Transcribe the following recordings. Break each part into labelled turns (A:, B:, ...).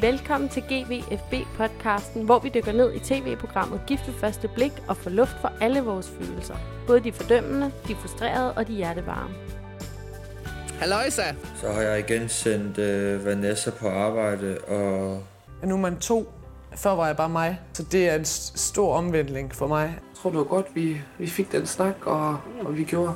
A: Velkommen til GVFB-podcasten, hvor vi dykker ned i tv-programmet Gift ved første blik og får luft for alle vores følelser. Både de fordømmende, de frustrerede og de hjertevarme.
B: Halløjsa!
C: Så har jeg igen sendt øh, Vanessa på arbejde, og
D: Nu er man to. Før var jeg bare mig. Så det er en s- stor omvendling for mig.
E: Jeg tror, det var godt, vi, vi fik den snak, og, og vi gjorde,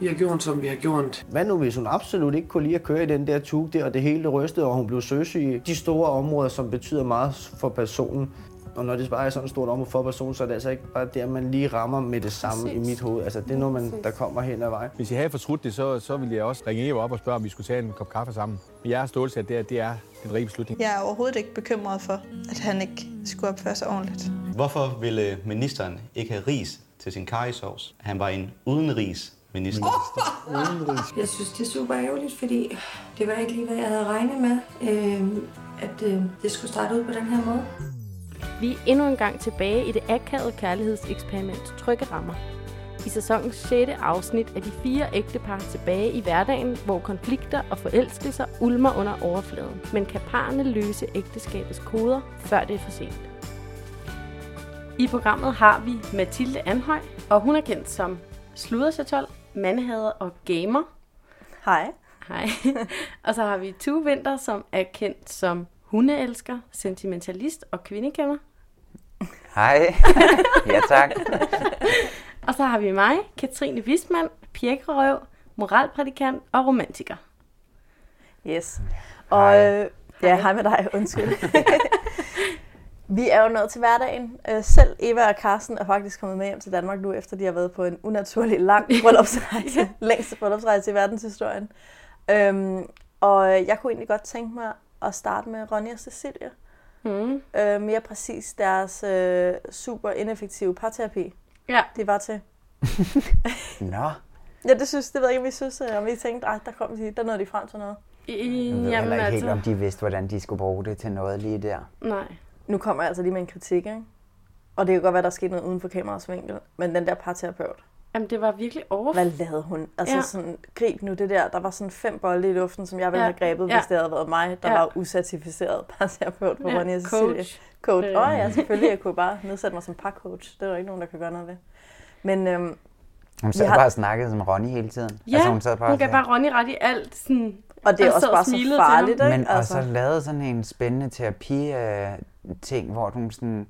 E: vi har gjort, som vi har gjort.
F: Hvad nu, hvis hun absolut ikke kunne lide at køre i den der tube der, og det hele rystede, og hun blev søsyg? De store områder, som betyder meget for personen, og når det bare er sådan et stort område for personen, så er det altså ikke bare der, man lige rammer med det samme Præcis. i mit hoved. Altså, det er noget, man, der kommer hen ad vejen.
G: Hvis jeg havde fortrudt det, så, så ville jeg også ringe Eva op og spørge, om vi skulle tage en kop kaffe sammen. Men jeg er stolt af, at det, er- det er den rigtige beslutning.
H: Jeg er overhovedet ikke bekymret for, at han ikke skulle opføre sig ordentligt.
I: Hvorfor ville ministeren ikke have ris til sin karrysovs? Han var en udenrigsminister. Oh!
J: Jeg synes, det er super ærgerligt, fordi det var ikke lige, hvad jeg havde regnet med, øh, at øh, det skulle starte ud på den her måde.
A: Vi er endnu en gang tilbage i det akavede kærlighedseksperiment Trygge Rammer. I sæsonens 6. afsnit er de fire ægtepar tilbage i hverdagen, hvor konflikter og forelskelser ulmer under overfladen. Men kan parrene løse ægteskabets koder, før det er for sent? I programmet har vi Mathilde Anhøj, og hun er kendt som sludersatol, mandhader og gamer.
K: Hej.
A: Hej. og så har vi Tue Winter, som er kendt som hundeelsker, sentimentalist og kvindekæmmer.
L: Hej. ja, tak.
A: Og så har vi mig, Katrine Wismann, pirkerøv, moralprædikant og romantiker.
K: Yes. Og øh, ja, hej med dig, undskyld. Vi er jo nået til hverdagen. Øh, Selv Eva og Carsten er faktisk kommet med hjem til Danmark nu, efter de har været på en unaturlig lang bryllupsrejse. ja. Længste bryllupsrejse i verdenshistorien. Øhm, og jeg kunne egentlig godt tænke mig at starte med Ronja og Cecilia.
A: Mm.
K: Øh, mere præcis deres øh, super ineffektive parterapi.
A: Ja.
K: De var til.
F: Nå,
K: Ja, det synes, det ved jeg ikke, om vi synes, øh, om vi tænkte, at der kom de, der nåede de frem til noget.
A: I, altså-
L: Jeg ved heller ikke helt, om de vidste, hvordan de skulle bruge det til noget lige der.
A: Nej.
K: Nu kommer jeg altså lige med en kritik, ikke? Og det kan godt være, der er sket noget uden for kameraets vinkel, men den der parterapeut,
A: Jamen, det var virkelig over.
K: hvad lavede hun? Altså
A: Ja.
K: ja. sådan, grib nu det der, der var sådan fem bolde i luften, som jeg ville
A: Ja.
K: ja. have grebet,
A: Ja.
K: ja. hvis det havde været mig, der
A: Ja.
K: ja. var ucertificeret parterapeut på
A: Ja,
K: ja. Ronja og Cecilie.
A: coach.
K: Coach.
A: Øh.
K: Åh
L: Altså,
K: oh, ja, selvfølgelig, jeg kunne bare nedsætte mig som parcoach. Det er der ikke nogen, der kan gøre noget ved. Men øhm,
L: Hun sad
K: Vi har-
L: bare og snakkede som Ronny hele tiden.
A: Ja, altså,
L: hun sad bare
A: hun
L: og
A: gav
L: sagde-
A: bare Ronny ret i alt. Sådan,
K: Og det er
A: han
K: også
A: sad og
K: bare så
A: smilede til ham.
K: farligt, ikke?
L: Men
K: Altså.
L: og så lavede sådan en spændende terapi-ting, hvor hun sådan,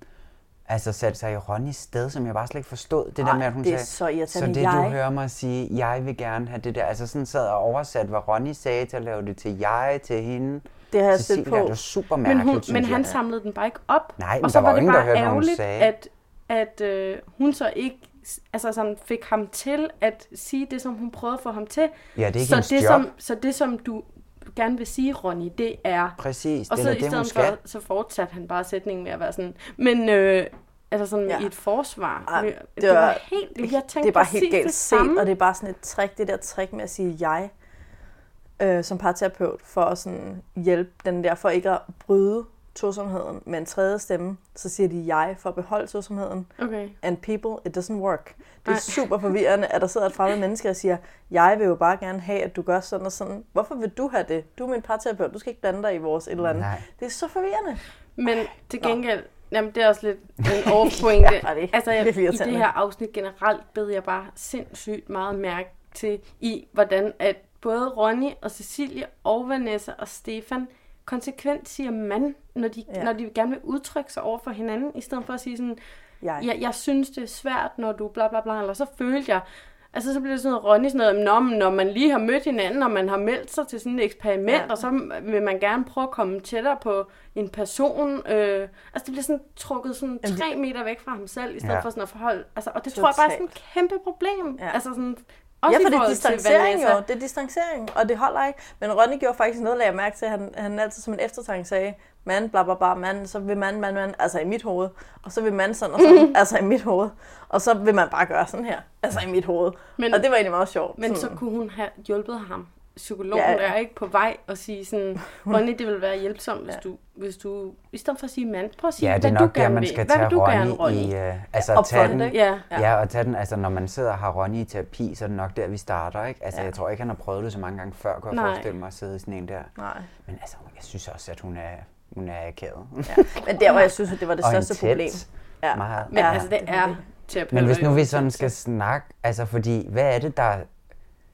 L: altså satte sig i Ronnys sted, som jeg bare slet ikke forstod. Det der
K: Ej,
L: med, at hun
K: det er
L: sagde,
K: så irriterende.
L: Så det, du
K: Jeg-
L: hører mig sige, jeg vil gerne have det der. Altså sådan sad og oversat, hvad Ronny sagde, til at lave det til jeg, til hende.
K: Det har jeg
L: Cecilia,
K: stødt på.
L: Det var super
A: Men,
L: mærkeligt,
A: hun,
L: synes
A: men
L: jeg.
A: han samlede den bare ikke op.
L: Nej, men
A: og så
L: der var
A: var det
L: ingen, der
A: bare
L: hørte, hvad hun
A: ærgerligt,
L: sagde.
A: at, at øh, hun så ikke altså sådan fik ham til at sige det, som hun prøvede at få ham til.
L: Ja, det er ikke
A: så,
L: hendes
A: det,
L: job.
A: som, så det, som du gerne vil sige, Ronny, det er...
L: Præcis,
A: og
L: det
A: så
L: er
A: i
L: da det, hun
A: stedet
L: skal.
A: for, så fortsatte han bare sætningen med at være sådan, men øh, altså sådan ja.
K: Ja.
A: i et forsvar.
K: Ej,
A: Men-
K: det
A: det var
K: var-
A: helt, jeg tænkte
K: det er bare
A: præcis
K: helt galt
A: det
K: set,
A: samme.
K: og det er bare sådan et trick, det der trick med at sige jeg, øh, som parterapeut, for at sådan hjælpe den der, for ikke at bryde tosomheden med en tredje stemme, så siger de jeg for at beholde tosomheden,
A: Okay.
K: and people, it doesn't work. Det er
A: Nej.
K: super forvirrende, at der sidder et fremmed menneske og siger, jeg vil jo bare gerne have, at du gør sådan og sådan. Hvorfor vil du have det? Du er min parterapeut, du skal ikke blande dig i vores et eller andet.
L: Nej.
K: Det er så forvirrende.
A: Men til gengæld, jamen det er også lidt en overpointe.
K: Ja, det er
A: altså jeg,
K: virkelig
A: i det
K: irriterende.
A: her afsnit generelt bed jeg bare sindssygt meget mærke til, i hvordan at både Ronny og Cecilie og Vanessa og Stefan konsekvent siger man, når de, ja.
K: Ja.
A: når de gerne vil udtrykke sig over for hinanden, i stedet for at sige sådan,
K: Jeg.
A: jeg, jeg synes, det er svært, når du bla bla bla, eller så følte jeg, altså så bliver det sådan noget, Ronny, sådan noget, når, når man lige har mødt hinanden, og man har meldt sig til sådan et eksperiment, ja.
K: Ja.
A: og så vil man gerne prøve at komme tættere på en person, øh, altså det bliver sådan trukket sådan
K: Jamen, det-
A: tre meter væk fra ham selv, i stedet ja.
L: Ja.
A: for sådan at forholde, altså, og det Totalt. tror jeg bare er sådan et kæmpe problem, ja.
K: Ja.
A: altså sådan,
K: Også
A: også
K: ja, for
A: i
K: det er
A: forhold til
K: distancering
A: Vanessa.
K: jo. Det er distancering, og det holder ikke. Men Ronny gjorde faktisk noget, lagde jeg mærke til. Han, han altid som en eftertanke sagde, mand, bla bla bla, mand, så vil man, man, man, altså i mit hoved. Og så vil man sådan og sådan, altså i mit hoved. Og så vil man bare gøre sådan her, altså i mit hoved.
A: Men-
K: Men, og det var egentlig meget sjovt.
A: Men så
K: sådan,
A: kunne hun have hjulpet ham psykologen
K: Ja,
A: ja,
K: ja.
A: ja. er ikke på vej og sige sådan, Ronny, det vil være hjælpsomt, hvis, du, hvis du, i stedet for at sige mand, prøv at sige,
L: Ja, det er
A: hvad
L: nok
A: du gerne
L: der, man
A: vil.
L: skal
A: hvad
L: tage
A: vil du gerne,
L: Ronny
A: Ronny?
L: i... øh, altså,
A: Opfordre
L: tage
A: det,
L: den,
A: ikke? Ja, ja.
L: ja, og tage den, altså, når man sidder og har Ronny i terapi, så er det nok der, vi starter. Ikke? Altså, ja. jeg tror ikke, han har prøvet det så mange gange før, kunne jeg
K: Nej.
L: forestille mig at sidde i sådan en der.
K: Nej.
L: Men altså, jeg synes også, at hun er, hun er akavet.
K: Ja. Men der, hvor jeg synes, at det var det
L: Og
K: største
L: intens.
K: problem. Ja.
L: Meget.
K: Men Ja, altså, det det er er det.
A: terapeuter
L: Men hvis nu
A: jo
L: vi sådan skal snakke, altså fordi, hvad er det, der er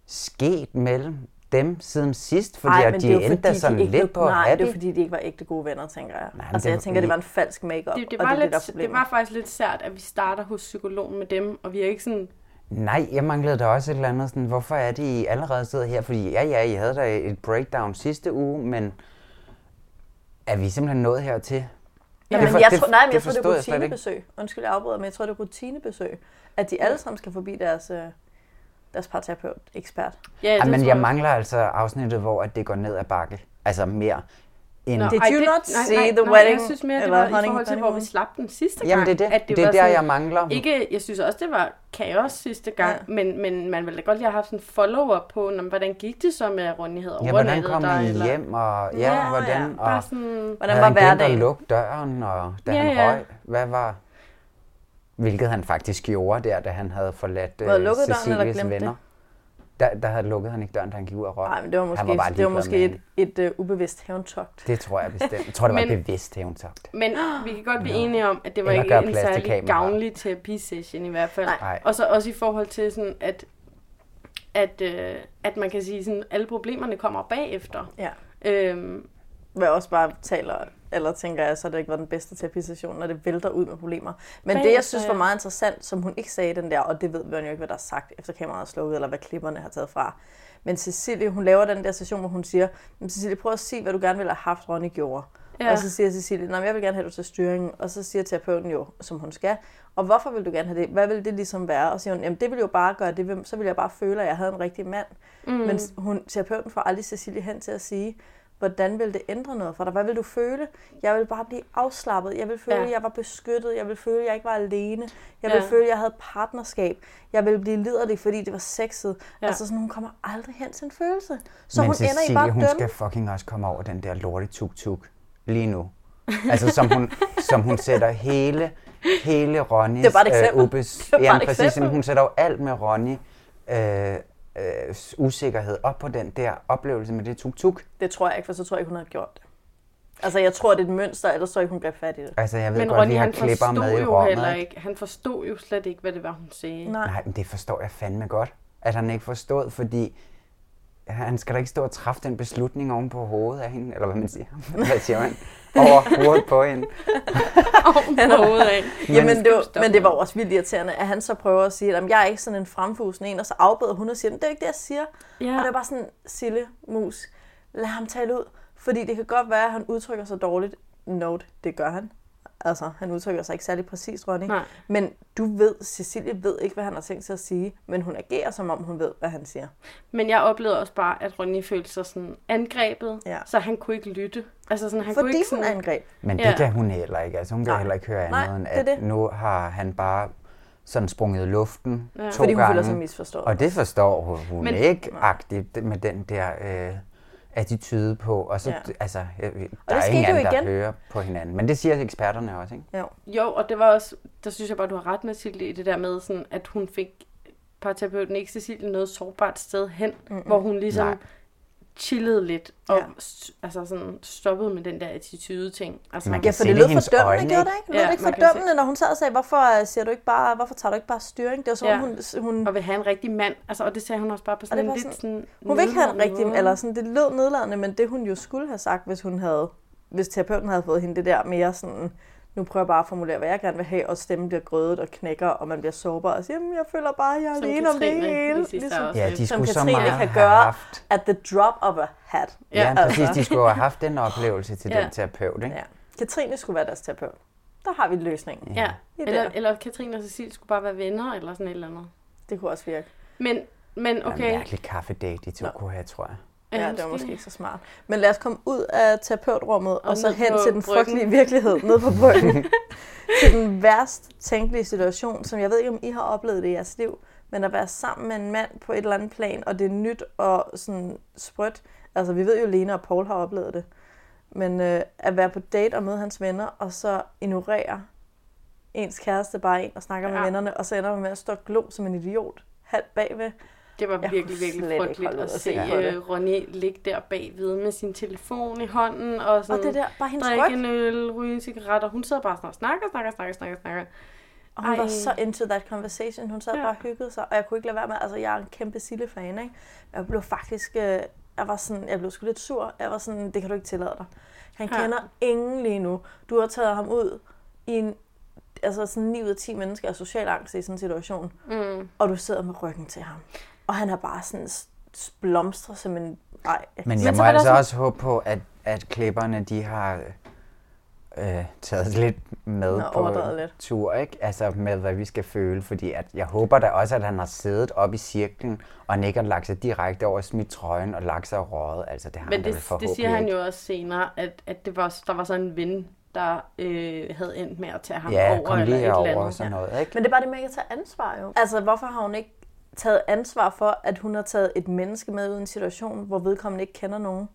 L: sket mellem dem siden sidst? Fordi
K: Ej,
L: Ej,
K: men
L: at
K: det er jo
L: de endte da
K: fordi,
L: sådan
K: de ikke,
L: lidt på
K: Nej, det er
L: hatten.
K: fordi, de ikke var ægte gode venner, tænker jeg. Nej,
L: men
K: altså,
L: det
K: jeg
L: var-
K: tænker, det var en falsk make-up,
A: Det, det,
K: og
A: var
K: det er
A: det,
K: det, der er
A: lidt, det
K: problemet.
A: var faktisk lidt sært, at vi starter hos psykologen med dem, og vi er ikke sådan,
L: Nej, jeg manglede da også et eller andet sådan, hvorfor er det, I allerede sidder her? Fordi ja, ja, I havde da et breakdown sidste uge, men er vi simpelthen nået hertil?
K: Ja,
L: Det
K: men
L: for-
K: jeg tror, nej, men jeg tror,
L: forstod
K: det er
L: slet ikke.
K: rutinebesøg. Undskyld, jeg afbryder, men jeg tror, det er rutinebesøg. At de alle sammen skal forbi deres, øh, deres parterapeut, ekspert.
L: Ja, men jeg mangler altså afsnittet, hvor at det går ned ad bakke. Altså mere end...
K: Nå, Did you
A: det-
K: not see the
A: Jeg
K: wedding?
A: synes mere, det
K: Eller
A: var i
K: honey-
A: forhold til, hvor vi
K: honeymoon?
A: slap den sidste gang.
L: Jamen, det er det. Det er
A: var
L: der,
A: sådan-
L: jeg mangler.
A: Ikke, jeg synes også, det var kaos sidste gang, ja. men, men man ville da godt lige have haft sådan en follow-up på, når, hvordan gik det så med, at Ronny havde
L: Ja, hvordan
A: overnattet
L: kom
A: dig?
L: I
A: eller-
L: hjem, og ja,
A: Ja,
L: hvordan,
A: ja,
L: og
A: bare sådan- Hvordan
L: havde
A: var
L: han glemt
A: hverdagen?
L: at lukke døren, og da
A: Ja,
L: ja, han
A: ja.
L: røg, hvad var, hvilket han faktisk gjorde der, da han havde forladt
K: Var det
L: øh,
K: lukket døren, eller
L: Cecilies
K: glemte det?
L: venner. Der, der havde lukket han ikke døren, da han gik ud og røg.
K: Nej, men det var
L: han
K: måske,
L: var bare
K: var det var
L: ligeglad
K: måske
L: med
K: et, et øh, ubevidst hævntogt.
L: hende. Det tror jeg bestemt. Jeg tror, det var
A: Men-
L: et bevidst hævntogt.
A: Men vi kan godt blive enige om, at det var
L: Eller
A: ikke
L: gør
A: en
L: plads til
A: særlig
L: kameraer.
A: gavnlig terapisession i hvert fald.
L: Nej.
A: Og så også i forhold til sådan, at, at, øh, at man kan sige sådan, alle problemerne kommer bagefter.
K: Ja.
A: Øhm,
K: Hvad jeg også bare taler, eller tænker jeg, så har det ikke været den bedste terapisession, når det vælter ud med problemer. Men det,
A: Bagefter,
K: jeg synes
A: ja.
K: var meget interessant, som hun ikke sagde i den der, og det ved man jo ikke, hvad der er sagt efter kameraet er slukket, eller hvad klipperne har taget fra. Men Cecilie, hun laver den der session, hvor hun siger, "Men Cecilie, prøv at sige, hvad du gerne ville have haft, Ronny gjorde.
A: Ja.
K: Ja. Og så siger Cecilie, nej, jeg vil gerne have, at du tager styringen. Og så siger terapeuten jo, som hun skal, og hvorfor vil du gerne have det? Hvad vil det ligesom være? Og så siger hun, jamen det vil jo bare gøre det, ved- så vil jeg bare føle, at jeg havde en rigtig mand.
A: Mm.
K: Mm. Men hun, terapeuten får aldrig Cecilie hen til at sige, hvordan vil det ændre noget for dig? Hvad vil du føle? Jeg vil bare blive afslappet. Jeg vil føle,
A: Ja.
K: at jeg var beskyttet. Jeg vil føle, at jeg ikke var alene. Jeg
A: Ja.
K: vil føle, at jeg havde partnerskab. Jeg ville blive liderlig, fordi det var sexet.
A: Ja.
K: Ja. Altså sådan, hun kommer aldrig hen til en følelse. Så
L: men
K: hun
L: Cecilie,
K: ender i bare at
L: hun
K: dømme.
L: skal fucking også komme over den der lorte tuk-tuk lige nu. Altså, som hun, som hun sætter hele, hele Ronnys øh,
K: Det var bare et eksempel.
L: ubes,
K: Det var bare
L: ja,
K: et
L: præcis,
K: eksempel.
L: men hun sætter jo alt med Ronny øh, øh, usikkerhed op på den der oplevelse med det tuk-tuk.
K: Det tror jeg ikke, for så tror jeg ikke, hun havde gjort det. Altså, jeg tror, det er et mønster, ellers tror jeg ikke, hun greb fat i det.
L: Altså, jeg ved
A: men
L: godt,
A: Ronny,
L: vi har
A: han
L: klipper
A: forstod
L: med i
A: jo
L: rummet.
A: heller ikke. Han forstod jo slet ikke, hvad det var, hun sagde.
L: Nej, men det forstår jeg fandme godt, at han ikke forstod, fordi han skal da ikke stå og træffe den beslutning oven på hovedet af hende, eller hvad man siger. Hvad siger man? Over hovedet på hende.
K: Han
A: på hovedet af.
K: Jamen, det var,
A: Stoppe.
K: men det var jo også vildt irriterende, at han så prøver at sige, at jeg er ikke sådan en fremfusende en, og så afbryder hun og siger, "Men det er jo ikke det, jeg siger.
A: Ja.
K: Og det er bare sådan, Sille, mus, lad ham tale ud. Fordi det kan godt være, at han udtrykker sig dårligt. Note, det gør han. Altså, han udtrykker sig ikke særlig præcist, Ronny.
A: Nej.
K: Men du ved, Cecilie ved ikke, hvad han har tænkt sig at sige, men hun agerer, som om hun ved, hvad han siger.
A: Men jeg oplevede også bare, at Ronny følte sig sådan angrebet, ja. så han kunne ikke lytte. Altså sådan, han
K: Fordi
A: kunne ikke
K: hun
A: sådan...
K: angreb.
L: Men det
A: ja.
L: ja. kan hun heller ikke. Altså, hun kan
A: Nej.
L: Nej. heller ikke høre
A: Nej,
L: andet, end
A: det er
L: at
A: det.
L: nu har han bare sådan sprunget i luften
A: Ja.
L: ja. to
K: Fordi hun føler
L: gange.
K: sig misforstået.
L: Og det forstår hun, hun
K: Men-
L: Men... ikke agtigt med den der øh, attitude på. Og så,
A: Ja.
L: ja. altså, jeg, der
A: det
L: er
A: skete
L: ingen
A: jo
L: anden, der
A: igen.
L: hører på hinanden. Men det siger eksperterne også, ikke?
K: Jo.
A: jo, og det var også... Der synes jeg bare, du har ret, Mathilde, i det der med, sådan, at hun fik parterapeuten ikke Cecilie noget sårbart sted hen, mm hvor hun ligesom
L: Nej.
A: chillede lidt og s- altså sådan stoppede med den der attitude-ting. Altså,
L: Man kan
K: Ja, for det lød fordømmende, gjorde det ikke? Lød
A: Ja,
K: det ikke
A: man kan se-
K: fordømmende, når hun sad og sagde, hvorfor, øh, siger du ikke bare, hvorfor tager du ikke bare styring? Det var som om, hun hun...
A: Og vil have en rigtig mand. Altså, og det sagde hun også bare på
K: Og
A: sådan
K: det
A: en
K: var
A: lidt sådan...
K: sådan, hun vil ikke have en
A: nedladende
K: rigtig,
A: måde.
K: eller sådan, det lød nedladende, men det hun jo skulle have sagt, hvis hun havde, hvis terapeuten havde fået hende det der mere sådan, nu prøver jeg bare at formulere, hvad jeg gerne vil have, og stemmen bliver grødet og knækker, og man bliver sårbar og siger, jamen, jeg føler bare, at jeg er
A: Som
K: alene om det
A: Katrine
K: hele. ligesom-
A: i sidste afsnit.
L: Ja, de
K: som
L: skulle så
K: Katrine
L: meget
K: kan
L: have
K: gøre
L: haft.
K: at the drop of a hat.
L: Ja, ja præcis. De skulle jo have haft den oplevelse til
K: Ja.
L: ja. den terapeut, ikke?
K: Ja. Katrine skulle være deres terapeut. Der har vi løsningen.
A: Ja,
K: Det er
A: eller,
K: der.
A: eller Katrine og Cecilie skulle bare være venner, eller sådan et eller andet.
K: Det kunne også virke.
A: Men, men
L: Det var en
A: okay. Øh,
L: mærkelig kaffedate, de to kunne have, tror jeg.
K: Ja, det var
A: måske.
K: måske ikke så smart. Men lad os komme ud af terapeutrummet og,
A: Og
K: og så
A: ned
K: hen
A: på
K: til den
A: bryggen.
K: frygtelige virkelighed nede på bryggen. til den værst tænkelige situation, som jeg ved ikke, om I har oplevet det i jeres liv, Men at være sammen med en mand på et eller andet plan, og det er nyt og sådan sprødt. Altså, vi ved jo, Lena og Paul har oplevet det. Men øh, at være på date og møde hans venner, og så ignorere ens kæreste bare ind og snakker ja. med vennerne, og så ender man med at stå og glo som en idiot halvt bagved.
A: Det var
K: Jeg
A: virkelig,
K: kunne slet
A: virkelig
K: ikke
A: frygteligt
K: holde ud
A: at se
K: at se på det.
A: ja. Ronny ligge der bagved med sin telefon i hånden og sådan
K: Og det der, bare hendes
A: drikke
K: ryg.
A: en øl, ryge en cigaret, og hun sidder bare sådan og snakker, snakker, snakker, snakker, snakker.
K: Og hun Ej.
A: Ej.
K: var så into that conversation. Hun sad
A: Ja.
K: ja. bare og hyggede sig, og jeg kunne ikke lade være med, altså jeg er en kæmpe Sille-fan, ikke? Jeg blev faktisk, øh, jeg var sådan, jeg blev sgu lidt sur. Jeg var sådan, det kan du ikke tillade dig. Han
A: Ja.
K: ja. kender ingen lige nu. Du har taget ham ud i en, altså sådan 9 ud af 10 mennesker er social angst i sådan en situation.
A: Mm.
K: Og du sidder med ryggen til ham. Og han er bare sådan s- s- blomstret som en... Ej.
L: Men jeg må altså også håbe på, at, at klipperne de har øh, taget lidt med
K: Nå,
L: på
K: overdrevet lidt.
L: tur, ikke? Altså med, hvad vi skal føle, fordi at jeg håber da også, at han har siddet op i cirklen, og han ikke har lagt sig direkte over smidt trøjen og lagt sig og røget. Altså det har
A: Men
L: han da vel
A: det, det
L: forhåbentlig
A: siger han
L: ikke.
A: jo også senere, at, at det var, der var sådan en ven, der øh, havde endt med at tage ham
L: Ja,
A: over
L: kom lige
A: eller et eller
L: herover
A: andet.
L: og sådan noget, ikke?
K: Men det er bare det med ikke at tage ansvar jo. Altså, hvorfor har hun ikke taget ansvar for, at hun har taget et menneske med ud i en situation, hvor vedkommende ikke kender nogen?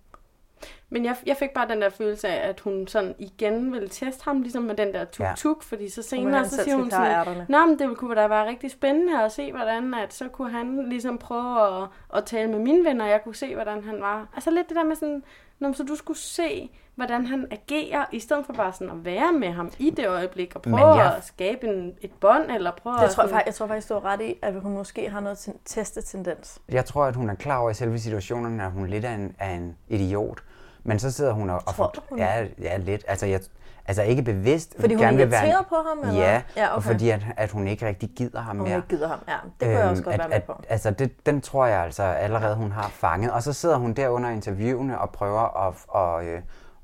A: Men jeg, jeg fik bare den der følelse af, at hun sådan igen ville teste ham, ligesom med den der tuk-tuk, ja. fordi så
K: Hvordan
A: senere
K: han
A: så
K: selv
A: siger
K: skal
A: hun
K: klare
A: sådan,
K: ærterne.
A: Nå, men det kunne da være rigtig spændende at se, hvordan at så kunne han ligesom prøve at, at tale med mine venner, og jeg kunne se, hvordan han var. Altså lidt det der med sådan, Nå, men så du skulle se, hvordan han agerer, i stedet for bare sådan at være med ham i det øjeblik, og
K: Men
A: prøve
K: jeg-
A: at skabe en, et bånd, eller prøve
K: Jeg
A: at
K: tror,
A: sådan-
K: faktisk, jeg tror faktisk, du har ret i, at hun måske har noget ten- testetendens.
L: Jeg tror, at hun er klar over i selve situationen, at hun lidt er en, er en idiot. Men så sidder hun og... og
K: Tror
L: for-
K: du, hun
L: ja, ja, lidt. Altså, jeg, altså ikke bevidst.
K: Fordi hun
L: gerne
K: er
L: vil være en-
K: irriteret på ham, eller?
L: Ja,
K: Ja,
L: og
K: okay.
L: fordi at, at hun ikke rigtig gider ham
K: Og hun
L: mere. Øhm,
K: ikke gider ham. Ja, det kunne jeg også godt
L: at,
K: være med
L: at,
K: på.
L: Altså, det, den tror jeg altså allerede, hun har fanget. Og så sidder hun der under interviewene og prøver at... Og, øh,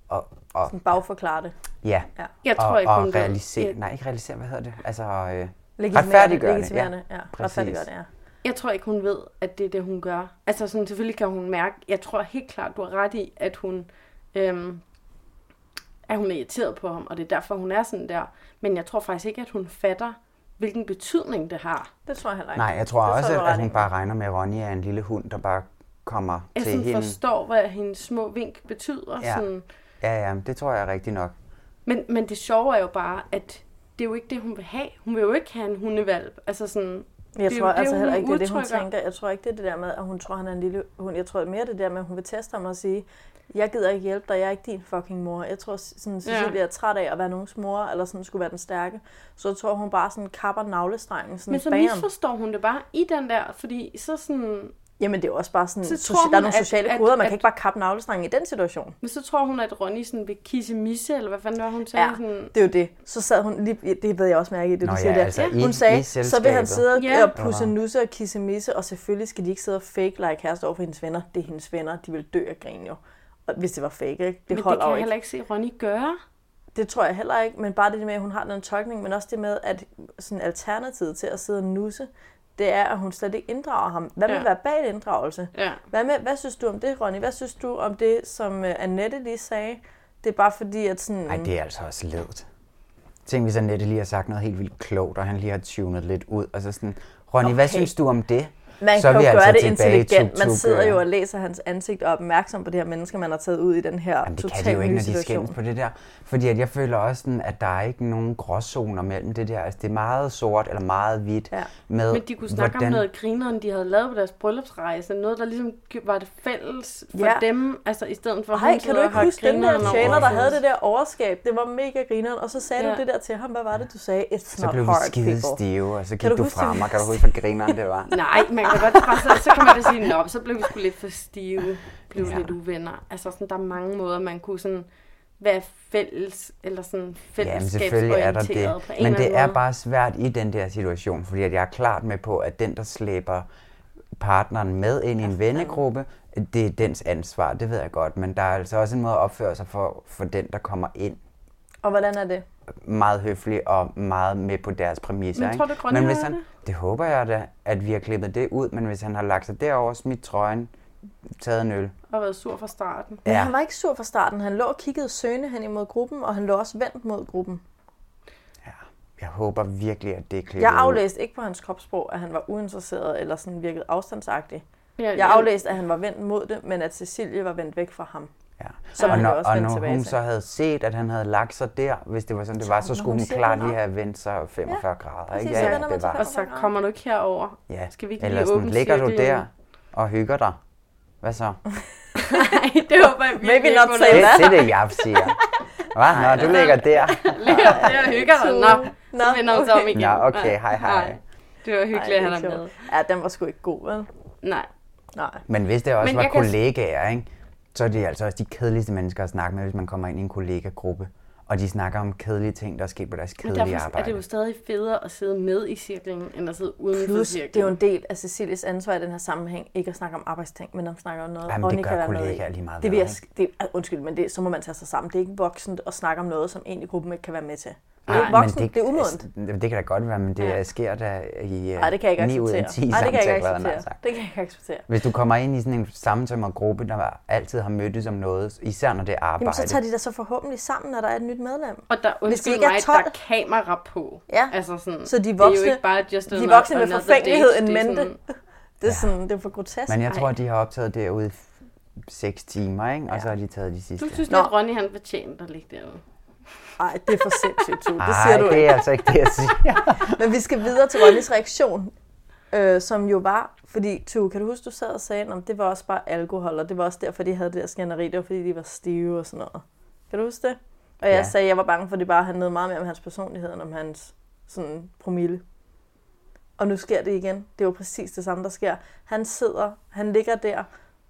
L: og, og,
K: Sådan bagforklare det.
L: ja.
K: Ja.
A: Jeg tror
L: og,
A: ikke,
L: og
A: hun ved-
L: realisere...
A: Ja.
L: Nej, ikke realisere, hvad hedder det? Altså, øh,
K: Legitimerende-
L: retfærdiggørende.
K: legitimerende, ja.
L: præcis.
K: Retfærdiggørende, ja.
A: Jeg tror ikke, hun ved, at det er det, hun gør. Altså sådan, selvfølgelig kan hun mærke, jeg tror helt klart, du har ret i, at hun, øhm, at hun er irriteret på ham, og det er derfor, hun er sådan der. Men jeg tror faktisk ikke, at hun fatter, hvilken betydning det har.
K: Det tror jeg heller
L: Nej, jeg tror også, at, at hun bare regner med, at Ronja er en lille hund, der bare kommer
A: Jeg
L: til
A: sådan
L: hende.
A: forstår, hvad hendes små vink betyder.
L: Ja.
A: Sådan.
L: Ja, ja, det tror jeg er rigtigt nok.
A: Men, men det sjove er jo bare, at det er jo ikke det, hun vil have. Hun vil jo ikke have en hundevalp. Altså sådan,
K: Jeg
A: det er
K: tror
A: jo
K: altså
A: hun
K: heller ikke, det er det, hun
A: udtrykker.
K: tænker. Jeg tror ikke, det er det der med, at hun tror, han er en lille hund. Jeg tror mere det der med, at hun vil teste ham og sige, jeg gider ikke hjælpe dig, jeg er ikke din fucking mor. Jeg tror, sådan, Cecilie
A: Ja.
K: er træt af at være nogens mor, eller sådan skulle være den stærke. Så jeg tror, hun bare sådan kapper navlestrengen. Sådan
A: Men så
K: bam.
A: misforstår hun det bare i den der, fordi så sådan...
K: Jamen det er jo også bare sådan,
A: Så
K: så
A: tror
K: der er
A: hun,
K: nogle
A: at-
K: sociale
A: at-
K: koder, man
A: at-
K: kan ikke bare kappe navlestrengen i den situation.
A: Men så tror hun, at Ronny sådan vil kisse misse, eller hvad fanden det var, hun sagde?
K: Ja,
A: Sådan,
K: det er jo det. Så sad hun lige, det ved jeg også mærke i det,
L: Nå
K: du
L: ja,
K: siger der.
L: altså i-
K: hun
L: i
K: sagde, så vil han
L: selskabet.
K: sidde
A: Ja.
K: yeah. og pusse nusse og kisse misse, og selvfølgelig skal de ikke sidde og fake lege kæreste over for hendes venner. Det er hendes venner, de vil dø af grin jo. Og hvis det var fake, ikke? det
A: men det
K: holder
A: kan
K: jo
A: jeg
K: ikke.
A: heller ikke se Ronny gøre.
K: Det tror jeg heller ikke, men bare det med, at hun har den tolkning, men også det med, at sådan alternativet til at sidde og nusse, det er, at hun slet ikke inddrager ham. Hvad med
A: Ja.
K: ja. verbal inddragelse?
A: Ja.
K: Hvad, med, hvad synes du om det, Ronny? Hvad synes du om det, som uh, Annette lige sagde? Det er bare fordi, at sådan...
L: Nej, det er altså også ledet. Tænk, hvis Annette lige har sagt noget helt vildt klogt, og han lige har tunet lidt ud, og så sådan, Ronny, okay. hvad
K: Okay.
L: synes du om det?
K: Man
L: så er
K: kan
L: vi
K: jo
L: altså
K: gøre det
L: tilbage i
K: intelligent. Man
L: tuk-tuk,
K: sidder jo
L: øh.
K: og læser hans ansigt og er opmærksom på det her menneske, man har taget ud i den her Jamen,
L: Det kan de jo
K: nye
L: ikke, når de
K: situation.
L: skændes på det der. Fordi at jeg føler også, sådan, at der er ikke nogen gråzoner mellem det der. Altså, det er meget sort eller meget hvidt. Ja. Med,
A: Men de kunne snakke
L: hvordan...
A: om noget grineren, de havde lavet på deres bryllupsrejse. Noget, der ligesom var det fælles for
K: Ja.
A: dem. Altså i stedet for, at
K: Ej,
A: hun
K: kan
A: sidder
K: du
A: og
K: ikke
A: har
K: huske den der
A: grineren over
K: tjener, der
A: sig?
K: havde det der overskab? Det var mega grineren. Og så sagde
A: Ja.
K: du det der til ham. Hvad var det, du sagde? It's
L: Så
K: not
L: blev vi
K: hard,
L: skide
K: people.
L: stive, og så
K: Kan
L: gik
K: du
L: du,
K: huske det?
L: frem, og kan du huske, hvor grineren det var?
A: Nej, man kan godt bare så, så kan man da sige, nå, så blev vi sgu lidt for stive, blev ja. lidt uvenner. Altså sådan, der er mange måder, man kunne sådan være fælles, eller sådan
L: Jamen
A: fællesskabsorienteret
L: selvfølgelig er der
A: det. på
L: det,
A: en
L: men
A: eller anden
L: det er
A: måde.
L: bare svært i den der situation, fordi at jeg er klart med på, at den, der slæber partneren med ind i en vennegruppe, det er dens ansvar, det ved jeg godt, men der er altså også en måde at opføre sig for, for den, der kommer ind
K: Og hvordan er det?
L: meget høflig og meget med på deres præmisser.
K: Men
L: ikke?
K: tror du, Grønland
L: men hvis
K: er
L: han,
K: det?
L: det håber jeg da, at vi har klippet det ud, men hvis han har lagt sig derover, smidt trøjen, taget en øl,
A: Og været sur fra starten.
K: Men
L: Ja.
K: han var ikke sur fra starten. Han lå og kiggede søgende hen imod gruppen, og han lå også vendt mod gruppen.
L: jeg håber virkelig, at det er klippet
K: Jeg
L: ud.
K: aflæste ikke på hans kropssprog, at han var uinteresseret eller sådan virkede afstandsagtig.
A: Ja,
K: Jeg
A: ja.
K: aflæste, at han var vendt mod det, men at Cecilie var vendt væk fra ham.
L: Ja.
K: Så
L: og
K: man
L: når,
K: kan også
L: og
K: vende
L: når
K: tilbage
L: hun
K: til.
L: så havde set, at han havde lagt sig der, hvis det var sådan, det
K: Så
L: var, så
K: når
L: skulle
K: hun
L: hun
K: ser
L: klart
K: den
L: lige
K: op.
L: have vendt sig 45 grader. Ikke?
A: Præcis, så vender man
L: det var.
A: Og så kommer du ikke herover.
L: Ja.
A: Skal vi ikke
L: Eller
A: lige
L: sådan,
A: åbne
L: ligger du
A: cirklen?
L: der og hygger dig? Hvad så?
A: Nej, det håber jeg virkelig
K: Maybe not
A: hun
K: say
A: er.
L: Det er det, jeg siger. Hvad? Nå, du ligger der.
A: Ligger der og hygger dig. Nå, så vender hun sig om igen.
L: Nå, okay, hej hej.
A: Det var hyggeligt, at han er
K: sjovt.
A: med.
K: Ja, den var sgu ikke god, vel?
A: Nej.
K: Nej.
L: Men hvis det også
K: Men
L: Men var
K: jeg kan-
L: kollegaer, ikke? så er det altså også de kedeligste mennesker at snakke med, hvis man kommer ind i en kollegagruppe, og de snakker om kedelige ting, der sker på deres
A: Men
L: kedelige
A: derfor er
L: arbejde.
A: det jo stadig federe at sidde med i cirklen, end at sidde uden for
K: Plus,
A: cirklen.
K: det er jo en del af Cecilies ansvar i den her sammenhæng, ikke at snakke om arbejdsting, men om snakke om noget,
L: Jamen, det
K: Ronny
L: gør
K: kan være med
L: kollegaer
K: i.
L: lige meget
K: det vil jeg,
L: hvad,
K: sk- det, ah, undskyld, men det, så må man tage sig sammen. Det er ikke voksent at snakke om noget, som en i gruppen ikke kan være med til. Det er
L: Nej,
K: ikke
L: Ah, men
K: voksent, det, det er umodent.
L: Altså, det kan da godt være, men det ja. sker der i
K: Nej, det kan jeg ikke
L: 9 ud af
K: acceptere.
L: 10
K: Nej, det kan jeg ikke
L: samtaler, havde jeg nær
K: acceptere.
L: sagt.
K: Det kan jeg ikke acceptere.
L: Hvis du kommer ind i sådan en sammensømmer gruppe, der altid har mødtes om noget, især når det er arbejde.
K: Jamen, så tager de da så forhåbentlig sammen, når der er et nyt medlem.
A: Og der,
K: Hvis de
A: undskyld
K: ikke er
A: mig,
K: 12,
A: der er kamera på.
K: Ja.
A: Altså sådan,
K: så de
A: det er
K: voksne,
A: jo ikke bare just
K: de
A: another-
K: voksne med
A: another
K: forfængelighed
A: date.
K: en
A: Det er
K: mente.
A: sådan-
K: Det er, sådan, det er for grotesk.
L: Men jeg tror, at de har optaget derude 6 timer, ikke? og så har de taget de sidste.
A: Du synes, at Ronny han fortjente at ligge derude.
K: Nej, det er for sindssygt, Tue. Det
L: Ej,
K: siger du
L: det
K: ikke.
L: er altså ikke det, jeg siger.
K: Men vi skal videre til Ronnys reaktion, øh, som jo var, fordi Tue, kan du huske, du sad og sagde, om det var også bare alkohol, og det var også derfor, de havde det der skænderi, det var fordi, de var stive og sådan noget. Kan du huske det? Og jeg
L: Ja.
K: sagde, at jeg var bange for, at det bare handlede meget mere om hans personlighed, end om hans sådan, promille. Og nu sker det igen. Det er jo præcis det samme, der sker. Han sidder, han ligger der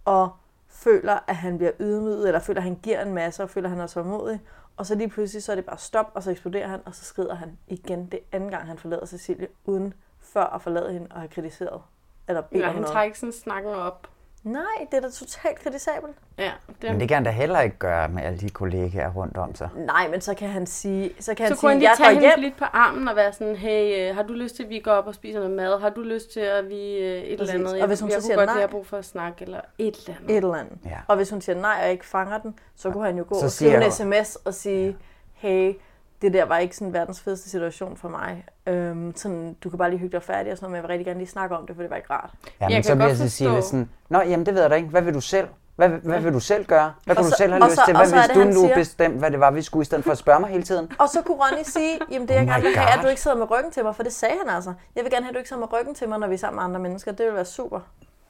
K: og føler, at han bliver ydmyget, eller føler, at han giver en masse, og føler, at han er tålmodig. Og så lige pludselig, så er det bare stop, og så eksploderer han, og så skrider han igen. Det er anden gang, han forlader Cecilie, uden før at forlade hende og have kritiseret. Eller bedt
A: Ja,
K: om
A: han
K: noget.
A: tager ikke sådan snakken op.
K: Nej, det er da totalt kritisabelt.
A: Ja,
L: Men det kan han da heller ikke gøre med alle de kollegaer rundt om sig.
K: Nej, men så kan han sige, så kan han
A: så
K: sige,
A: kunne han lige
K: jeg
A: tage
K: går hjem.
A: hende lidt på armen og være sådan, hey, øh, har du lyst til, at vi går op og spiser noget mad? Har du lyst til, at vi øh, et eller
K: Præcis.
A: andet?
K: Og
A: Jeg-
K: hvis hun
A: jeg
K: så
A: kunne
K: siger
A: godt
K: nej.
A: lide, at jeg har brug for at snakke, eller et eller andet.
K: et eller andet.
L: Ja.
K: Og hvis hun siger nej og ikke fanger den, så kunne han jo gå
L: Så
K: så og skrive en
L: siger
K: sms og sige, hey, det der var ikke sådan verdens fedeste situation for mig. Øhm, sådan, du kan bare lige hygge dig færdig og sådan noget, men jeg vil rigtig gerne lige snakke om det, for det var ikke rart.
L: Ja, men så bliver Cecilie sådan, Nå, jamen det ved jeg da ikke. Hvad vil du selv? Hvad, hvad vil du selv gøre? Hvad
K: Og
L: kunne
K: så-
L: du selv have
K: og
L: lyst
K: så-
L: til?
K: og
L: Hvad
K: så er
L: hvis
K: det,
L: du
K: han
L: nu
K: siger-
L: bestemte, hvad det var, vi skulle, i stedet for at spørge mig hele tiden?
K: Og så kunne Ronny sige, jamen det jeg
L: Oh my
K: gerne vil have, er, at du
L: God.
K: ikke sidder med ryggen til mig, for det sagde han altså. Jeg vil gerne have, at du ikke sidder med ryggen til mig, når vi er sammen med andre mennesker. Det ville være super.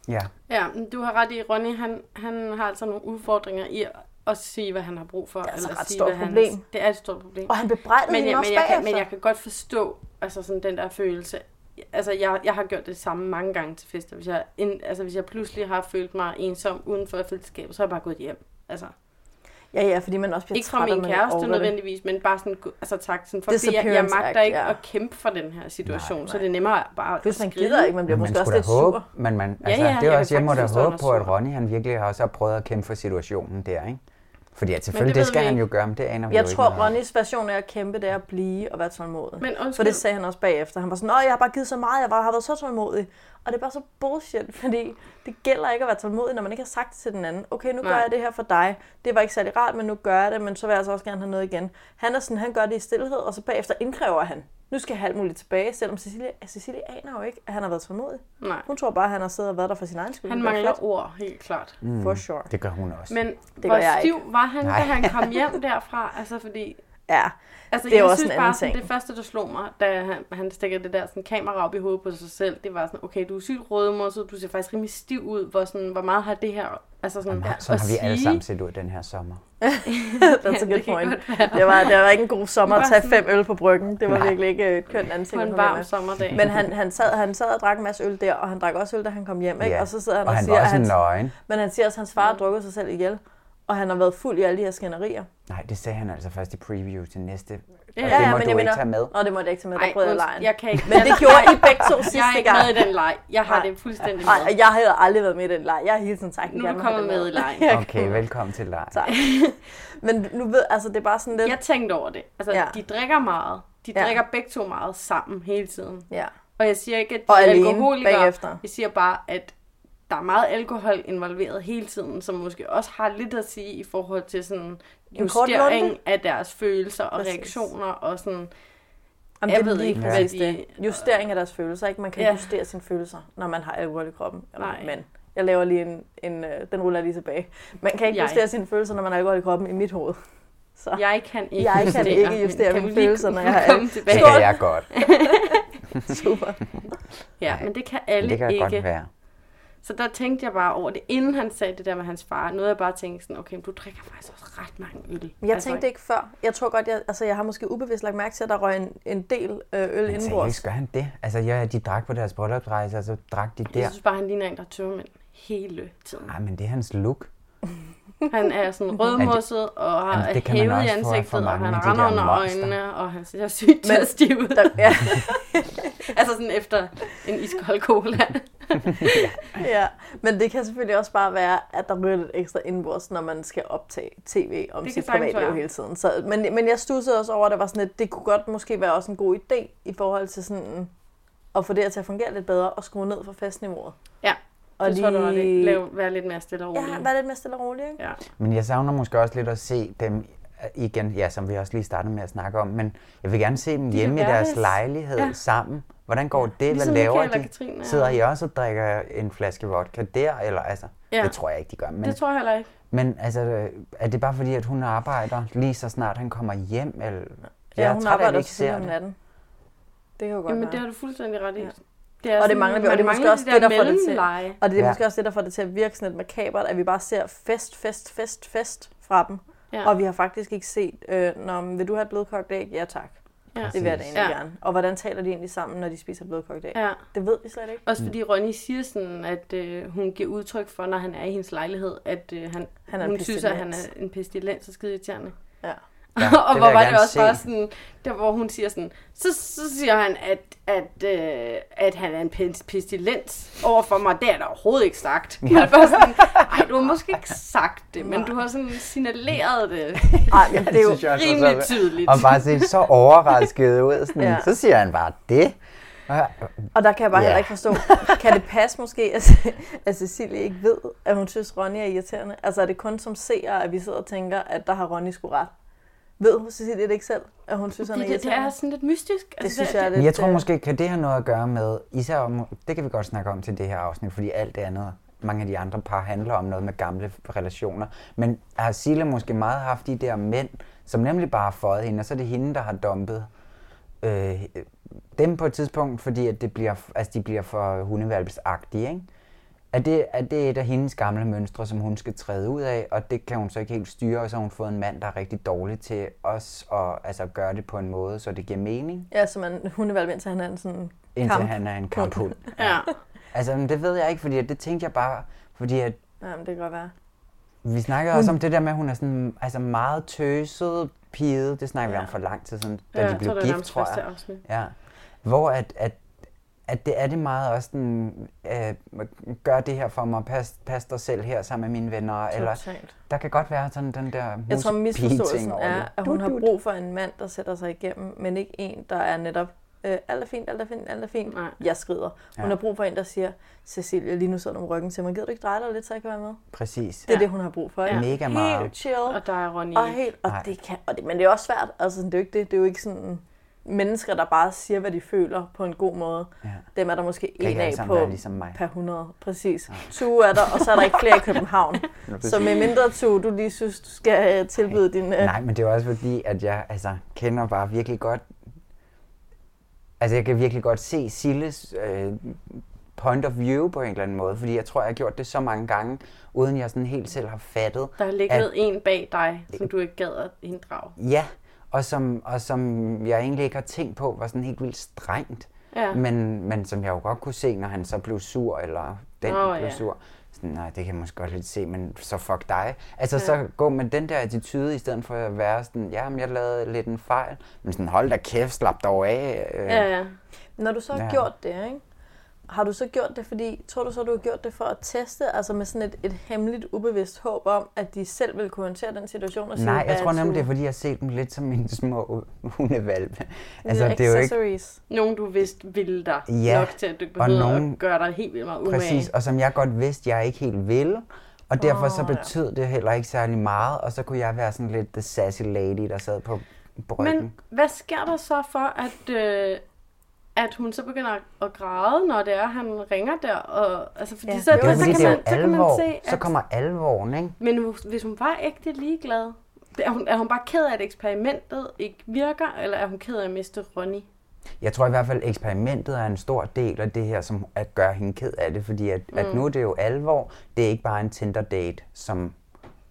L: Ja.
A: Ja, men du har ret i, Ronny, han, han har altså nogle udfordringer i at sige, hvad han har brug for. Det
K: er altså
A: eller
K: et ret
A: sige,
K: stort
A: hvad
K: problem.
A: Hans, det er et stort problem.
K: Og han bebrejdede
A: men,
K: hende
A: jeg,
K: også
A: men, jeg kan,
K: bagefter.
A: men jeg kan godt forstå altså sådan den der følelse. Altså, jeg, jeg har gjort det samme mange gange til fester. Hvis jeg, en, altså, hvis jeg pludselig har følt mig ensom uden for fællesskabet, så er jeg bare gået hjem. Altså,
K: Ja, ja, fordi man også bliver
A: ikke fra
K: træt, og
A: min
K: man ikke
A: kæreste
K: orker det.
A: nødvendigvis, men bare sådan, gå- altså tak, sådan, for det jeg, jeg
K: Disappearance
A: magter
K: act,
A: ikke
K: ja.
A: at kæmpe for den her situation, nej, nej. så det er nemmere bare
K: Plus,
A: at
K: man
A: skride.
K: gider ikke, man bliver måske også
L: skulle da
K: lidt sur.
L: håbe, Men man,
A: Ja,
L: altså,
A: ja,
L: ja, ja, det
A: jeg
L: er
A: kan
L: også, jeg må
A: faktisk
L: da
A: forstå, han
L: håbe
A: er
L: på, at
A: sur.
L: Ronny han virkelig har også har prøvet at kæmpe for situationen der, ikke? Fordi at selvfølgelig,
K: det
L: det,
K: ved
L: det skal
K: vi
L: han
K: ikke.
L: jo gøre, men det aner vi
K: Jeg
L: jo ikke
K: tror,
L: noget om.
K: Ronnys version af at kæmpe, det er at blive og være tålmodig.
A: Men undskyld.
K: For det sagde han også bagefter. Han var sådan, Nå, jeg har bare givet så meget, jeg bare har været så tålmodig. Og det er bare så bullshit, fordi det gælder ikke at være tålmodig, når man ikke har sagt det til den anden. Okay, nu Nej. gør
A: Nej.
K: jeg det her for dig. Det var ikke særlig rart, men nu gør jeg det, men så vil jeg altså også gerne have noget igen. Han er sådan, han gør det i stillhed, og så bagefter indkræver han. Nu skal jeg have alt muligt tilbage, selvom Cecilie, Cecilie aner jo ikke, at han har været tålmodig.
A: Nej.
K: Hun tror bare, at han har siddet og været der for sin egen skyld.
A: Han
K: Det var
A: mangler
K: fedt.
A: ord, helt klart.
L: Mm,
K: For sure.
L: Det gør hun også.
A: Men
K: gør
A: hvor
K: jeg
A: stiv
K: ikke.
A: var han,
L: Nej.
A: da han kom hjem derfra? Altså, fordi...
K: Ja,
A: altså,
K: det er
A: jeg
K: jo også
A: synes
K: en
A: bare,
K: anden
A: sådan,
K: ting.
A: det første, der slog mig, da han, han stikker det der sådan, kamera op i hovedet på sig selv, det var sådan, okay, du er sygt rødmosset, du ser faktisk rimelig stiv ud, hvor, sådan, hvor meget har det her altså sådan,
L: Jamen,
A: at
L: Sådan har vi alle
A: sige?
L: sammen set ud den her sommer.
K: That's a good point. Det var, det var ikke en god sommer at
A: Bare
K: tage
A: sådan-
K: fem øl på bryggen. Det var
A: Nej.
K: virkelig ikke øh, et kønt ansigt.
A: På en
K: at få
A: varm
K: med.
A: sommerdag.
K: Men han, han, sad, han sad og drak en masse øl der, og han drak også øl, da han kom hjem. Ikke?
L: Ja.
K: Og så sidder han
L: Og
K: og,
L: han var
K: siger,
L: også
K: at
L: nøgen.
K: Men han siger også, at hans far har drukket sig selv ihjel. Og han har været fuld i alle de her skænderier.
L: Nej, det sagde han altså først i preview til næste. Ja,
K: Ja,
L: og
K: ja,
L: det må
K: men
L: du
K: jeg
L: ikke
K: mener-
L: tage med.
K: Nå, det må jeg ikke tage med.
A: Ej,
K: Der brød jeg
A: undskyld,
K: lejen.
A: jeg kan ikke-
K: Men det gjorde I begge to sidste gang.
A: Jeg er ikke med i den leg. Jeg har det fuldstændig
K: Nej,
A: med.
K: og jeg har heller aldrig været med i den leg. Jeg har hele tiden sagt, at jeg
A: Nu er
K: gerne
A: du
K: vil have
A: kommet
K: den
A: med i lejen.
L: Okay, velkommen til leg.
K: Tak. Men nu ved, altså det er bare sådan lidt...
A: Jeg tænkte over det. Altså,
K: Ja.
A: ja. de drikker meget. De
K: Ja.
A: ja. drikker begge to meget sammen hele tiden.
K: Ja.
A: Og jeg siger ikke, at de
K: Og
A: er
K: alene
A: alkoholikere.
K: bagefter.
A: Jeg siger bare, at der er meget alkohol involveret hele tiden, som måske også har lidt at sige i forhold til sådan
K: En kort lunte.
A: justering af deres følelser og
K: Præcis.
A: Præcis. reaktioner og sådan
K: Jamen,
A: Jeg
K: jeg det
A: ved
K: ved
A: ikke,
K: ikke,
A: hvad
K: præcis
A: de-
K: det. Justering af deres følelser, ikke? Man kan
A: Ja.
K: ja. justere sine følelser, når man har alkohol i kroppen. Eller
A: Nej.
K: Man. Jeg laver lige en, en øh, den ruller jeg lige tilbage. Man kan ikke
A: Jeg.
K: jeg. justere sine følelser, når man har alkohol i kroppen i mit hoved. Så.
A: Jeg kan ikke
K: jeg
A: justere,
K: kan
A: men
K: ikke
A: kan
K: justere mine
A: du lige
K: følelser, når jeg har
A: komme
K: alkohol.
A: tilbage?
L: Det kan jeg godt.
K: Super.
A: Ja, men det kan alle
L: det kan
A: ikke.
L: godt være.
A: Så der tænkte jeg bare over det, inden han sagde det der med hans far. Noget jeg bare tænkte sådan, okay, men du drikker faktisk også ret mange øl. Altså,
K: Men Jeg tænkte ikke før. Jeg tror godt, jeg, altså, jeg har måske ubevidst lagt mærke til, at der røg en, en del øh, øl
L: Men
K: indenbords.
L: seriøst, gør han det? Altså, ja, de drak på deres bryllupsrejse, og så drak de
A: Jeg
L: der.
A: synes bare, han ligner en, der er tømmermænd hele tiden.
L: Nej, men det er hans look.
A: Han er sådan rødmosset og har
L: Jamen, det kan man
A: hævet i
L: også få
A: ansigtet,
L: for
A: og
L: mange
A: han
L: af de
A: render
L: der
A: under
L: monster.
A: øjnene, og han ser sygt
K: Men-
A: testiv ud.
K: Ja.
A: altså sådan efter en iskold cola.
K: ja, men det kan selvfølgelig også bare være, at der ryger lidt ekstra indenbords, når man skal optage tv om
A: Det kan
K: sit
A: sagtens
K: privatliv
A: være.
K: hele tiden. Så, men, men jeg stussede også over, at der var sådan et, det kunne godt måske være også en god idé i forhold til sådan at få det her til at fungere lidt bedre og skrue ned for festniveauet.
A: Ja,
K: og
A: det tror du også, det.
K: Lav...
A: Lav, vær lidt mere stille og rolig.
K: Ja, være lidt mere stille og rolig, ikke?
A: Ja.
L: Men jeg savner måske også lidt at se dem øh, igen, ja, som vi også lige startede med at snakke om, men jeg vil gerne se dem
K: De
L: hjemme i
K: hverdags.
L: deres lejlighed
K: Ja.
L: ja. sammen. Hvordan går det?
K: Ligesom
L: Hvad laver
K: Michael og
L: de?
K: Katrine og-
L: Sidder I også og drikker en flaske vodka der? Eller, altså,
A: Ja.
L: ja. Det tror jeg ikke, de gør. Men,
A: Det tror jeg heller ikke.
L: Men altså, øh, er det bare fordi, at hun arbejder lige så snart han kommer hjem? Eller,
K: Ja,
L: Jeg er
K: hun
L: træt af, at
K: arbejder
L: vi
K: også tidligere om
L: det.
K: natten. Det kan jo godt
A: Jamen,
K: være.
A: det har du fuldstændig ret i.
K: Ja.
A: Det er
K: og det
A: sådan,
K: mangler vi,
A: man
K: og det er
A: mangler
K: måske også
A: de
K: det,
A: der
K: der får det til.
A: mellemleje.
K: Og det er
A: Ja.
K: ja. måske også det, der får det til at virke sådan lidt makabert, at vi bare ser fest, fest, fest, fest fra dem.
A: Ja.
K: Ja. Og vi har faktisk ikke set, øh, når, vil du have et blødkogt æg? Ja tak.
A: Ja.
K: Ja. Det vil jeg da egentlig
A: Præcis. Ja.
K: ja. gerne. Og hvordan taler de egentlig sammen, når de spiser blødkogt æg?
A: Ja.
K: Det ved vi slet ikke.
A: Også fordi Ronny siger sådan, at øh, hun giver udtryk for, når han er i hendes lejlighed, at øh, han,
K: Han
A: han
K: er en
A: hun synes, at han er
K: pestilens.
A: en pestilens og skide irriterende.
K: Ja.
A: Ja,
K: Ja,
A: og
K: det
A: hvor
K: vil jeg
A: var det
K: gerne
A: også
K: se.
A: bare sådan, der hvor hun siger sådan, så, så siger han, at, at, øh, at han er en pes- pestilens overfor mig. Det er der overhovedet ikke sagt. Ja. Men det er bare sådan, ej, du har måske ikke sagt det, men du har sådan signaleret det.
K: Ej, men det er jo
L: synes jeg også er
A: rimelig
L: så-
A: tydeligt.
L: Og bare se så overrasket ud. Sådan,
K: Ja.
L: ja. Så siger han bare det.
K: Og der kan jeg bare
L: Ja.
K: heller ikke forstå, kan det passe måske, at, at Cecilie ikke ved, at hun synes, Ronny er irriterende? Altså er det kun som seere, at vi sidder og tænker, at der har Ronny sgu ret? Ved Cecilie det ikke selv, at hun synes, han er
A: Det, det, det
K: irriterende?
A: er sådan lidt mystisk. altså,
K: Det synes jeg er
L: Men
K: lidt... øh,
L: jeg tror måske, kan det have noget at gøre med, især om, det kan vi godt snakke om til det her afsnit, fordi alt det andet, mange af de andre par handler om noget med gamle relationer. Men har Silla måske meget haft de der mænd, som nemlig bare har fået hende, og så er det hende, der har dumpet øh, dem på et tidspunkt, fordi at det bliver, altså de bliver for hundevalpsagtige, ikke? Er det, er det et af hendes gamle mønstre, som hun skal træde ud af, og det kan hun så ikke helt styre, og så har hun fået en mand, der er rigtig dårlig til os, og altså gøre det på en måde, så det giver mening?
K: Ja, så man hundevalg, indtil han er en sådan
L: Indtil
K: kamp.
L: han er en kamphund.
A: Ja.
L: Altså, men det ved jeg ikke, fordi at det tænkte jeg bare, fordi at
K: Jamen, det kan godt være.
L: vi snakkede
K: Hun-
L: også om det der med, at hun er sådan altså meget tøset pige. Det snakker ja. vi om for lang tid siden, da
A: Ja,
L: de
A: jeg
L: blev
A: tror, det var
L: gift,
A: nærmest
L: tror
A: første
L: jeg.
A: afsnit.
L: Ja. Hvor at, at, at det er det meget også den, øh, gør det her for mig, pas, pas dig selv her sammen med mine venner. Eller,
K: Totalt.
L: der kan godt være sådan den der
K: Jeg tror, misforståelsen
L: muspige-ting over
K: er,
L: det.
K: at hun har brug for en mand, der sætter sig igennem, men ikke en, der er netop, øh, alt er fint, alt er fint, alt er fint, Nej. jeg skrider. Hun
L: Ja.
K: har brug for en, der siger, Cecilie, lige nu sidder du med ryggen til mig, gider du ikke dreje dig lidt, så jeg kan være med?
L: Præcis.
K: Det er det, hun har brug for. ikke?
L: Mega meget.
K: Helt chill. Og
A: der er Ronny
K: Og
A: ikke.
K: helt, og
L: Nej.
K: det kan, og det, men det er også svært. Altså, det er jo ikke det. Det er jo ikke sådan mennesker, der bare siger, hvad de føler på en god måde.
L: Ja.
K: Dem er der måske
L: Kan
K: en
L: ikke alle
K: af
L: sammen
K: på
L: være ligesom mig.
K: per 100. Præcis. Tue er der, og så er der ikke flere i København.
L: præcis.
K: så med mindre Tue, du lige synes, du skal øh, tilbyde din... Øh,
L: Nej, men det er jo også fordi, at jeg altså, kender bare virkelig godt... Altså, jeg kan virkelig godt se Silles øh, point of view på en eller anden måde, fordi jeg tror, jeg har gjort det så mange gange, uden jeg sådan helt selv har fattet.
A: Der har ligget en bag dig, som du ikke gad at inddrage.
L: Ja, og som, og som jeg egentlig ikke har tænkt på, var sådan helt vildt strengt.
A: Ja.
L: Men, men som jeg jo godt kunne se, når han så blev sur, eller den
A: Nå,
L: blev
A: ja.
L: sur. Sådan, nej, det kan jeg måske godt lidt se, men så fuck dig. Altså,
A: Ja.
L: ja. så gå med den der attitude, i stedet for at være sådan, ja, men jeg lavede lidt en fejl. Men sådan, hold da kæft, slap dog af. øh.
K: Når du så har
L: Ja.
K: gjort det, ikke? har du så gjort det, fordi tror du så, du har gjort det for at teste, altså med sådan et, et hemmeligt, ubevidst håb om, at de selv vil kunne håndtere den situation og sige,
L: Nej, jeg
K: "Hvad
L: tror
K: Tue?"
L: nemlig, det er, fordi jeg har set dem lidt som mine små hundevalpe.
K: Altså,
L: det er jo ikke,
A: Nogen, du vidste ville dig ja.
L: Ja,
A: nok til, at du ikke
L: og
A: behøvede nogen...
L: nogen-
A: at gøre dig helt vildt meget umage.
L: Præcis, og som jeg godt vidste, jeg ikke helt ville. Og derfor så betød det heller ikke særlig meget, og så kunne jeg være sådan lidt the sassy lady, der sad på bryggen.
A: Men hvad sker der så for, at, øh, at hun så begynder at- at græde, når det er, han ringer der? Og, altså, fordi ja. så,
L: det er jo,
A: så,
L: fordi
A: kan
L: det er
A: man,
L: jo
A: så kan man
L: alvor.
A: se, at...
L: Så kommer alvoren, ikke?
A: Men hvis- hvis hun var ægte ligeglad, er hun, er hun bare ked af, at eksperimentet ikke virker, eller er hun ked af at miste Ronny?
L: Jeg tror i hvert fald, at eksperimentet er en stor del af det her, som at gøre hende ked af det, fordi at, mm. at
A: Mm.
L: nu er det jo alvor. Det er ikke bare en Tinder-date, som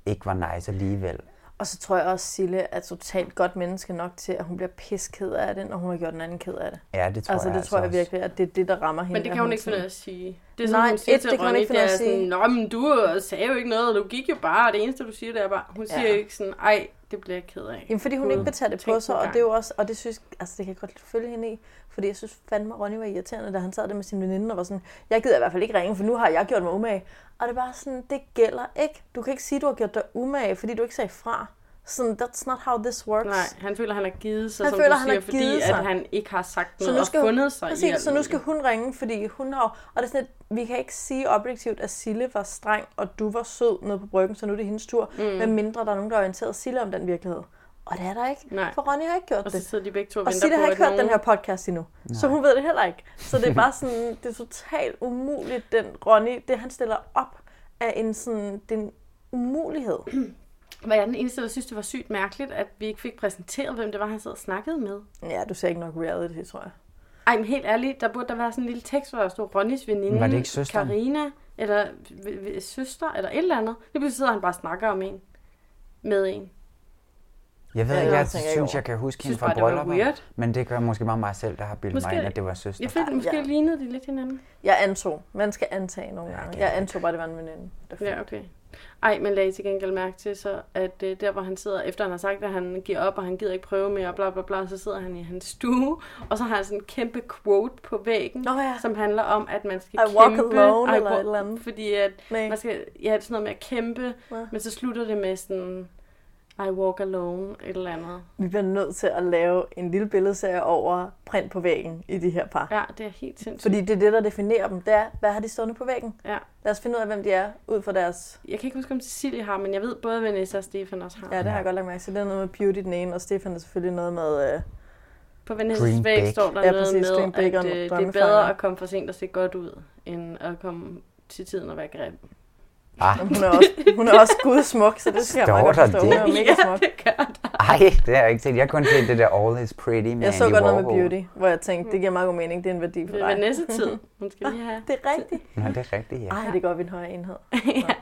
L: ikke var nice alligevel.
K: Og så tror jeg også, Sille er totalt godt menneske nok til, at hun bliver pisked af det, når hun har gjort den anden ked af det.
L: Ja, det tror
K: altså,
L: jeg
K: det
L: altså
K: tror jeg
L: også.
K: virkelig, at det er det, der rammer hende.
A: Men det
K: at
A: kan hun ikke
K: sådan-
A: finde ud af at sige. Det er sådan,
K: Nej,
A: Nej, hun siger
K: et,
A: til
K: det kan hun
A: Ronny,
K: ikke finde ud af at
A: sådan,
K: sige.
A: Nå, men du øh, sagde jo ikke noget, du gik jo bare, og det eneste, du siger, det er bare, hun
K: Ja.
A: siger ikke sådan, ej, det bliver jeg ked af.
K: Jamen, fordi hun
A: Gud,
K: ikke vil tage det
A: tænk
K: på
A: nu
K: sig, og
A: engang.
K: det er jo også, og det synes, altså det kan jeg godt lidt følge hende i, fordi jeg synes fandme, Ronny var irriterende, da han sad der med sin veninde og var sådan, jeg gider i hvert fald ikke ringe, for nu har jeg gjort mig umage. Og det er bare sådan, det gælder ikke. Du kan ikke sige, du har gjort dig umage, fordi du ikke sagde fra. Sådan, that's not how this works.
A: Nej, han føler, han har givet sig,
K: Han
A: som
K: føler,
A: du
K: han
A: siger,
K: har givet
A: fordi
K: sig.
A: at han ikke har sagt
K: Så
A: noget
K: nu skal
A: og
K: hun,
A: fundet sig i
K: præcis,
A: alt
K: så nu
A: muligt.
K: skal hun ringe, fordi hun har... Og det er sådan, at vi kan ikke sige objektivt, at Sille var streng, og du var sød nede på bryggen, så nu er det hendes tur,
A: Mm.
K: mm. medmindre der er nogen, der har orienteret Sille om den virkelighed. Og det er der ikke,
A: Nej.
K: for Ronny har ikke gjort
A: Og så
K: det.
A: sidder de begge to og,
K: Og
A: venter
K: Sille
A: på,
K: har ikke
A: at
K: hørt
A: nogen...
K: den her podcast endnu, Nej. så hun ved det heller ikke. Så det er bare sådan, det er totalt umuligt, den Ronny, det han stiller op, er en sådan, det er en umulighed.
A: Var jeg den eneste, der synes, det var sygt mærkeligt, at vi ikke fik præsenteret, hvem det var, han sad og snakkede med?
K: Ja, du ser ikke nok reality, tror jeg.
A: Ej, men helt ærligt, der burde der være sådan en lille tekst, hvor der stod Ronnys veninde,
L: Men var det ikke søsteren?
A: Karina, eller v- v- søster, eller et eller andet. Lige pludselig sidder han bare og snakker om en. Med en.
L: Jeg ved
A: Ja,
L: ja, ikke,
A: det
L: jeg
A: tænker jeg ikke
L: synes,
A: over.
L: jeg kan huske hende
A: Synes
L: fra
A: bare, det var
L: brylluppet.
A: weird.
L: Men det gør måske bare mig selv, der har bildet mig ind, at det var søster.
A: Jeg følte, måske ja. lignede de lidt hinanden.
K: Jeg antog. Man skal antage nogle gange. Jeg antog bare, det var en veninde. Det er
A: Ja, okay. Ej, men lagde I til gengæld mærke til så, at øh, der hvor han sidder, efter han har sagt, at han giver op, og han gider ikke prøve mere, og bla bla bla, så sidder han i hans stue, og så har han sådan en kæmpe quote på væggen, oh, ja. som handler om, at man skal
K: I walk
A: kæmpe.
K: alone,
A: I
K: eller
A: walk-
K: et eller andet.
A: Fordi at
K: Nej.
A: man skal, ja, det er sådan noget med at kæmpe,
K: Ja.
A: men så slutter det med sådan, I walk alone, et eller andet.
K: Vi bliver nødt til at lave en lille billedserie over print på væggen i de her par.
A: Ja, det er helt sindssygt.
K: Fordi det er det, der definerer dem. Det er, hvad har de stående på væggen?
A: Ja.
K: Lad os finde ud af, hvem de er, ud fra deres...
A: Jeg kan ikke huske, om Cecilie har, men jeg ved både Vanessa og Stefan også har.
K: Ja, det har jeg godt lagt mærke til. Det er noget med beauty den ene, og Stefan er selvfølgelig noget med... Øh...
A: På Vanessas væg står der
K: ja,
A: noget
K: præcis,
A: med,
K: Green
A: at
K: Bacon,
A: øh, det er bedre at komme for sent og se godt ud, end at komme til tiden og være grim.
L: Ah.
K: Hun er også, hun er også gudsmuk, så det skal jeg
L: Står
K: meget godt
L: der
K: forstå. Hun
L: det?
K: er mega smuk.
L: Ej, det har jeg ikke set. Jeg har kun set det der All is Pretty med
K: Jeg så
L: Andy
K: godt noget med
L: Warhol.
K: beauty, hvor jeg tænkte, det giver meget god mening, det er en værdi for
A: Det er
K: dig.
A: Vanessa-tid. Hun skal lige have...
K: det er rigtigt.
L: Nå, det er rigtigt, ja.
K: Ej, det går vi en højere enhed. Nå.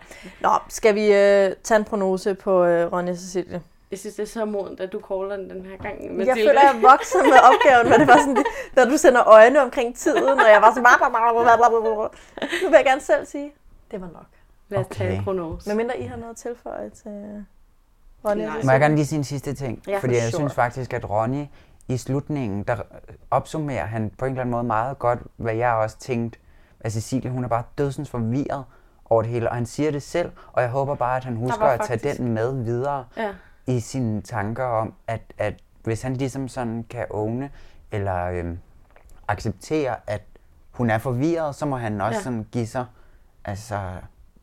K: Nå, skal vi øh, tage en prognose på øh, Ronja og Cecilie?
A: Jeg synes, det er så modent, at du caller den den her gang.
K: Jeg føler, jeg er vokset med opgaven, men det var sådan, det, når du sender øjne omkring tiden, og jeg var sådan, blablabla. nu vil jeg gerne selv sige, det var nok.
A: Lad os tage en prognose.
K: Men mindre I har noget at tilføje til Ronja og
L: Må jeg gerne
K: Cecilie?
L: lige sige en sidste ting?
K: Ja,
L: Ja, fordi
K: for
L: jeg
K: sure.
L: synes faktisk, at Ronny i slutningen, der opsummerer han på en eller anden måde meget godt, hvad jeg også tænkte. At Cecilie, hun er bare dødsens forvirret over det hele, og han siger det selv, og jeg håber bare, at han husker
A: var
L: at tage
A: faktisk-
L: den med videre
A: Ja.
L: i sine tanker om, at, at hvis han ligesom sådan kan åbne eller øhm, acceptere, at hun er forvirret, så må han også
K: Ja.
L: ja. sådan give sig, altså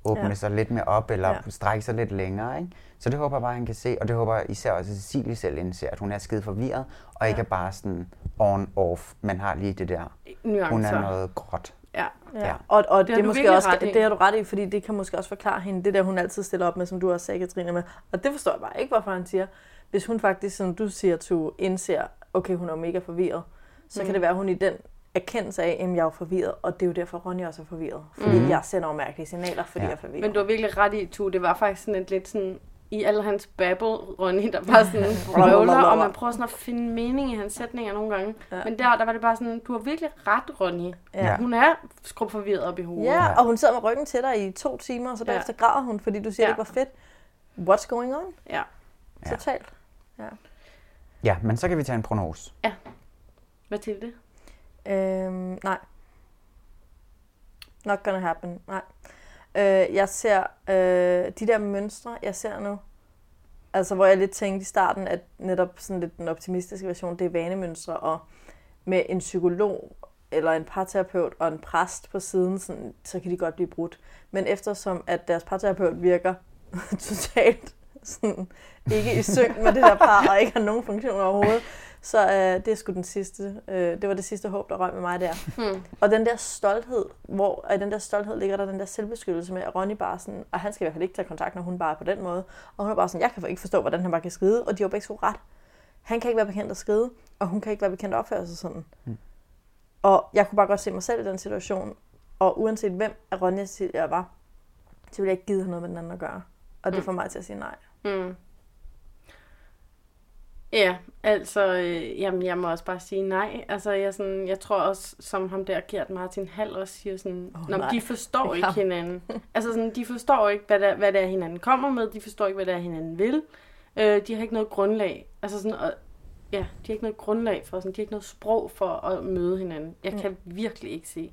L: åbne
K: Ja.
L: ja. sig lidt mere op, eller
K: Ja.
L: ja. strække sig lidt længere. Ikke? Så det håber jeg bare, han kan se, og det håber jeg især også, at Cecilie selv indser, at hun er skide forvirret, og ja. ikke er bare sådan on-off, man har lige det der, hun
K: Nuancer.
L: er noget gråt.
A: Ja.
K: Ja. Og, og det,
A: har
K: det,
A: du
K: måske
A: virkelig
K: også,
A: ret i.
K: det har du ret i, fordi det kan måske også forklare hende, det der hun altid stiller op med, som du også sagde, Katrine, med. Og det forstår jeg bare ikke, hvorfor han siger. Hvis hun faktisk, som du siger, to indser, okay, hun er mega forvirret, så mm.
A: Mm.
K: kan det være, hun i den erkendelse af, at jeg er forvirret, og det er jo derfor, Ronja også er forvirret. Fordi
A: Mm.
K: mm. jeg sender jo mærkelige signaler, fordi ja. jeg er forvirret.
A: Men du har virkelig ret i, Tu. Det var faktisk sådan et lidt sådan... I alle hans babble, Ronny, der var sådan røvler, og man prøver sådan at finde mening i hans sætninger nogle gange.
K: Ja.
A: Ja. Men der, der var det bare sådan, du har virkelig ret, Ronny.
K: Ja.
A: Ja. Hun er skrub forvirret op i hovedet.
K: Ja, og hun sidder med ryggen til dig i to timer, og så
A: Ja.
K: bagefter ja. græder hun, fordi du siger, ja.
A: Ja.
K: det var fedt. What's going on?
A: Ja.
L: Ja.
K: Totalt. Ja.
L: Ja, men så kan vi tage en prognose.
A: Mathilde?
K: Øhm, nej. Not gonna happen. Nej. Øh, jeg ser øh, de der mønstre, jeg ser nu, altså hvor jeg lidt tænkte i starten, at netop sådan lidt den optimistiske version, det er vanemønstre, og med en psykolog eller en parterapeut og en præst på siden, sådan, så kan de godt blive brudt. Men eftersom at deres parterapeut virker totalt sådan, ikke i synk med det der par, og ikke har nogen funktion overhovedet. Så øh, det er sgu den sidste. Øh, det var det sidste håb, der røg med mig der.
A: Hmm.
K: Og den der stolthed, hvor og i den der stolthed ligger der den der selvbeskyttelse med, at Ronny bare sådan, og han skal i hvert fald ikke tage kontakt, når hun bare er på den måde. Og hun er bare sådan, jeg kan ikke forstå, hvordan han bare kan skride, og de har begge to ret. Han kan ikke være bekendt at skride, og hun kan ikke være bekendt at opføre sig sådan.
L: Hmm.
K: Og jeg kunne bare godt se mig selv i den situation, og uanset hvem af Ronja jeg var, så ville jeg ikke give have noget med den anden at gøre. Og det
A: Mm.
K: får mig til at sige nej.
A: Mm. Ja, altså, øh, jamen, jeg må også bare sige nej. Altså, jeg, sådan, jeg tror også, som ham der, Gert Martin Hall også siger sådan,
K: Åh,
A: oh, nej.
K: nej.
A: de forstår
K: Ja.
A: ikke hinanden. Altså, sådan, de forstår ikke, hvad det, er, hvad det er, hinanden kommer med. De forstår ikke, hvad det er, hinanden vil. Øh, de har ikke noget grundlag. Altså, sådan, og, ja, de har ikke noget grundlag for, sådan, de har ikke noget sprog for at møde hinanden. Jeg
K: Mm.
A: kan virkelig ikke se.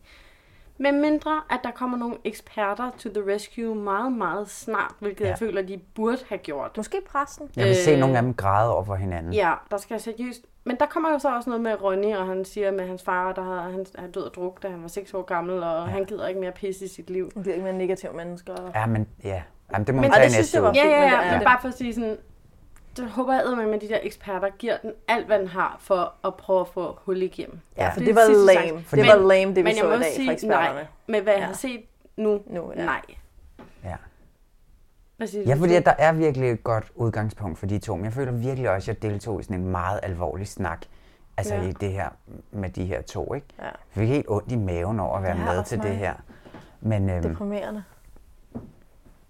A: Med mindre, at der kommer nogle eksperter to the rescue meget, meget snart, hvilket ja.
L: Ja.
A: jeg føler, de burde have gjort.
K: Måske pressen.
L: Jeg vil øh... se nogle af dem græde over for hinanden.
A: Ja, der skal seriøst... Men der kommer jo så også noget med Ronny, og han siger med hans far, der havde, han er død af druk, da han var 6 år gammel, og ja. han gider ikke mere pisse i sit liv.
K: Han gider ikke mere negativ mennesker.
L: Ja, men ja. Jamen, det må
A: Men-
L: man
A: og
L: tage
A: det
L: i
A: synes
L: næste
A: jeg var
L: uge.
A: fint, ja, ja,
K: men det
A: ja,
K: er
A: men
K: det.
A: bare for at sige sådan, det håber jeg med, at de der eksperter giver den alt, hvad den har for at prøve at få hul igennem.
K: Ja, for
A: er
K: det var
A: sidste
K: lame.
A: chance.
K: Det var lame, det vi
A: men jeg
K: så
A: må
K: i dag
A: sige
K: fra eksperterne.
A: Nej, med hvad ja. jeg
K: Ja.
A: har set nu,
K: nu
A: ja. nej.
L: Ja.
A: Hvad siger
L: Ja,
A: du?
L: fordi at der er virkelig et godt udgangspunkt for de to, men jeg føler virkelig også, at jeg deltog i sådan en meget alvorlig snak altså
K: Ja.
L: ja. i det her med de her to, ikke?
K: Ja.
L: Jeg fik helt ondt i maven over at være
K: Ja,
L: med
K: også
L: til det
K: mig.
L: her. Men øhm,
K: Deprimerende.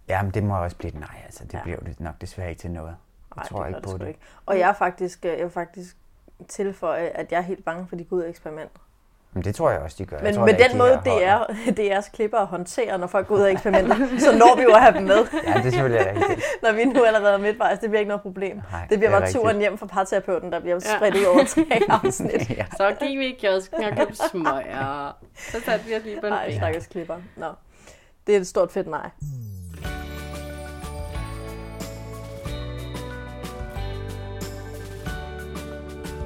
L: jamen, det må også blive et nej, altså det ja. blev det nok desværre ikke til noget. Jeg
K: Ej,
L: tror
K: det
L: ikke
K: gør
L: på
K: sgu
L: det.
K: Ikke. Og jeg er faktisk, øh, jeg vil faktisk tilføje, at jeg er helt bange for de gode eksperimenter.
L: Men det tror jeg også, de gør. jeg
K: Men
L: tror,
K: med
L: da ikke,
K: den
L: de
K: måde,
L: her
K: det
L: holder.
K: er, det er klipper at håndtere, når folk går ud af eksperimenter, så når vi jo at have dem med.
L: Ja, det er selvfølgelig rigtigt.
K: når vi nu allerede er midtvejs, det bliver ikke noget problem.
L: Nej,
K: det bliver
L: det er
K: bare turen
L: rigtigt.
K: hjem fra parterapeuten, der bliver spredt ud over tre afsnit.
L: ja.
A: Så gik vi i kiosken og købte smøger. Så satte vi os lige på en
K: Nej,
A: bænk.
K: stakkels klipper. Nå. Det er et stort fedt nej.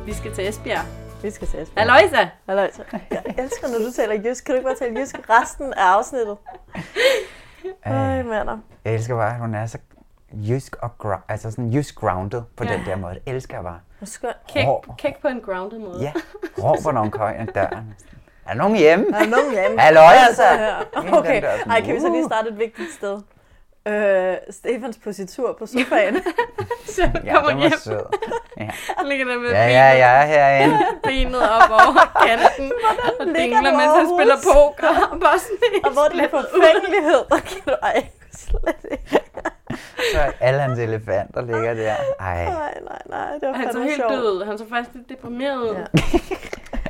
A: Vi skal til Esbjerg.
K: Vi skal til Esbjerg.
A: Aloysa!
K: Aloysa. Jeg elsker, når du taler jysk. Kan du ikke bare tale jysk resten af afsnittet? Øj, mander.
L: Jeg elsker bare, at hun er så jysk, og gro- altså sådan jysk grounded på
A: Ja.
L: den der måde. Det elsker jeg bare.
K: Hvor skønt.
A: Kæk,
L: Hår.
A: kæk på en grounded måde.
L: Ja, råber nogen køjen af døren. Er der nogen hjemme?
K: Er der nogen hjemme?
L: Halløj, altså.
K: Ja, Okay,
L: Den der sådan,
K: Ej, kan vi så lige
L: uh.
K: starte et vigtigt sted? Øh, Stefans positur på sofaen. så
L: Ja, den var sød. Ja.
A: ligger der med
L: Ja, ja, jeg er herinde.
A: benet op over kanten og
K: ligger
A: dingler,
K: du
A: mens han
K: overhovedet?
A: spiller poker. Og bare sådan helt
K: Og hvor er din
A: splattet ud.
K: forfængelighed? Der kan du ej, slet ikke.
L: Så er alle hans elefanter ligger der. Ej,
K: Nej, nej, nej. Det var
A: Han så
K: fandme
A: helt
K: sjovt.
A: død ud. Han så faktisk lidt deprimeret ud.
K: Ja.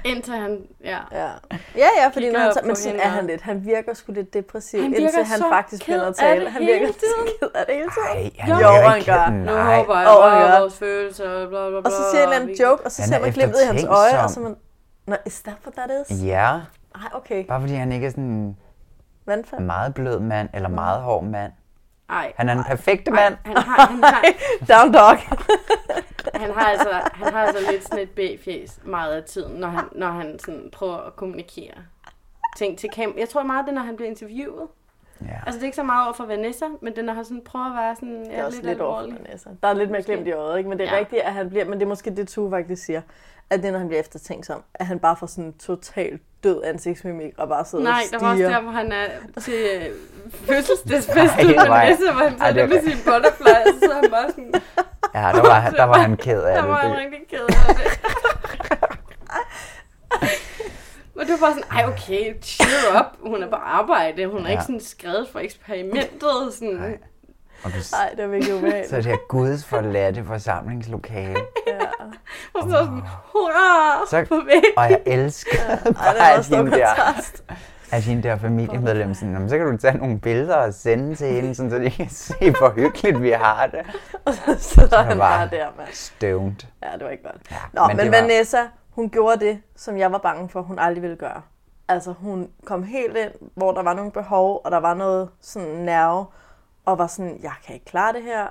A: Indtil han... Ja.
K: Ja. Ja, ja, fordi
A: Kigger
K: når han så,
A: på
K: men sådan
A: hende
K: er
A: og-
K: han lidt. Han virker sgu lidt depressiv,
A: Han virker
K: indtil han
A: så
K: faktisk
A: ked
K: begynder at
A: af
K: tale.
A: det
K: Han
A: hele
K: virker så
A: tiden.
K: ked af det hele tiden.
L: ej, han
K: Jo,
L: virker
K: han
L: ikke-
K: gør.
A: Nu
L: Nej.
A: håber jeg
K: Åh,
A: over
K: ja.
A: vores følelser, og bla bla bla.
K: Og så siger han en
A: vi-
K: anden joke, og så
L: Han
K: ser
L: er
K: man glimtet i hans øje, og så er man... Nå, is that what that is?
L: Ja,
K: Ej, okay.
L: bare fordi han ikke er sådan en
K: Vandfald. Mm.
L: meget blød mand, eller meget hård mand.
A: Ej,
L: Han er den perfekte mand.
A: han har, han har,
K: Down dog.
A: han har, altså, han har altså lidt sådan et B-fjes meget af tiden, når han, når han sådan prøver at kommunikere ting til kamera. Jeg tror meget, det er, når han bliver interviewet.
L: Ja.
A: Altså, det er ikke så meget over for Vanessa, men det er, når han sådan prøver at være sådan
K: Det er
A: ja,
K: også
A: lidt,
K: lidt over for
A: alvorlig.
K: Vanessa. Der er lidt mere
A: Måske.
K: glemt i øjet, ikke? Men det er
A: Ja.
K: ja. rigtigt, at han bliver... Men det er måske det, Tue faktisk siger. At det er, når han bliver eftertænksom. At han bare får sådan en totalt død ansigtsmimik og bare sidder
A: Nej,
K: og
A: der
K: stiger.
A: var også der, hvor han er til øh, fødselsdagsfest
L: Nej,
A: ude med
L: hvor er-
A: Vanessa, hvor han
L: Ej,
A: tager
L: det
A: det
L: er
A: med sin butterfly, og så sidder han bare sådan,
L: Ja, der var, der var han ked af
A: der var han
L: det.
A: rigtig ked af det. Og det var bare sådan, ej okay, chill up, hun er på arbejde, hun er
L: Ja.
A: ikke sådan skrevet for eksperimentet, sådan,
L: Nej. Og du-
K: Nej, det er virkelig
L: Så det
K: ubehageligt.
L: her gudsforladte forsamlingslokale.
A: og så sådan, hurra,
L: Så-
A: på væk.
L: Og jeg elsker
K: Ej, det er
L: bare, at
K: også stor
L: hende der,
K: kontrast.
L: at hende der familiemedlem sådan, "Nå, men så kan du tage nogle billeder og sende til hende, sådan, så de kan se, hvor hyggeligt vi har det.
K: Og så sidder
L: var
K: han bare der, mand.
L: Støvnt.
K: Ja, det var ikke godt.
L: Ja,
K: Nå, men, men øh,
L: det var-
K: Vanessa, hun gjorde det, som jeg var bange for, hun aldrig ville gøre. Altså, hun kom helt ind, hvor der var nogle behov, og der var noget sådan nerve, og var sådan, jeg kan ikke klare det her.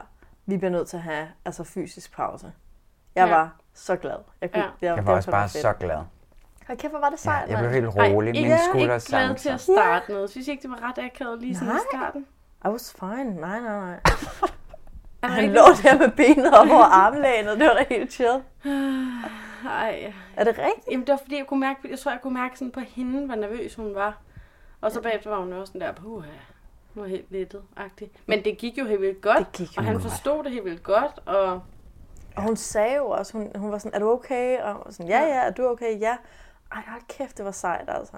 K: Vi bliver nødt til at have altså, fysisk pause. Jeg
A: Ja.
K: ja. var så glad. Jeg, kunne,
A: Ja.
K: det,
L: Jeg
K: det
L: var også
K: fandme
L: bare
K: fedt.
L: så glad.
K: Hold kæft, hvor var det sejt,
L: Jeg blev
K: mand.
L: helt
A: Ej,
L: rolig.
A: ikke,
L: Mine skuldre
A: ikke glad
L: sang
A: til at
L: sig.
A: starte noget. Synes I ikke, det var ret akavet lige sådan i
K: Nej.
A: starten?
K: I was fine. Nej, nej, nej. Han, han lå der med benet op over armlænet, det var da helt chill.
A: Ej.
K: Er det rigtigt?
A: Jamen, det var fordi, jeg, kunne mærke, jeg tror, jeg kunne mærke sådan på hende, hvor nervøs hun var. Og så bagefter var hun også sådan der, puha, nu er jeg helt lettet -agtig. Men det gik jo helt vildt godt, det gik og han
K: godt.
A: forstod det helt vildt godt, og
K: Og hun sagde jo også, hun, hun var sådan, er du okay? Og jeg var sådan, ja, ja, er du okay? Ja. Ej, hold kæft, det var sejt, altså.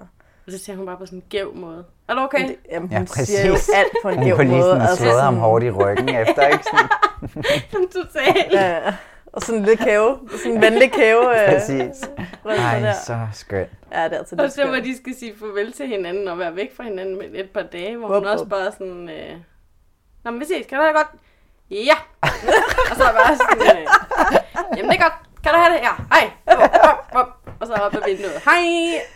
A: Og så siger hun bare på sådan en gæv måde. Er du okay? Det,
K: jamen,
L: Ja,
K: hun
L: præcis.
K: siger jo alt på en altså
L: Hun
K: gæv
L: kunne lige
K: måde.
L: sådan have slået ham hårdt i ryggen efter, ikke? Sådan,
A: Totalt.
K: Ja, og sådan en lille kæve. Sådan en venlig kæve. øh,
L: præcis.
K: rød sådan
L: Ej,
K: der.
L: så skønt.
K: Ja, det er altid
A: og
K: lidt
A: så hvor
K: skønt.
A: de skal sige farvel til hinanden og være væk fra hinanden med et par dage, hvor
K: Wup,
A: hun også
K: wup.
A: bare sådan... Øh, Nå, men vi ses, kan du have det godt? Ja! og så bare sådan... Øh, Jamen det er godt, kan du have det? Ja, hej! Wup, wup, wup. Og så op ad vinduet. Hej!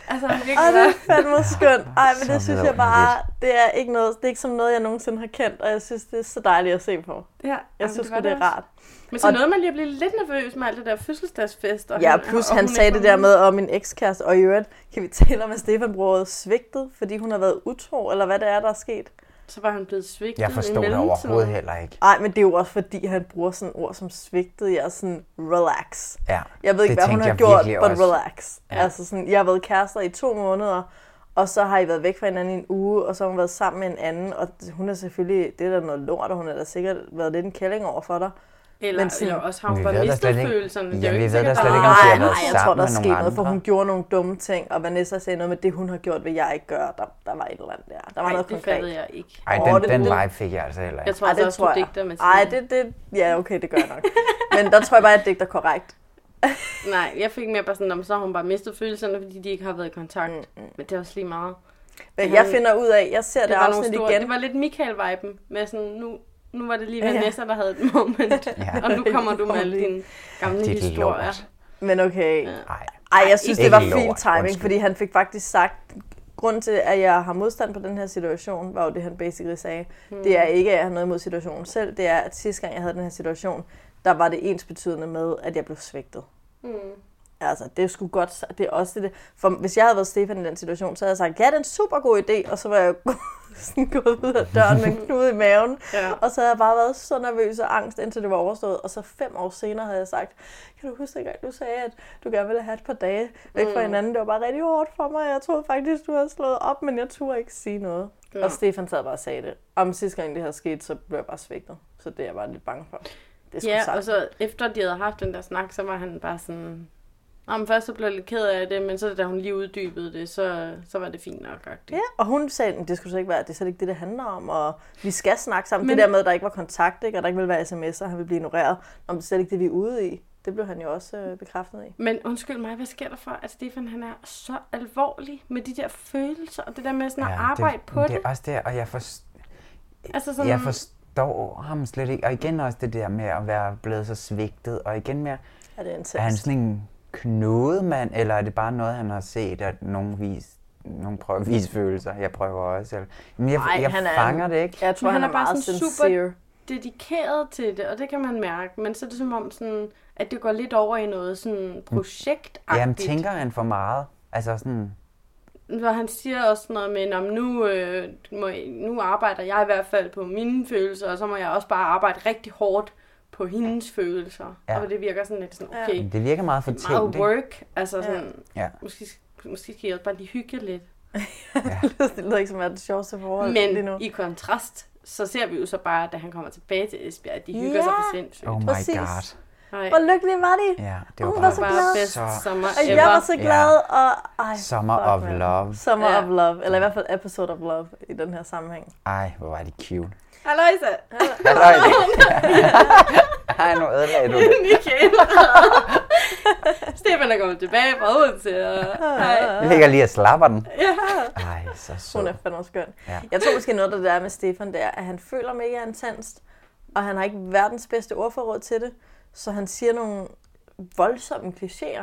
A: Altså, virkelig
K: Ej, det
A: bare...
K: er fandme skønt. Ej, men det
L: Så
K: synes jeg bare, det er ikke noget, det er ikke som noget, jeg nogensinde har kendt, og jeg synes, det er så dejligt at se på.
A: Ja,
K: Jeg
A: jamen,
K: synes sgu,
A: var
K: det er
A: også.
K: rart.
A: Men så
K: Og-
A: nåede man lige at blive lidt nervøs med alt det der fødselsdagsfest. Og
K: Ja, plus han
A: hun
K: sagde
A: ikke
K: det
A: var
K: der
A: med.
K: med, og min ekskæreste, og i øvrigt, kan vi tale om, at Stefan Bror svigtet, fordi hun har været utro, eller hvad det er, der er sket?
A: Så var han blevet svigtet
L: Jeg forstod det overhovedet heller ikke.
K: Nej, men det er jo også fordi, han bruger sådan et ord som svigtet. Jeg er sådan, relax.
L: Ja,
K: jeg ved ikke,
L: det
K: hvad
L: tænkte
K: hun har
L: jeg
K: gjort,
L: virkelig
K: but
L: også.
K: relax. Ja. Altså sådan, jeg har været kærester i to måneder, og så har I været væk fra hinanden i en uge, og så har hun været sammen med en anden, og hun er selvfølgelig, det er da noget lort, og hun har da sikkert været lidt en kælling over for dig.
A: Eller,
K: Men sådan-
A: eller også har hun
L: Vi
A: bare
L: ved da
A: mistet
L: slet ikke-
A: følelserne. Det er
L: Ja,
A: jo
L: vi ved da
A: sikkert,
L: slet
A: der-
L: ikke, om de har
K: Ah, Nej,
L: været
K: jeg tror,
L: sammen
K: der
L: med
K: skete
L: nogle
K: noget, for
L: andre.
K: hun gjorde nogle dumme ting, og Vanessa sagde noget med det, hun har gjort, hvad jeg ikke gør. Der, der var et eller andet der. Der var
A: Ej,
K: noget
A: det
K: konkret.
A: fattede jeg ikke.
L: Ej,
K: Åh,
L: den,
K: det-
L: den
K: det-
L: vibe fik jeg altså heller ikke.
A: Jeg tror
K: Ej,
A: altså
K: det
A: også,
K: tror
A: du
K: jeg.
A: digter med
K: Ej, det, det, ja, okay, det gør jeg nok. Men der tror jeg bare, at jeg digter korrekt.
A: Nej, jeg fik mere bare sådan, om så har hun bare mistet følelserne, fordi de ikke har været i kontakt. Mm, mm. Men det er også lige meget.
K: Men jeg finder ud af, jeg ser det,
A: det var nogle
K: afsnit
A: store,
K: igen.
A: Det var lidt Michael-viben, med sådan, nu, nu var det lige
K: Ja.
A: Vanessa, der havde et moment, ja. og nu kommer du med alle dine gamle
L: Dit
A: historier.
K: Men okay.
L: Ej.
K: Ej, jeg synes, det
L: Ikke
K: var
L: lort,
K: fin timing,
L: undskyld.
K: fordi han fik faktisk sagt, grund til, at jeg har modstand på den her situation, var jo det, han basically sagde.
A: Hmm.
K: Mm. Det er ikke, at jeg har noget imod situationen selv. Det er, at sidste gang, jeg havde den her situation, der var det ens betydende med, at jeg blev svigtet.
A: Mm.
K: Altså, det skulle godt, det er også det. For hvis jeg havde været Stefan i den situation, så havde jeg sagt, ja, det er en super god idé, og så var jeg jo sådan gået ud af døren med en knude i maven.
A: Ja.
K: Og så havde jeg bare været så nervøs og angst, indtil det var overstået. Og så fem år senere havde jeg sagt, kan du huske dengang, du sagde, at du gerne ville have et par dage væk
A: Mm.
K: fra hinanden. Det var bare rigtig hårdt for mig, og jeg troede faktisk, du havde slået op, men jeg turde ikke sige noget.
A: Ja.
K: Ja. Og Stefan sad bare og sagde det. Om sidste gang det her skete, så blev jeg bare svigtet. Så det er jeg bare lidt bange for. Det er
A: ja,
K: sgu sejt.
A: og så efter de havde haft den der snak, så var han bare sådan... Nå, men først så blev jeg lidt ked af det, men så da hun lige uddybede det, så, så var det fint nok. agtigt.
K: Ja, og hun sagde, "Men det skulle så ikke være, det er slet ikke det, det handler om, og vi skal snakke sammen.
A: Men-
K: Men... Det der med, at der ikke var kontakt, ikke, og der ikke ville være sms'er, og han ville blive ignoreret, om det er slet ikke det, vi er ude i. Det blev han jo også øh, bekræftet i.
A: Men undskyld mig, hvad sker der for, at Stefan han er så alvorlig med de der følelser, og det der med sådan at arbejde
L: det,
A: på
L: det.
A: det?
L: er også det, og jeg, for,
A: Altså sådan,
L: sådan... jeg forstår ham slet ikke. Og igen også det der med at være blevet så svigtet, og igen med,
K: Er det
L: er han
K: intenst?
L: sådan en knudemand, eller er det bare noget, han har set, at nogen, vis, nogen prøver at vise følelser? Jeg prøver også. Eller... Men jeg, jeg fanger det ikke.
K: Jeg tror,
A: Men
K: han, er,
A: bare
K: meget
A: sådan
K: sincere.
A: super dedikeret til det, og det kan man mærke. Men så er det som om, sådan, at det går lidt over i noget sådan projekt
L: Mm. Jamen, tænker han for meget? Altså sådan,
A: Hvor han siger også noget med, om nu, øh, må, I- nu arbejder jeg i hvert fald på mine følelser, og så må jeg også bare arbejde rigtig hårdt på hendes følelser. Ja.
L: Ja.
A: Og det virker sådan lidt sådan,
K: Ja.
A: okay,
L: det virker meget for
A: meget work. Altså
K: Ja.
A: sådan,
L: Ja.
A: måske, måske skal jeg også bare lige hygge jer lidt.
K: det lyder ikke som at det sjoveste forhold lige nu.
A: Men i kontrast, så ser vi jo så bare, da han kommer tilbage til Esbjerg, at de hygger
K: Ja.
A: sig for sindssygt.
L: Oh my
K: Præcis.
L: god.
A: Nej,
K: Hvor lykkelige var de?
L: Ja, det var
K: Og hun
L: bare
K: var så
A: bare
K: glad.
A: bedst
L: så-
A: sommer
K: Og
A: ever.
K: jeg var så
L: Ja.
K: glad, og... Ej,
L: Summer
K: fuck,
L: of
K: man.
L: Love.
K: Summer
A: Ja.
K: of Love, eller i hvert fald episode of love i den her sammenhæng.
L: Ej, hvor var det cute.
A: Halløjsa!
L: Halløj. Ej, nu ødelagde du det.
A: Michael! Stefan er kommet tilbage fra Odense. Og... Hej.
L: Jeg ligger lige og slapper den.
A: Ja.
L: Ej, så
K: Hun er
L: sød.
K: fandme skøn.
L: Ja.
K: Ja. Jeg tror måske noget af det der er med Stefan, det er, at han føler mega intenst, og han har ikke verdens bedste ordforråd til det, så han siger nogle voldsomme klichéer i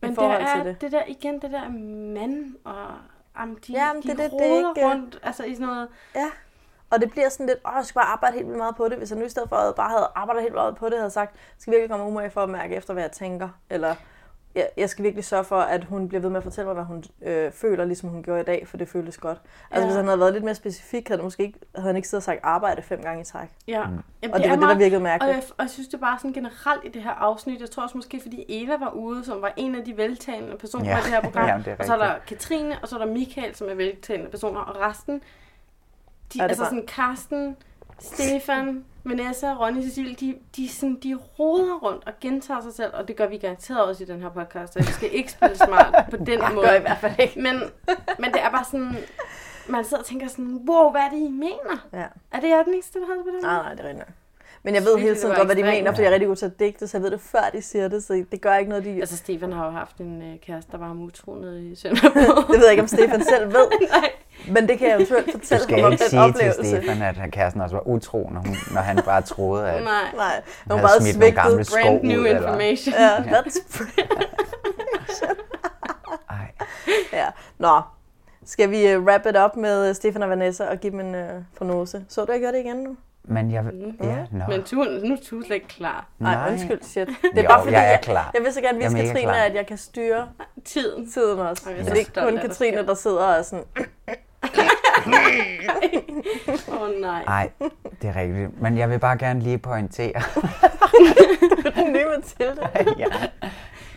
A: Men det
K: forhold
A: er
K: til det.
A: det der igen, det der mand og... Jamen, de,
K: Jamen,
A: de
K: det er det, det er
A: roder
K: ikke-
A: rundt, altså i sådan noget...
K: Ja. Og det bliver sådan lidt, åh, jeg skal bare arbejde helt vildt meget på det. Hvis jeg nu i stedet for at bare havde arbejdet helt vildt meget på det, havde sagt, jeg skal virkelig komme humor i for at mærke efter, hvad jeg tænker. Eller jeg, jeg skal virkelig sørge for, at hun bliver ved med at fortælle mig, hvad hun øh, føler, ligesom hun gjorde i dag, for det føltes godt. Altså
A: Ja.
K: ja. hvis han havde været lidt mere specifik, havde, det måske ikke, havde han ikke siddet og sagt arbejde fem gange i træk.
A: Ja.
K: Mm.
A: Jamen,
K: og det, var det, der
A: meget-
K: virkede
A: Og jeg,
K: mærkeligt.
A: og jeg synes, det er bare sådan generelt i det her afsnit. Jeg tror også måske, fordi Eva var ude, som var en af de veltalende personer
K: Ja.
A: i det her program.
K: Jamen, det er
A: og så er der
K: rigtigt.
A: Katrine, og så er der Michael, som er veltalende personer. Og resten, de,
K: Ja, det
A: altså
K: er bare-
A: sådan Karsten, Stefan, Vanessa, Ronny, Cecilie, de, de, sådan, de roder rundt og gentager sig selv, og det gør vi garanteret også i den her podcast, så vi skal ikke spille smart på den
K: Nej,
A: måde.
K: gør i hvert fald ikke.
A: Men, men det er bare sådan, man sidder og tænker sådan, wow, hvad er det, I mener?
K: Ja. Ah,
A: Er det jeg den eneste, der havde det på den måde?
K: Nej, nej, det er rigtigt. Men jeg ved hele tiden godt, hvad de mener, fordi jeg er rigtig god til at digte, så jeg ved det før, de siger det, så det gør ikke noget, de...
A: Altså, Stefan har jo haft en øh, kæreste, der var ham utro nede i Sønderborg.
K: det ved jeg ikke, om Stefan selv ved. Men det kan jeg eventuelt
L: Du
K: fortælle
L: skal
K: ham om
L: ikke
K: den
L: sige til
K: oplevelse.
L: Stefan, at kæresten også var utro, når, hun, når han bare troede, at...
A: Nej.
K: Nej.
L: Han
K: Hun
L: havde
K: bare
L: smidt nogle
K: svigtet.
L: gamle sko
A: Brand new
L: ud, eller-
A: information.
K: Ja, that's brand ja. Nå, skal vi uh, wrap it up med øh, Stefan og Vanessa og give dem en uh, prognose? Så du, jeg gør det igen nu?
L: Men jeg...
A: Mm.
L: Ja, nå.
A: Men tu, nu er du slet ikke klar.
K: Nej,
L: Nej.
K: Mhm. undskyld, shit. Det er
L: Jo,
K: bare fordi,
L: jeg er klar.
K: Jeg, jeg vil så gerne
L: Jeg er
K: vise
L: mega
K: Katrine,
L: klar.
K: at jeg kan styre
A: tiden,
K: tiden også.
A: Ej, jeg er
K: Så
A: så
K: det er ikke
A: stolt
K: kun
A: af dig,
K: Katrine, der sidder og er sådan...
A: Åh oh, nej.
L: Nej, det er rigtigt. Men jeg vil bare gerne lige pointere,
K: Den nye Mathilde.
L: ja.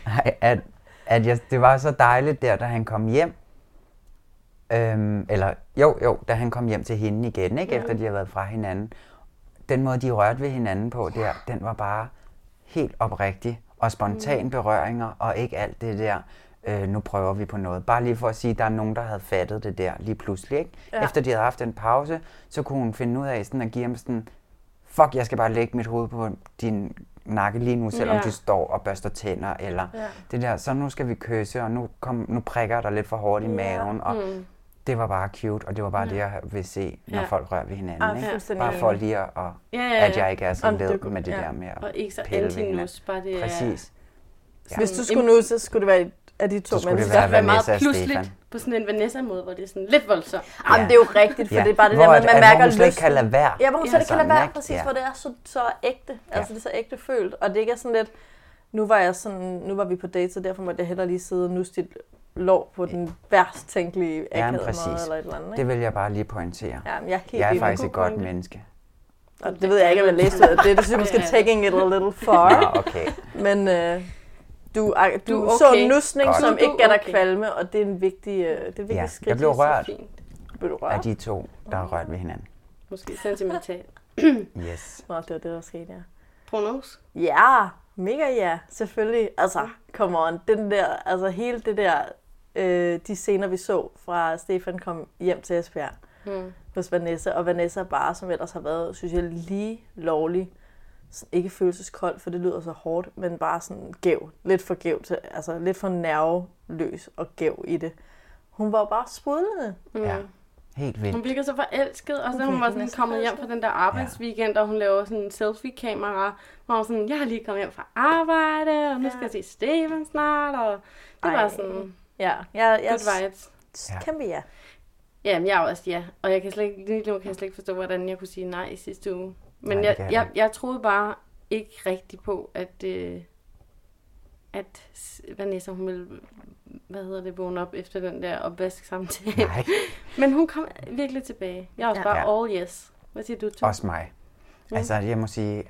L: Ej, at, at jeg, det var så dejligt der, da han kom hjem. Øhm, eller jo, jo, da han kom hjem til hende igen, ikke?
K: Ja.
L: efter de havde været fra hinanden. Den måde, de rørte ved hinanden på der, den var bare helt oprigtig. Og spontan
K: Mm.
L: berøringer, og ikke alt det der, øh, nu prøver vi på noget. Bare lige for at sige, at der er nogen, der havde fattet det der lige pludselig. Ikke?
K: Ja.
L: Efter de havde haft en pause, så kunne hun finde ud af sådan at give ham sådan, fuck, jeg skal bare lægge mit hoved på din nakke lige nu, selvom
K: Ja.
L: du står og børster tænder, eller
K: Ja.
L: ja. det der, så nu skal vi kysse, og nu, kom, nu prikker jeg dig lidt for hårdt i
K: Ja.
L: maven, og
K: Mm.
L: mm. det var bare cute, og det var bare
K: Ja.
L: ja. det, jeg vil se, når
A: Ja.
L: ja. folk rører ved hinanden.
K: Ah,
L: ikke?
K: fuldstændig
L: Bare
K: enig.
L: for lige at, og,
A: Ja,
L: ja,
A: ja,
L: ja,
A: ja.
L: at jeg ikke er
A: Om
L: sådan
A: det
L: lidt
A: kunne-
L: med det
A: ja.
L: der med at
A: Og ikke så
L: pille ved
A: antinus,
L: hinanden.
A: bare det er-
L: Præcis.
K: Ja. Hvis du skulle nu, så skulle det være af de to
L: Så skulle det
K: mennesker.
L: være Vanessa
A: meget
L: og
A: pludseligt
L: Stefan.
A: på sådan en Vanessa-måde, hvor det er sådan lidt voldsomt.
K: Jamen, det er jo rigtigt, for det er bare det
L: Hvor
K: der med,
L: at-
K: at man
L: at
K: mærker
L: hun slet ikke
K: lysten.
L: kan lade være.
K: Ja, hvor hun
L: Ja.
K: slet ikke kan lade
L: Sådan,
K: være,
L: ikke?
K: præcis,
L: Ja.
K: hvor det er så, så ægte. Altså, det er så ægte følt. Og det ikke er sådan lidt, nu var, jeg sådan, nu var vi på date, så derfor måtte jeg hellere lige sidde og nusse dit lår på den værst tænkelige
L: Ja, men
K: akavede måde,
L: præcis.
K: eller et eller andet. Ikke?
L: Det vil jeg bare lige pointere.
K: Ja, men jeg er helt
L: jeg er
K: enig.
L: faktisk et
K: God
L: godt
K: pointe.
L: menneske.
K: Og det ved jeg ikke, om jeg læste ud af det. Det synes jeg måske
A: Ja.
K: taking it a little far.
L: Nå, okay.
K: Men øh, du, du,
A: Du
K: du
A: er
K: så
A: okay.
K: en nusning,
L: Godt.
K: som
L: Du er
K: ikke gav dig
A: okay.
K: kvalme, og det er en vigtig, øh, det er et vigtigt
L: Ja,
K: skridt.
L: jeg blev
K: Det er så
L: rørt
K: fint. Mm. Blev du
L: af
K: rørt?
L: de to, der har rørt ved hinanden.
A: Måske sentimentalt.
L: Yes.
K: Nå, det var det, der skete, ja.
A: Prognose?
K: Ja, mega ja, selvfølgelig. Altså, come on. Den der, altså hele det der, øh, de scener, vi så fra Stefan kom hjem til Esbjerg
A: Mm.
K: hos Vanessa, og Vanessa bare, som ellers har været, synes jeg, lige lovlig. Sådan, ikke følelseskold, for det lyder så hårdt, men bare sådan gæv. Lidt for gæv, til, altså lidt for nerveløs og gæv i det. Hun var jo bare sprudlende.
A: Mm. Ja.
L: Helt
A: Hun
L: vildt.
A: virker så forelsket, og så
K: Hun
A: hun var
K: virker
A: sådan
K: næsten
A: kommet hjem fra den der arbejdsweekend, og hun laver sådan en selfie-kamera, hvor hun sådan, jeg har lige kommet hjem fra arbejde, og nu skal jeg se Steven snart, og det
K: Ej.
A: var sådan...
K: Ja, jeg, jeg
A: Good vibes.
K: Ja. Kæmpe ja.
A: Jamen, jeg er også ja. Og jeg kan slet ikke, lige nu kan jeg slet ikke forstå, hvordan jeg kunne sige nej i sidste uge. Men nej,
K: Nej, det
A: jeg,
K: kan
A: jeg,
K: jeg
A: jeg, troede bare ikke rigtigt på, at, øh, at s- Vanessa, hun ville, hvad hedder det, vågne op efter den der opvask-samtale.
L: Nej.
A: Men hun kom virkelig tilbage. Jeg er også
L: Ja.
A: ja. bare
L: Ja.
A: all yes. Hvad siger du til?
L: Også mig.
A: Ja.
L: Altså, jeg må sige,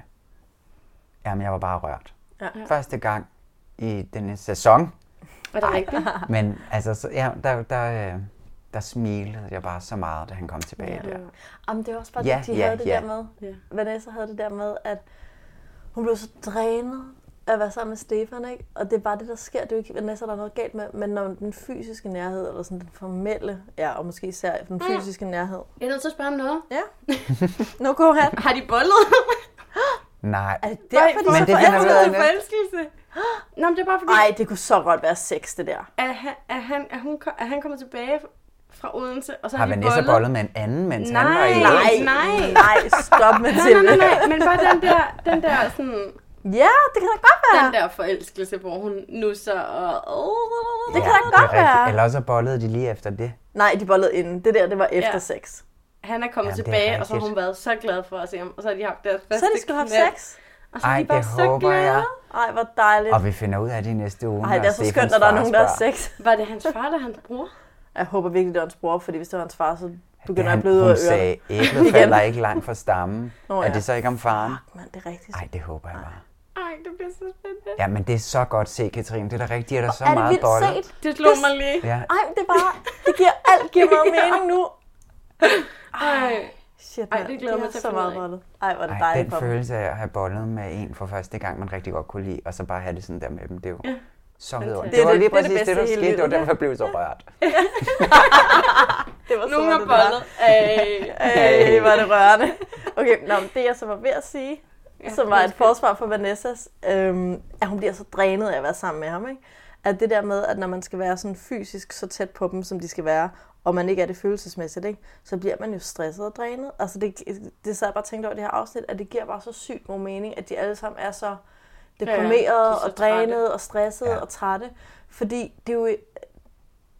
L: jamen, jeg var bare rørt.
K: Ja.
L: Første gang i denne sæson.
A: Var det rigtigt?
K: Ah.
L: Men altså, så, ja, der, der, øh, der smilede jeg bare så meget, da han kom tilbage
K: Ja.
L: der.
K: Jamen, det er også bare,
L: Ja,
K: at de
L: ja,
K: havde det
L: ja.
K: der med.
A: Ja.
K: Vanessa havde det der med, at hun blev så drænet af at være sammen med Stefan, ikke? Og det er bare det, der sker. Det er jo ikke Vanessa, der er noget galt med, men når den fysiske nærhed, eller sådan den formelle, ja, og måske især den
A: Mm.
K: fysiske nærhed.
A: Jeg er nødt til at spørge om noget.
K: Ja. Nu går han.
A: Har de bollet?
L: Nej.
K: Er det derfor,
L: men
K: de så
L: det finder vi ud af
K: forelskede?
L: næste.
A: Forelskelse. Nå, men det er bare fordi...
K: Ej, det kunne så godt være sex, det der.
A: at han, at han, at hun, kom- at han kommer tilbage fra Odense, og så
L: Har
A: de
L: Vanessa
A: bollet.
L: bollet med en anden, mens han var i
A: Nej,
L: Odense?
A: nej.
K: Nej, stop med
A: Nej, nej, nej, nej, men bare den der, den der sådan...
K: Ja, det kan da godt være.
A: Den der forelskelse, hvor hun nusser og... Oh,
K: Det kan
L: Det
K: da
L: er
K: godt
L: rigtigt.
K: være.
L: Eller også bollede de lige efter det.
K: Nej, de bollede inden. Det der, det var efter
A: Ja.
K: sex.
A: Han er kommet
L: Jamen, det er
A: tilbage, og så har
L: rigtigt.
A: hun været så glad for at se ham, og så har de haft deres
K: Så
A: første
K: de skulle have
A: knald.
K: sex? Og så er
L: Ej,
K: de bare
L: det
K: så
L: håber jeg.
K: glade. Ej, hvor dejligt.
L: Og vi finder ud af det i næste uge.
K: Ej,
L: når
K: det er så
L: Stefans
K: skønt, når der er
L: far
K: nogen, der er
L: spørger.
K: sex.
A: Var det hans far eller hans bror?
K: Jeg håber virkelig, det var hans bror, fordi hvis det var hans far, så begynder jeg
L: Han,
K: at bløde ud af
L: hun
K: ørerne.
L: sagde, æblet
K: Igen.
L: falder ikke langt fra stammen.
K: Nå,
L: Nå,
K: ja.
L: Er det så ikke om faren?
K: Men det er rigtigt.
L: Nej, det håber jeg bare.
A: Ej, det bliver så spændende.
L: Ja, men det er så godt set, Katrine. Det er da rigtigt, at der er så
K: er det
L: meget
K: vildt
L: bolle.
K: set?
A: Det slog
K: Det-
A: mig lige.
L: Ja.
K: Ej, det er bare, det giver alt giver meget
A: Ja.
K: mening nu.
A: Ej,
K: Shit,
A: Ej,
K: mand.
A: det glæder
K: De
A: mig
K: har
A: til at
K: så
A: finde ud
K: meget
A: af.
K: bollet. Ej, hvor er det
L: Ej,
K: dejligt
L: den
K: for dem.
L: følelse af at have bollet med en for første gang, man rigtig godt kunne lide, og så bare have det sådan der med dem, det er jo
K: Ja.
L: ja. så vidunderligt.
K: Det er
L: Det var
K: det-
L: lige
K: det er det
L: præcis det,
K: bedste
L: der
K: i hele
L: skete, det var
K: livet, ja.
L: derfor jeg blev så rørt.
K: Det var
A: Nogen
K: så
A: har bollet.
K: Ej, Ej, var det rørende. Okay, nå, men det jeg så var ved at sige, ja, som var et forsvar for Vanessas, øhm, at hun bliver så drænet af at være sammen med ham, ikke? At det der med, at når man skal være sådan fysisk så tæt på dem, som de skal være, og man ikke er det følelsesmæssigt, ikke? så bliver man jo stresset og drænet. Altså det, det sad jeg bare og tænkte over i det her afsnit, at det giver bare så sygt god mening, at de alle sammen er så
A: Ja, ja, de er
K: deprimerede ja,
A: så
K: og drænet
A: trætte.
K: og stressede ja. og trætte. Fordi det er jo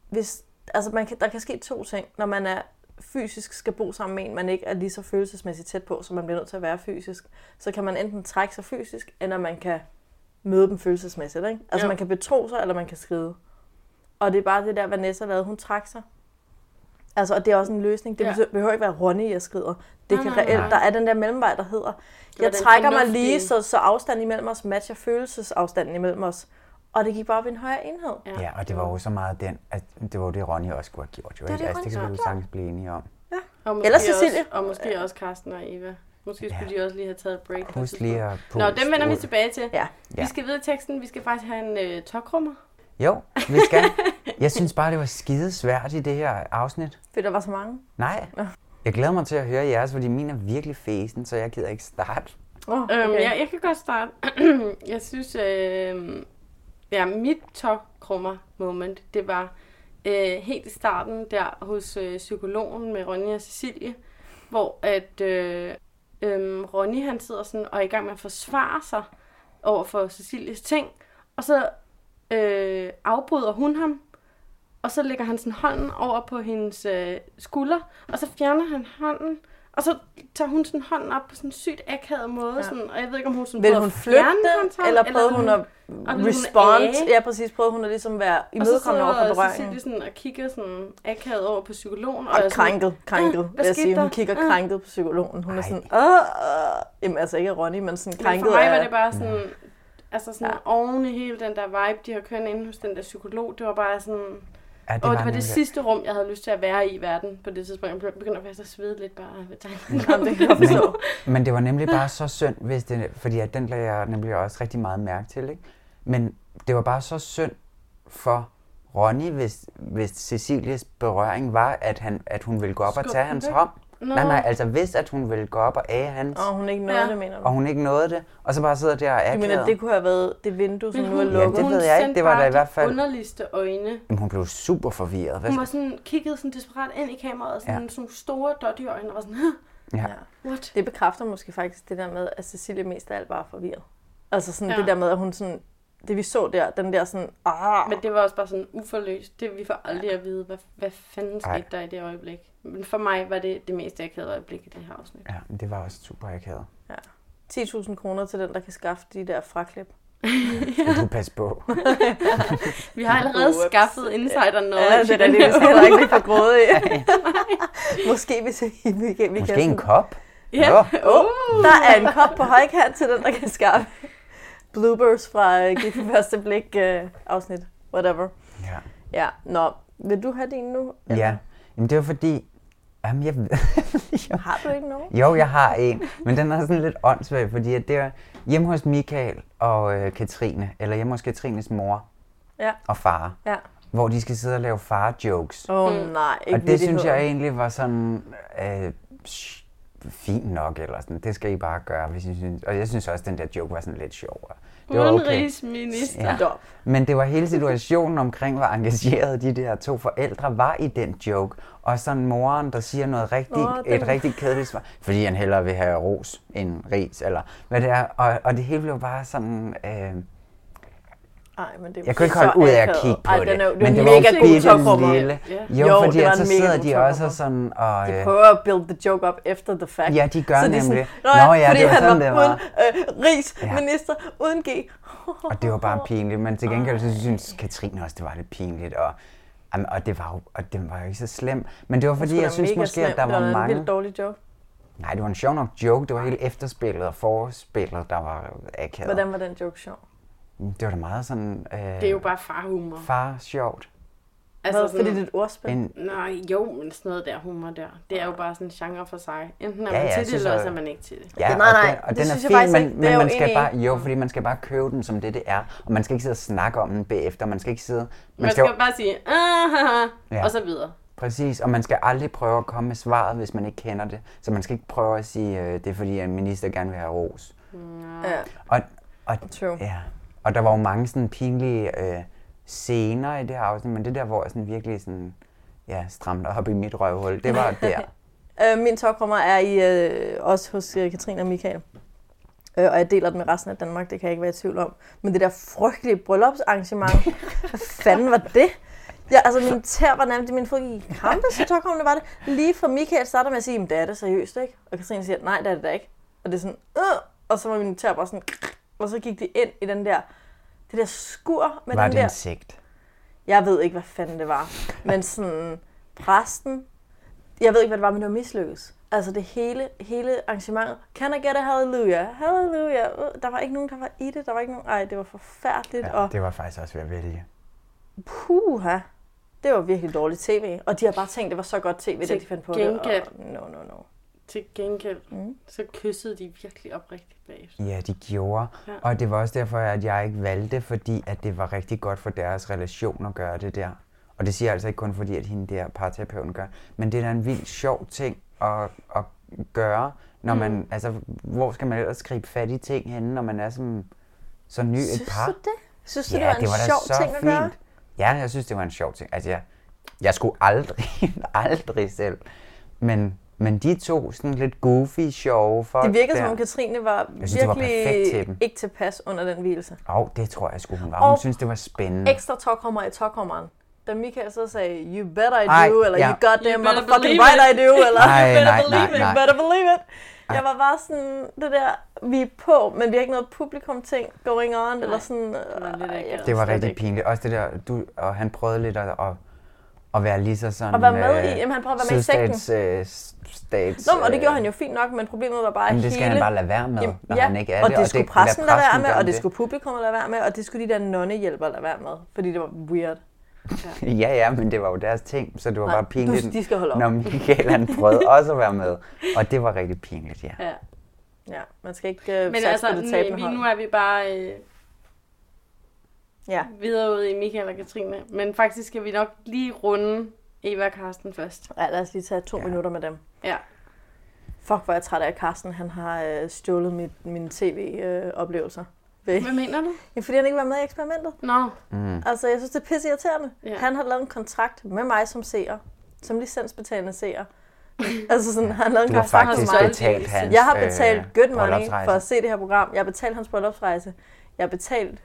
K: hvis, altså man kan, der kan ske to ting, når man er fysisk skal bo sammen med en, man ikke er lige så følelsesmæssigt tæt på, som man bliver nødt til at være fysisk, så kan man enten trække sig fysisk, eller man kan møde dem følelsesmæssigt. Ikke? Altså
A: Jo.
K: man kan betro sig, eller man kan skride. Og det er bare det der, Vanessa lavede, hun trak sig. Altså, og det er også en løsning. Det
A: Ja.
K: ja. behøver ikke være Ronny, jeg skrider. Det
A: Nej,
K: kan
A: nej,
K: reelt,
A: nej.
K: der er den der mellemvej, der hedder,
A: var
K: jeg
A: den
K: trækker mig
A: fornuftige.
K: lige, så, så afstanden imellem os matcher følelsesafstanden imellem os. Og det gik bare op i en højere enhed.
L: Ja, og det var jo så meget den, at det var jo det, Ronny også kunne have gjort. Jo,
K: Det er
L: ikke?
K: det,
L: altså, det
K: Ronny
L: kan vi jo
K: skulle have
L: sagtens blive enige om.
A: Og måske
K: Eller
A: Også,
K: Cecilie.
A: og måske også Karsten og Eva. Måske skulle ja. de også lige have taget et break. på et
L: Husk lige at
A: tidspunkt. Nå,
L: puste
A: dem vender vi
L: ud.
A: tilbage til.
K: Ja.
A: Vi skal videre i teksten. Vi skal faktisk have en øh, tokrummer.
L: Jo, vi skal. Jeg synes bare, det var skidesvært i det her afsnit.
K: Fordi der var så mange.
L: Nej.
K: Nå.
L: Jeg glæder mig til at høre jeres, fordi min er virkelig fesen, så jeg gider ikke starte.
K: Oh,
A: okay. øhm, ja, jeg kan godt starte. jeg synes, øh, ja, mit tokrummer moment, det var øh, helt i starten der hos øh, psykologen med Ronny og Cecilie, hvor at øh, øh, Ronny han sidder sådan og er i gang med at forsvare sig over for Cecilies ting, og så øh, afbryder hun ham, og så lægger han sådan hånden over på hendes øh, skulder, og så fjerner han hånden, og så tager hun sådan hånden op på sådan en sygt akavet måde, ja. sådan, og jeg ved ikke, om hun sådan
K: Vil
A: prøver
K: hun
A: at
K: flytte
A: fjerne
K: den,
A: hans hånd,
K: eller prøvede hun at
A: og vil
K: respond?
A: hun af?
K: Ja, præcis. Prøvede hun at ligesom være
A: Og så sidder
K: imødekommende over for
A: Cecilie
K: berøringen.
A: sådan og kigger sådan akavet over på psykologen.
K: Og
A: er sådan,
K: krænket, krænket,
A: "Ah,
K: vil jeg
A: skete
K: sige. Hun
A: der?
K: kigger
A: Ah."
K: krænket på psykologen. Hun er sådan, åh, åh. Jamen altså ikke af Ronny, men sådan
A: Men
K: krænket
A: for mig var
K: af-
A: det bare sådan, altså sådan oven i hele den der vibe, de har kørt inde hos den der psykolog, det var bare sådan...
L: Ja,
A: Ja, det, og
L: det var
A: det var
L: nemlig-
A: det sidste rum, jeg havde lyst til at være i i verden på det tidspunkt. Jeg begyndte faktisk at svede lidt bare ved tanken. om det.
L: men, men det var nemlig bare så synd, hvis det, fordi at den lagde jeg nemlig også rigtig meget mærke til. Ikke? Men det var bare så synd for Ronny, hvis, hvis Cecilies berøring var, at, han, at hun ville gå op
K: Skubbe
L: og tage
K: den
L: hans
K: væk?
L: hånd.
K: Nå.
L: Nej, nej, altså hvis at hun ville gå op og æge hans,
K: Og hun ikke nåede Ja. det, mener du?
L: Og hun ikke nåede det, og så bare sidder der og er
K: Jeg mener, det kunne have været det vindue, som
A: Men
K: nu er
A: hun-
K: lukket.
L: Ja, det ved jeg ikke. Det var da i hvert fald...
A: underligste øjne.
L: Jamen, hun blev super forvirret. Hvad
A: Hun var sådan, kiggede sådan desperat ind i kameraet, og sådan, ja.
L: Ja.
A: sådan store dotty øjne, og var sådan,
L: Ja.
A: What?
K: Det bekræfter måske faktisk det der med, at Cecilie mest af alt bare er forvirret. Altså sådan
A: Ja.
K: det der med, at hun sådan... Det vi så der, den der sådan... Ah,
A: Men det var også bare sådan uforløst. Det, vi får aldrig at vide, hvad, hvad fanden skete
L: Ej.
A: der i det øjeblik. Men for mig var det det mest akavede øjeblik i det her afsnit.
L: Ja, men det var også super akavet.
K: Ja. 10.000 kroner til den, der kan skaffe de der fraklip.
L: Skal du passe på?
A: Vi har allerede
K: Ups.
A: skaffet insider noget.
K: Ja, det er da det, vi skal heller ikke blive for grådige. Måske hvis vi, vi, kan- vi
L: Måske
K: kan...
L: en kop?
K: Ja.
L: Nå.
K: Oh, der er en kop på højkant til den, der kan skaffe bloopers fra uh, Gift ved første blik uh, afsnit. Whatever.
L: Ja.
K: Ja, nå. Vil du have din nu?
L: Ja. Jamen, det var fordi... Jamen, jeg...
K: Har du ikke nogen?
L: Jo, jeg har en, men den er sådan lidt åndssvag, fordi at det er hjemme hos Michael og øh, Katrine, eller hjemme hos Katrines mor
K: Ja.
L: og far,
K: Ja.
L: hvor de skal sidde og lave far-jokes.
K: Åh, Mm. nej, ikke
L: Og det synes
K: vittigheder.
L: jeg egentlig var sådan... Øh, sh- fint nok, eller sådan. Det skal I bare gøre, hvis I synes. Og jeg synes også, at den der joke var sådan lidt sjovere. Det var okay.
A: Udenrigsminister.
L: Ja. Men det var hele situationen omkring, hvor engageret de der to forældre var i den joke. Og sådan moren, der siger noget rigtig,
K: Åh,
L: oh,
K: den-
L: et rigtig kedeligt svar, fordi han hellere vil have ros end ris, eller hvad det er. Og, og det hele blev bare sådan... Øh,
K: Ej, men det var
L: Jeg kunne ikke holde ud af at kigge på
K: Ej,
L: det.
K: Den er, jo- det
L: men
K: var
L: det
K: en
L: var jo
K: mega
L: fordi,
K: god
L: den
K: tokrummer.
L: lille- Jo,
K: det
L: fordi
K: var
L: ellers
K: en
L: så
K: mega
L: sidder
K: god
L: de også
K: tokrummer.
L: sådan og,
K: De
L: øh,
K: prøver at build the joke up efter the fact.
L: Ja, de gør
K: så de er
L: nemlig.
K: Sådan,
L: Nå ja,
K: Nå ja, fordi
L: det var
K: han
L: sådan,
K: var,
L: det
K: uden
L: var."
K: øh, ris,
L: Ja.
K: ja. minister, uden G.
L: Og det var bare pinligt, men til gengæld så synes Katrine også, det var lidt pinligt. Og, jamen, og, det var jo, og den var jo ikke så slem. Men det var
K: Hun
L: fordi,
K: skulle
L: jeg
K: da
L: synes
K: mega
L: måske,
K: slem.
L: at der
K: Det
L: var
K: da en
L: mange...
K: vildt dårlig joke.
L: Nej, det var en sjov nok joke. Det var hele efterspillet og forspillet, der var akavet.
K: Hvordan var den joke sjov?
L: Det var da meget sådan... Øh,
A: Det er jo bare farhumor.
L: Far sjovt.
K: Altså, Hvad, fordi det er et ordspil?
L: En-
A: Nej, jo, men sådan noget der humor der. Det er jo bare sådan en genre for sig. Enten er
L: Ja,
A: man
L: ja, jeg
A: til det,
L: synes
A: eller
L: også-
A: også er man ikke til det.
L: Ja,
K: nej, nej,
L: og den, og
K: det
L: den
K: synes jeg
L: er fin,
K: faktisk
L: men,
K: ikke. Det er
L: men
K: jeg
L: man
K: jo
L: skal
K: enig i.
L: bare, jo, fordi man skal bare købe den, som det, det er. Og man skal ikke sidde og snakke om den bagefter. Man skal ikke sidde... Man,
A: Man skal jo bare sige, ah, haha,
L: Ja.
A: og så videre.
L: Præcis, og man skal aldrig prøve at komme med svaret, hvis man ikke kender det. Så man skal ikke prøve at sige, øh, det er fordi, at en minister gerne vil have ros.
K: Ja.
L: Og, og, True. Ja. og der var jo mange sådan pinlige øh, scener i det her afsnit, men det der, hvor jeg sådan virkelig sådan, ja, stramte op i mit røvhul, det var der.
K: Øh, min tokrummer er i, øh, også hos øh, Katrine og Michael. Øh, og jeg deler den med resten af Danmark, det kan jeg ikke være i tvivl om. Men det der frygtelige bryllupsarrangement, hvad fanden var det? Ja, altså min tær var nærmest, min fod gik i krampe, så tokrummen var det. Lige fra Michael starter med at sige, "Men det er det seriøst, ikke? Og Katrine siger, nej, det er det da ikke. Og det er sådan, øh, og så var min tær bare sådan, og så gik de ind i den der, det der skur med
L: var
K: den
L: det
K: der.
L: en sigt?
K: Jeg ved ikke, hvad fanden det var. Men sådan, præsten, jeg ved ikke, hvad det var, men det var mislykkedes. Altså det hele, hele arrangementet. Can I get a hallelujah? Hallelujah. Uh, der var ikke nogen, der var i det. Der var ikke nogen. Ej, det var forfærdeligt.
L: Ja,
K: Ja, og
L: det var faktisk også ved at vælge.
K: puha. Det var virkelig dårligt tv. Og de har bare tænkt, det var så godt tv, da
A: Til
K: de fandt på det.
A: gengæld-
K: Og, no, no, no.
A: Til gengæld, mm. så kyssede de virkelig oprigtigt bagefter.
L: Ja, de gjorde.
A: Ja.
L: Ja. Og det var også derfor, at jeg ikke valgte, fordi at det var rigtig godt for deres relation at gøre det der. Og det siger jeg altså ikke kun fordi, at hende der parterapeuten gør. Men det er da en vild sjov ting at, at gøre, når man,
K: Mm.
L: altså, hvor skal man ellers gribe fat i ting henne, når man er sådan, så ny et
K: Synes
L: par?
K: du det? Synes du,
L: ja,
K: det var en
L: det var da
K: sjov
L: så
K: ting at
L: fint.
K: gøre?
L: Ja, jeg synes, det var en sjov ting. Altså, jeg, jeg skulle aldrig, aldrig selv. Men, men de to sådan lidt goofy, sjove folk
K: Det virkede,
L: der.
K: som om Katrine var
L: Jeg synes, det var
K: virkelig
L: perfekt til dem.
K: ikke tilpas under den hvilelse.
L: Åh, oh, det tror jeg sgu, hun var.
K: Og
L: Hun synes, det var spændende.
K: ekstra tokrummer i tokrummer. Da Michael så sagde, you better I
L: Ej,
K: do, eller
L: ja.
K: you goddamn
L: You better
K: motherfucking
L: believe
K: right I
L: it.
K: do, eller
L: Ej,
K: you better
L: nej,
K: believe
L: nej,
K: it,
L: nej.
K: you better believe it. Jeg var bare sådan, det der, vi er på, men vi har ikke noget publikum-ting going on, eller sådan. Øh,
L: Det var rigtig pinligt. Også det der, du, og han prøvede lidt at, at, at være lige så sådan...
K: Og være med i- jamen, han prøvede at være med i sekten.
L: sødstats, Øh, s- stats,
K: Nå, men- og det gjorde han jo fint nok, men problemet var bare
L: Men
K: hele...
L: det skal han bare lade være med, når han ikke er
K: og
L: det,
K: det.
L: og
K: skulle
L: det- lad
K: pressen lade være
L: præsten
K: med,
L: gøre
K: og det
L: det.
K: skulle publikum lade være med, og det skulle de der nonnehjælpere lade være med, fordi det var weird.
L: ja, ja, men det var jo deres ting, så det var
K: Nej,
L: bare pinligt,
K: du- de skal holde op.
L: når Michael han prøvede også at være med. Og det var rigtig pinligt, ja.
K: Ja. Ja, man skal ikke øh,
A: Men
K: satse
A: altså,
K: på det tabende
A: vi,
K: hold.
A: nu er vi bare øh,
K: ja.
A: videre ud i Michael og Katrine. Men faktisk skal vi nok lige runde Eva og Karsten først.
K: Ja, lad os lige tage to ja. minutter med dem.
A: Ja.
K: Fuck, hvor er jeg træt af at Carsten. Han har øh, stjålet mit, mine tv-oplevelser. Øh,
A: Hvad mener du?
K: Ja, fordi han ikke var med i eksperimentet.
A: Nå.
L: Mm.
K: Altså, jeg synes, det er pisse irriterende.
A: Ja.
K: Ja. Han har lavet en kontrakt med mig som seer. Som licensbetalende seer. altså sådan, han har lavet en
L: Du har
K: kontrakt
L: faktisk
K: med mig.
L: betalt hans,
K: Jeg har
L: øh,
K: betalt øh, good money
L: bryllupsrejse.
K: for at se det her program. Jeg har betalt hans bryllupsrejse. Jeg har betalt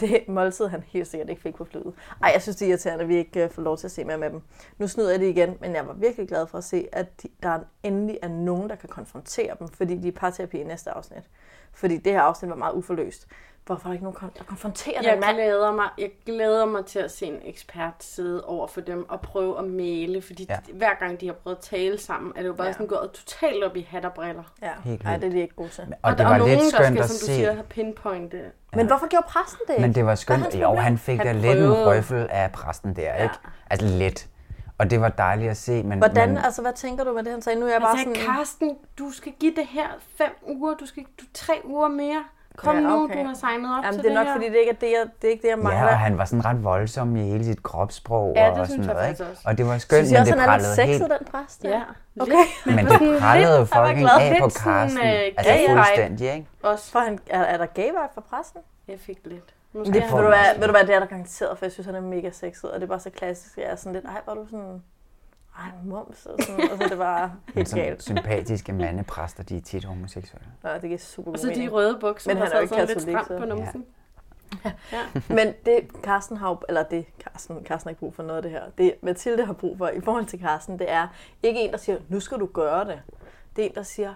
K: det måltid, han helt sikkert ikke fik på flyet. Ej, jeg synes, det er irriterende, at vi ikke øh, får lov til at se mere med dem. Nu snyder jeg det igen, men jeg var virkelig glad for at se, at de, der endelig er nogen, der kan konfrontere dem, fordi de er i parterapi i næste afsnit. Fordi det her afsnit var meget uforløst. Hvorfor er der ikke nogen, kon- der konfronterer den
A: Jeg
K: mand?
A: glæder, mig, jeg glæder mig til at se en ekspert sidde over for dem og prøve at male, fordi ja.
L: Ja.
A: hver gang de har prøvet at tale sammen, er det jo bare ja.
K: Ja.
A: sådan gået totalt op i hat og briller.
K: Ja,
L: Helt Ej, vildt. det
K: er de ikke gode til.
L: Og det var lidt skønt
A: der skal,
L: at
A: som du
L: se.
A: siger, have øh. pinpointet.
K: Men hvorfor gjorde præsten det ikke?
L: Men det var skønt.
K: hans
L: jo,
K: problem?
L: han fik
K: Han
L: da lidt en
K: prøvede.
L: røffel af præsten der, ikke? Altså lidt. Og det var dejligt at se, men...
K: Hvordan,
L: men,
K: altså hvad tænker du med det, han sagde? Nu er jeg
A: Han
K: bare
A: sagde,
K: sådan...
A: Altså, Karsten, du skal give det her fem uger, du skal du tre uger mere. Kom
K: Ja,
A: nu,
K: okay.
A: du har signet op
K: Jamen,
A: til
K: det
A: det
K: er nok,
A: her.
K: fordi det ikke er det, jeg, det er ikke det, jeg mangler.
L: Ja, og han var sådan ret voldsom i hele sit kropssprog
K: Ja, det
L: og
K: synes
L: sådan
K: jeg
L: noget,
K: faktisk
L: ikke?
K: også.
L: Og det var skønt,
K: jeg
L: men det
K: han er lidt
L: prallede helt
K: sexet, den præst?
A: Ja.
K: Okay.
L: Men Men det sådan prellede lidt- jo han var fucking glad. af på Carsten.
A: øh,
K: øh,
L: Altså, fuldstændig, ikke?
K: Også. For han, er, er der gay vibe fra præsten?
A: Jeg fik lidt.
K: Måske
A: Måske er
K: det, ved,
A: han-
K: du hvad, ved du hvad, det er der garanteret, for jeg synes, han er mega sexet, og det er bare så klassisk. Jeg er sådan lidt, ej, var du sådan... Ej, mums, og sådan, altså, det var
L: Men
K: helt
L: sådan
K: galt.
L: sympatiske mandepræster, de er tit homoseksuelle.
K: Nå, det giver super
A: Og
K: god
A: så de
K: mening.
A: røde bukser,
K: Men
A: der
K: han er jo
A: sad
K: ikke
A: sådan lidt
K: katolik,
A: stramt på numsen.
K: Men det Carsten har, jo- eller det Carsten, Carsten har ikke brug for noget af det her. Det Mathilde har brug for i forhold til Carsten, det er ikke en, der siger, nu skal du gøre det. Det er en, der siger,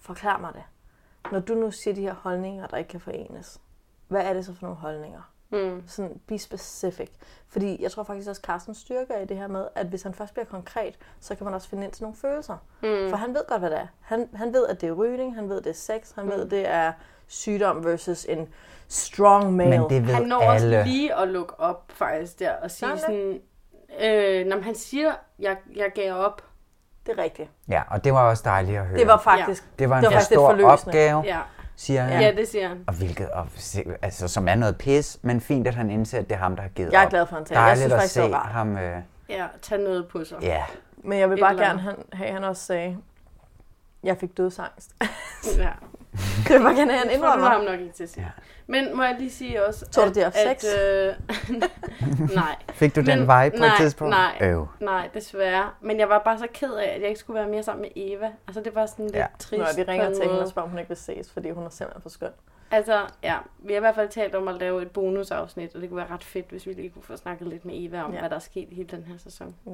K: forklar mig det. Når du nu siger de her holdninger, der ikke kan forenes, hvad er det så for nogle holdninger?
A: Mm.
K: Sådan be specific. Fordi jeg tror faktisk også, Carsten styrker i det her med, at hvis han først bliver konkret, så kan man også finde ind til nogle følelser.
A: Mm.
K: For han ved godt, hvad det er. Han, han ved, at det er rygning, han ved, at det er sex, han mm. ved, det er sygdom versus en strong male.
L: Men det ved
A: Han når
L: alle.
A: også lige at lukke op faktisk der og sige
K: Sådan.
A: sådan, øh, når man- han siger, jeg, jeg gav op.
K: Det er rigtigt.
L: Ja, og det var også dejligt at høre.
K: Det var faktisk-
A: Ja.
L: det var en
K: det var
L: for
K: faktisk lidt
L: stor
K: forløsende.
L: opgave,
A: Ja.
L: siger han.
A: Ja, det siger han.
L: Og hvilket, og, se- altså, som er noget pis, men fint, at han indser, at det er ham, der har givet
K: Jeg er
L: op.
K: glad for, han taler. Jeg
L: Dejligt
K: synes
L: at
K: faktisk,
L: se
K: det var rart.
L: ham. Øh,
A: Ja, tag noget på sig.
L: Ja.
K: Men jeg vil
A: Et
K: bare
A: eller
K: gerne
A: andet.
K: han, have, at han også sagde, jeg fik dødsangst.
A: Ja.
K: Det vil bare gerne have, han
A: Det tror du
K: indrømmer.
A: ham nok ikke til at sige. Men må jeg lige sige også,
K: Tror du, det er
A: at,
K: sex?
A: at øh, nej.
L: Fik du den
A: Men-
L: vibe på et
A: nej,
L: tidspunkt?
A: Nej,
L: Øv.
A: nej, desværre. Men jeg var bare så ked af, at jeg ikke skulle være mere sammen med Eva. Altså, det var sådan lidt
K: Ja.
A: trist.
K: Nå, vi
A: på
K: ringer
A: en
K: til hende
A: måde.
K: og spørger, om hun ikke vil ses, fordi hun er simpelthen for skøn.
A: Altså, ja, vi har i hvert fald talt om at lave et bonusafsnit, og det kunne være ret fedt, hvis vi lige kunne få snakket lidt med Eva om,
K: Ja.
A: ja. hvad der er sket i hele den her sæson.
K: Ja.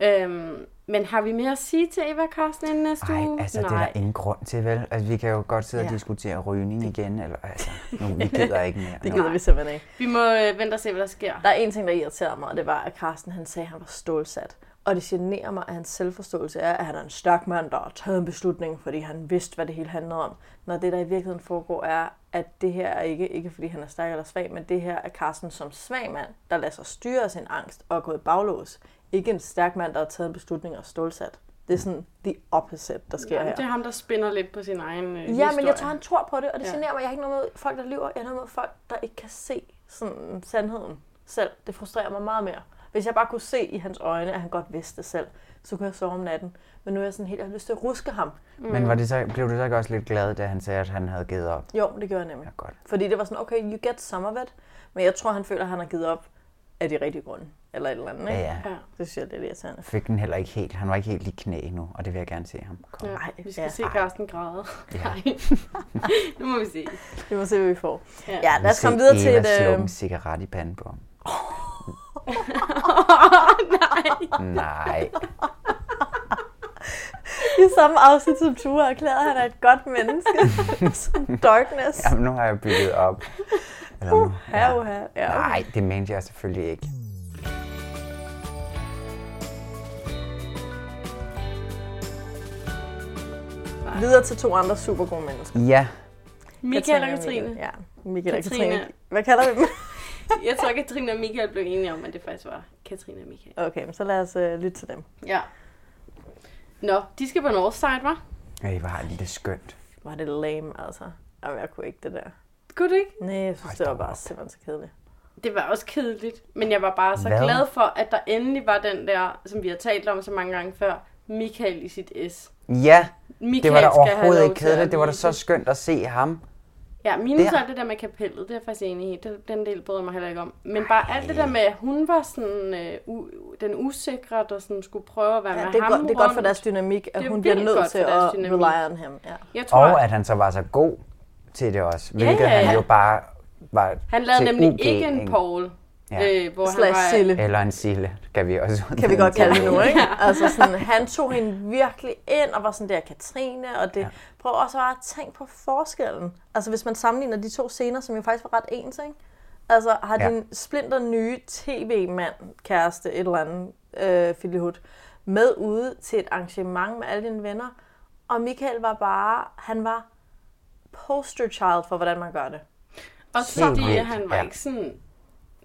A: Øhm, men har vi mere at sige til Eva og Carsten inden næste
L: Ej,
A: uge?
L: altså, Nej. det er der ingen grund til, vel? Altså, vi kan jo godt sidde ja.
A: Ja.
L: og diskutere rygning igen, eller altså, nu, vi gider ikke mere.
K: Det
L: nu.
K: gider vi simpelthen ikke.
A: Vi må øh, vente og se, hvad der sker.
K: Der er en ting, der irriterer mig, og det var, at Carsten han sagde, at han var stålsat. Og det generer mig, at hans selvforståelse er, at han er en stærk mand, der har taget en beslutning, fordi han vidste, hvad det hele handlede om. Når det, der i virkeligheden foregår, er, at det her er ikke, ikke fordi han er stærk eller svag, men det her er Carsten som svag mand, der lader sig styre af sin angst og er gået baglås. Ikke en stærk mand, der har taget en beslutning og er stålsat. Det er sådan the opposite, der sker
A: Jamen,
K: her.
A: det er ham, der spinder lidt på sin egen øh,
K: Ja,
A: historie.
K: men jeg tror, han tror på det, og det
A: Ja.
K: generer mig. Jeg har ikke noget med folk, der lyver. Jeg har noget med folk, der ikke kan se sådan, sandheden selv. Det frustrerer mig meget mere. Hvis jeg bare kunne se i hans øjne, at han godt vidste det selv, så kunne jeg sove om natten. Men nu er jeg sådan helt, jeg har lyst til at ruske ham.
L: Men
K: Mm.
L: var det så, blev du så ikke også lidt glad, da han sagde, at han havde givet op?
K: Jo, det gjorde jeg nemlig.
L: Ja, godt.
K: Fordi det var sådan, okay, you get some of it. Men jeg tror, han føler, at han har givet op af de rigtige grunde. Eller et eller andet, ikke?
L: Ja, ja.
K: Det synes jeg, det er lidt irriterende.
L: Fik den heller ikke helt. Han var ikke helt i knæ endnu, og det vil jeg gerne se ham.
A: Ja,
K: Ej,
A: vi skal
K: ja.
A: ja. se Carsten græde.
L: Ja.
A: Nej. nu må vi se.
K: Vi må se, hvad vi får. Ja,
L: Vi
K: lad os
L: vil
K: komme
L: se
K: videre til
L: Eva
K: et...
L: slukke
K: øh,
L: en cigaret i panden på ham. Nej.
K: I samme afsnit som Ture erklærede, at han er et godt menneske. som darkness.
L: Jamen, nu har jeg bygget op. Eller nu.
K: Uha, uha. Ja, okay.
L: Nej, det mente jeg selvfølgelig ikke.
K: Videre til to andre super gode mennesker.
L: Ja,
A: Michael og
K: Katrine og
A: Katrine.
K: Mikkel. Ja, Michael og
A: Katrine.
K: Katrine. Hvad kalder vi dem?
A: Jeg tror, Katrine og Michael blev enige om, at det faktisk var Katrine og Michael.
K: Okay, men så lad os øh, lytte til dem.
A: Ja. Nå, de skal på Northside, var?
L: Ej, hvor har det det skønt.
K: Var det lame, altså. Jamen, jeg kunne ikke det der.
A: Kunne du ikke?
K: Nej, jeg synes, det var bare simpelthen så kedeligt.
A: Det var også kedeligt, men jeg var bare så
K: Hvad?
A: Hvad? glad for, at der endelig var den der, som vi har talt om så mange gange før, Michael i sit S.
L: Ja, det
A: Michael
L: var da
A: skal have
L: overhovedet
A: lov
L: ikke
A: til at
L: kedeligt. Det var da
A: vise
L: så skønt at se ham.
A: Ja, minus
L: Der.
A: der. alt det der med kapellet, det er jeg faktisk enig i. Det- Den del bryder jeg mig heller ikke om. Men bare alt det der med, at hun var sådan øh, u- den usikre, der sådan skulle prøve at være
K: Ja,
A: med
K: det, er
A: ham
K: godt, det er godt for
A: rundt.
K: deres dynamik,
A: Det
K: at
A: er
K: hun bliver
A: vildt
K: nødt
A: godt
K: til
A: for
K: at
A: deres dynamik.
K: rely on ham. Ja.
A: Jeg tror,
L: Og at han så var så god til det også. Hvilket
A: ja, ja.
L: han jo bare var
A: han lavede
L: til
A: nemlig
L: UG,
A: ikke en Paul,
L: Ja.
A: øh, hvor
K: Slash
A: han var...
K: Sille.
L: Eller en Sille, kan vi også
K: Kan vi godt kalde det nu, ikke?
A: Ja.
K: Altså sådan, han tog hende virkelig ind og var sådan der Katrine, og det... Ja. Prøv også bare at tænke på forskellen. Altså hvis man sammenligner de to scener, som jo faktisk var ret ens, ikke? Altså har
L: Ja.
K: ja. din splinter nye tv-mand, kæreste, et eller andet, øh, Filihut, med ude til et arrangement med alle dine venner, og Michael var bare, han var poster child for, hvordan man gør det.
A: Og
K: Helt
A: fordi
K: vildt,
A: han var
K: ja.
A: ikke sådan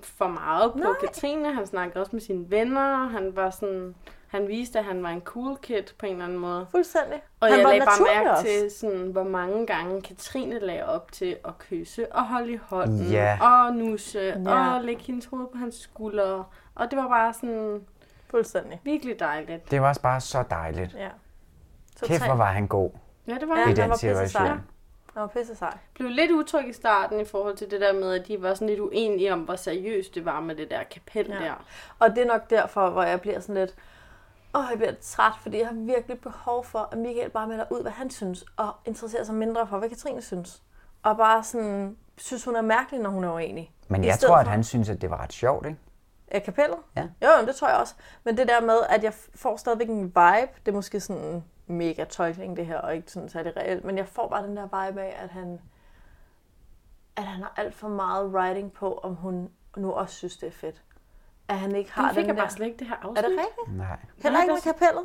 A: for meget på Nej. Katrine. Han snakkede også med sine venner. Han var sådan... Han viste, at han var en cool kid på en eller anden måde.
K: Fuldstændig.
A: Og
K: Han
A: jeg
K: var
A: lagde bare
K: naturlig
A: mærke
K: også.
A: til, sådan, hvor mange gange Katrine lagde op til at kysse og holde i hånden
L: Ja.
A: og nusse
K: Ja.
A: og lægge hendes hoved på hans skulder. Og det var bare sådan...
K: Fuldstændig.
A: Virkelig dejligt.
L: Det var også bare så dejligt.
K: Ja.
L: Kæft, hvor var han god.
A: Ja, det var
L: I
A: han.
L: den
A: Han var pisse sej.
L: situation.
K: Han var pisse sej.
A: blev lidt utryg i starten i forhold til det der med, at de var sådan lidt uenige om, hvor seriøst det var med det der kapel ja. der.
K: Og det er nok derfor, hvor jeg bliver sådan lidt, åh, jeg bliver træt, fordi jeg har virkelig behov for, at Michael bare melder ud, hvad han synes, og interesserer sig mindre for, hvad Katrine synes. Og bare sådan synes, hun er mærkelig, når hun er uenig.
L: Men
K: I
L: jeg
K: stedet
L: tror, at
K: for-
L: han synes, at det var ret sjovt, ikke?
K: Af kapellet?
L: Ja.
K: Jo, jo, men det tror jeg også. Men det der med, at jeg får stadigvæk en vibe, det er måske sådan en mega tolkning det her, og ikke sådan særlig reelt, men jeg får bare den der vibe af, at han, at han har alt for meget writing på, om hun nu også synes, det er fedt. At han ikke har
A: Den fik
K: den
A: jeg
K: der...
A: bare slet ikke det her afsnit.
K: Er det rigtigt?
L: Nej.
K: Heller ikke med kapellet?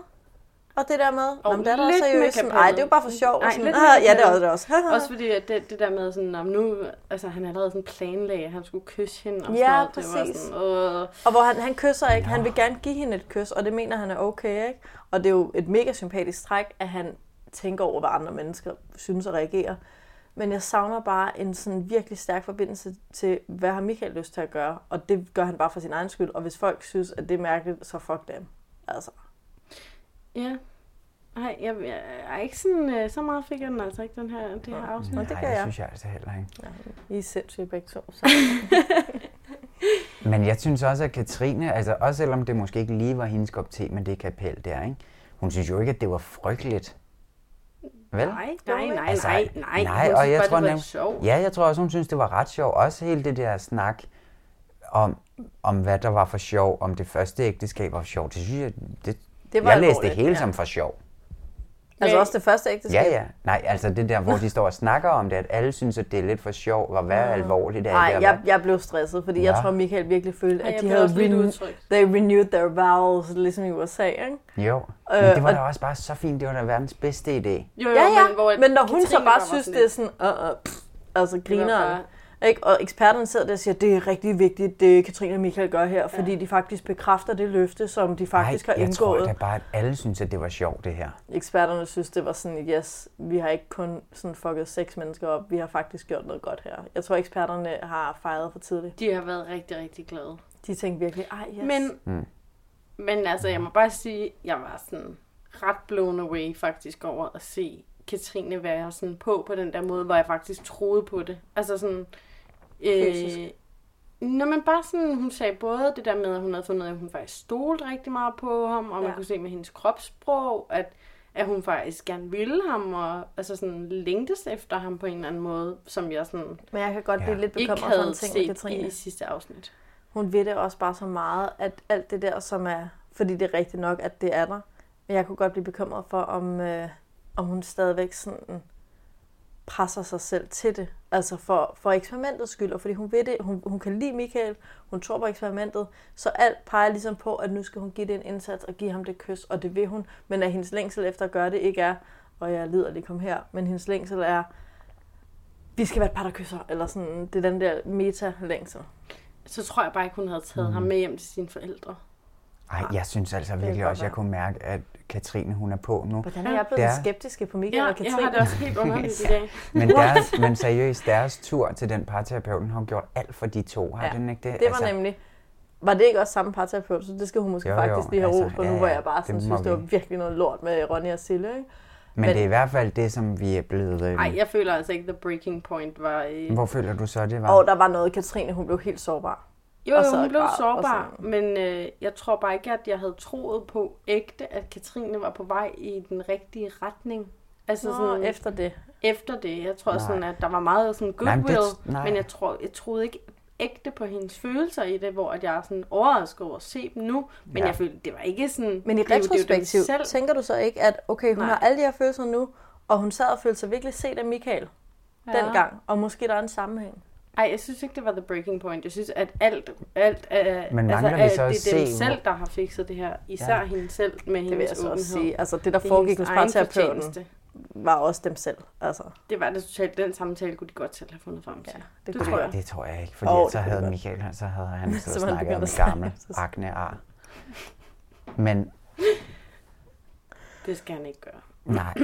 K: Og det der med,
A: Og
K: Nå, men det er da
A: lidt
K: også
A: med
K: seriøst. sådan, Ej, det er jo bare for sjov. og
A: Ej,
K: sådan,
A: lidt
K: "Ah,
A: med
K: ja, det er
A: kapellet.
K: også det er også.
A: også fordi at det, det der med, sådan, om nu, altså, han allerede sådan planlagde, at han skulle kysse hende. Og
K: Ja,
A: sådan, noget.
K: præcis.
A: Det var sådan, øh,
K: Og hvor han, han kysser ikke. Han vil gerne give hende et kys, og det mener han er okay, ikke? Og det er jo et mega sympatisk træk, at han tænker over, hvad andre mennesker synes og reagerer. Men jeg savner bare en sådan virkelig stærk forbindelse til, hvad har Michael lyst til at gøre? Og det gør han bare for sin egen skyld. Og hvis folk synes, at det er mærkeligt, så fuck dem. Altså.
A: ja. Nej, jeg, jeg, jeg, er ikke sådan, øh, så meget fik jeg den altså ikke, den her, det her afsnit.
K: Nå, det
L: Nej,
K: gør
L: det
K: jeg.
L: synes jeg altså heller ikke.
K: I er sindssyge begge to. Så.
L: Men jeg synes også, at Katrine, altså også selvom det måske ikke lige var hendes kop te med det kapel der, ikke? hun synes jo ikke, at det var frygteligt. Vel?
A: Nej, nej, nej,
L: Altså,
A: nej, nej.
L: nej
A: Hun
L: og
A: synes
L: jeg
A: bare,
L: tror
A: det var
L: nem-
A: sjovt.
L: Ja, jeg tror også, hun synes, det var ret sjovt. Også hele det der snak om, om hvad der var for sjov, om det første ægteskab var for sjov. Det synes jeg, det,
K: Det var
L: jeg læste det
K: alvorligt,
L: hele
K: ja.
L: som for sjov.
K: Altså også det første
L: Ja,
K: ægteskab.
L: ja. Nej, altså det der, hvor de står og snakker om det, at alle synes, at det er lidt for sjov, og hvad er alvorligt er det,
K: Ah. Nej,
L: og hvad-
K: jeg, jeg blev stresset, fordi jeg
L: Nå.
K: tror, Michael virkelig følte,
A: Ej, jeg
K: at de
A: blev
K: havde
A: også lidt
K: renew-
A: udtrykt.
K: they renewed their vows, ligesom i USA, ikke?
L: Jo, men
K: Øh,
L: det var
K: og-
L: da også bare så fint. Det var da verdens bedste idé.
A: Jo, jo,
K: ja, ja.
A: men hvor at
K: men når hun så
A: Katrine
K: bare
A: var
K: synes,
A: sådan
K: det er sådan, uh, uh, pff, altså grineren.
A: bare-
K: Ikke? Og eksperterne sidder der og siger, det er rigtig vigtigt, det Katrine og Michael gør her, fordi de faktisk bekræfter det løfte, som de faktisk har
L: jeg tror
K: indgået.
L: da bare, at alle synes, at det var sjovt, det her.
K: Eksperterne synes, det var sådan, yes, vi har ikke kun sådan fucket seks mennesker op, vi har faktisk gjort noget godt her. Jeg tror, eksperterne har fejret for tidligt.
A: De har været rigtig, rigtig glade.
K: De tænkte virkelig, ej, yes.
A: Men,
L: Mm.
A: men altså, jeg må bare sige, jeg var sådan ret blown away faktisk over at se Katrine være sådan på på den der måde, hvor jeg faktisk troede på det. Altså sådan... Øh,
K: Fysisk.
A: Nå, men bare sådan, hun sagde både det der med, at hun havde fundet ud af, at hun faktisk stolede rigtig meget på ham, og ja.
K: Ja.
A: man kunne se med hendes kropssprog, at, at hun faktisk gerne ville ham, og altså sådan længtes efter ham på en eller anden måde, som jeg sådan
K: Men jeg kan godt blive lidt
A: ikke
K: bekymret for
A: havde
K: en ting med
A: set
K: Katrine.
A: i sidste afsnit.
K: hun ved det også bare så meget, at alt det der, som er, fordi det er rigtigt nok, at det er der, men jeg kunne godt blive bekymret for, om, øh, om hun stadigvæk sådan presser sig selv til det. Altså for, for eksperimentets skyld, og fordi hun ved det, hun, hun kan lide Michael, hun tror på eksperimentet, så alt peger ligesom på, at nu skal hun give det en indsats og give ham det kys, og det vil hun, men at hendes længsel efter at gøre det ikke er, og jeg lider lige kom her, men hendes længsel er, vi skal være et par, der kysser, eller sådan, det er den der meta-længsel.
A: så tror jeg bare ikke, hun havde taget mm.
L: Mhm.
A: ham med hjem til sine forældre.
L: Ej, jeg synes altså virkelig
K: Ah. godt
L: også, jeg
K: være.
L: kunne mærke, at Katrine, hun er på nu.
K: Hvordan er jeg blevet
L: Der-
K: ja. skeptiske på Michael
A: Ja,
K: og Katrine?
A: jeg har det også helt underligt i dag.
L: Men, deres, men seriøst, deres tur til den parterapeut, den har gjort alt for de to, har
K: Ja,
L: den ikke det?
K: det var altså, nemlig... Var det ikke også samme parterapeut, så det skal hun måske
L: Jo,
K: jo,
L: jo,
K: faktisk lige have
L: altså,
K: ro på
L: ja,
K: nu, hvor
L: ja,
K: jeg bare sådan
L: det må
K: synes, det var
L: vi.
K: virkelig noget lort med Ronny og Sille, ikke?
L: Men det er i hvert fald det, som vi er blevet... Øh,
A: Nej, jeg føler altså ikke, the breaking point var... Øh...
L: Hvor føler du så, det var?
K: Og der var noget, Katrine, hun blev helt sårbar.
A: Jo,
K: Og
A: jo,
K: så
A: hun blev
K: græd og
A: sårbar, men øh, jeg tror bare ikke, at jeg havde troet på ægte, at Katrine var på vej i den rigtige retning. Altså
K: Nå,
A: sådan,
K: efter det.
A: Efter det. Jeg tror
L: Nej.
A: sådan, at der var meget sådan
L: Nej, men det-
A: goodwill,
L: nej.
A: men jeg, tror, jeg troede ikke ægte på hendes følelser i det, hvor at jeg er sådan overrasket over at se dem nu, men
L: Ja.
A: jeg følte, det var ikke sådan...
K: Men i
A: det er jo- det er jo dem
K: retrospektiv,
A: selv.
K: tænker du så ikke, at okay, hun
A: Nej.
K: Nej. har alle de her følelser nu, og hun sad og følte sig virkelig set af Michael
A: Ja.
K: ja. dengang, og måske der er en sammenhæng.
A: Ej, jeg synes ikke, det var the breaking point. Jeg synes, at alt, alt øh,
L: Men mangler vi
A: alt-
L: så at
A: det er dem
L: se,
A: selv,
L: hvor-
A: der har fikset det her. Især
K: Ja.
A: ja. hende selv med
K: Det vil
A: hendes
K: jeg så
A: åbenhed.
K: også sige. Altså det, der
A: Det er
K: foregik
A: hendes
K: hos
A: egen
K: parterapeuten,
A: fortjeneste.
K: var også dem selv. Altså.
A: Det var det totalt. Den samtale kunne de godt selv have fundet frem til. Ja,
K: det
L: det, tror jeg. det tror jeg ikke, fordi
K: Åh,
L: oh,
K: det
L: så
K: kunne
L: havde
K: det godt.
L: Michael, han- så havde han
K: Så
L: så
K: var han
L: snakket om
K: begyndt at
L: et
K: snakke
L: gammelt
K: om sig selv.
L: aknear. Men
A: Det skal han ikke gøre.
L: Nej,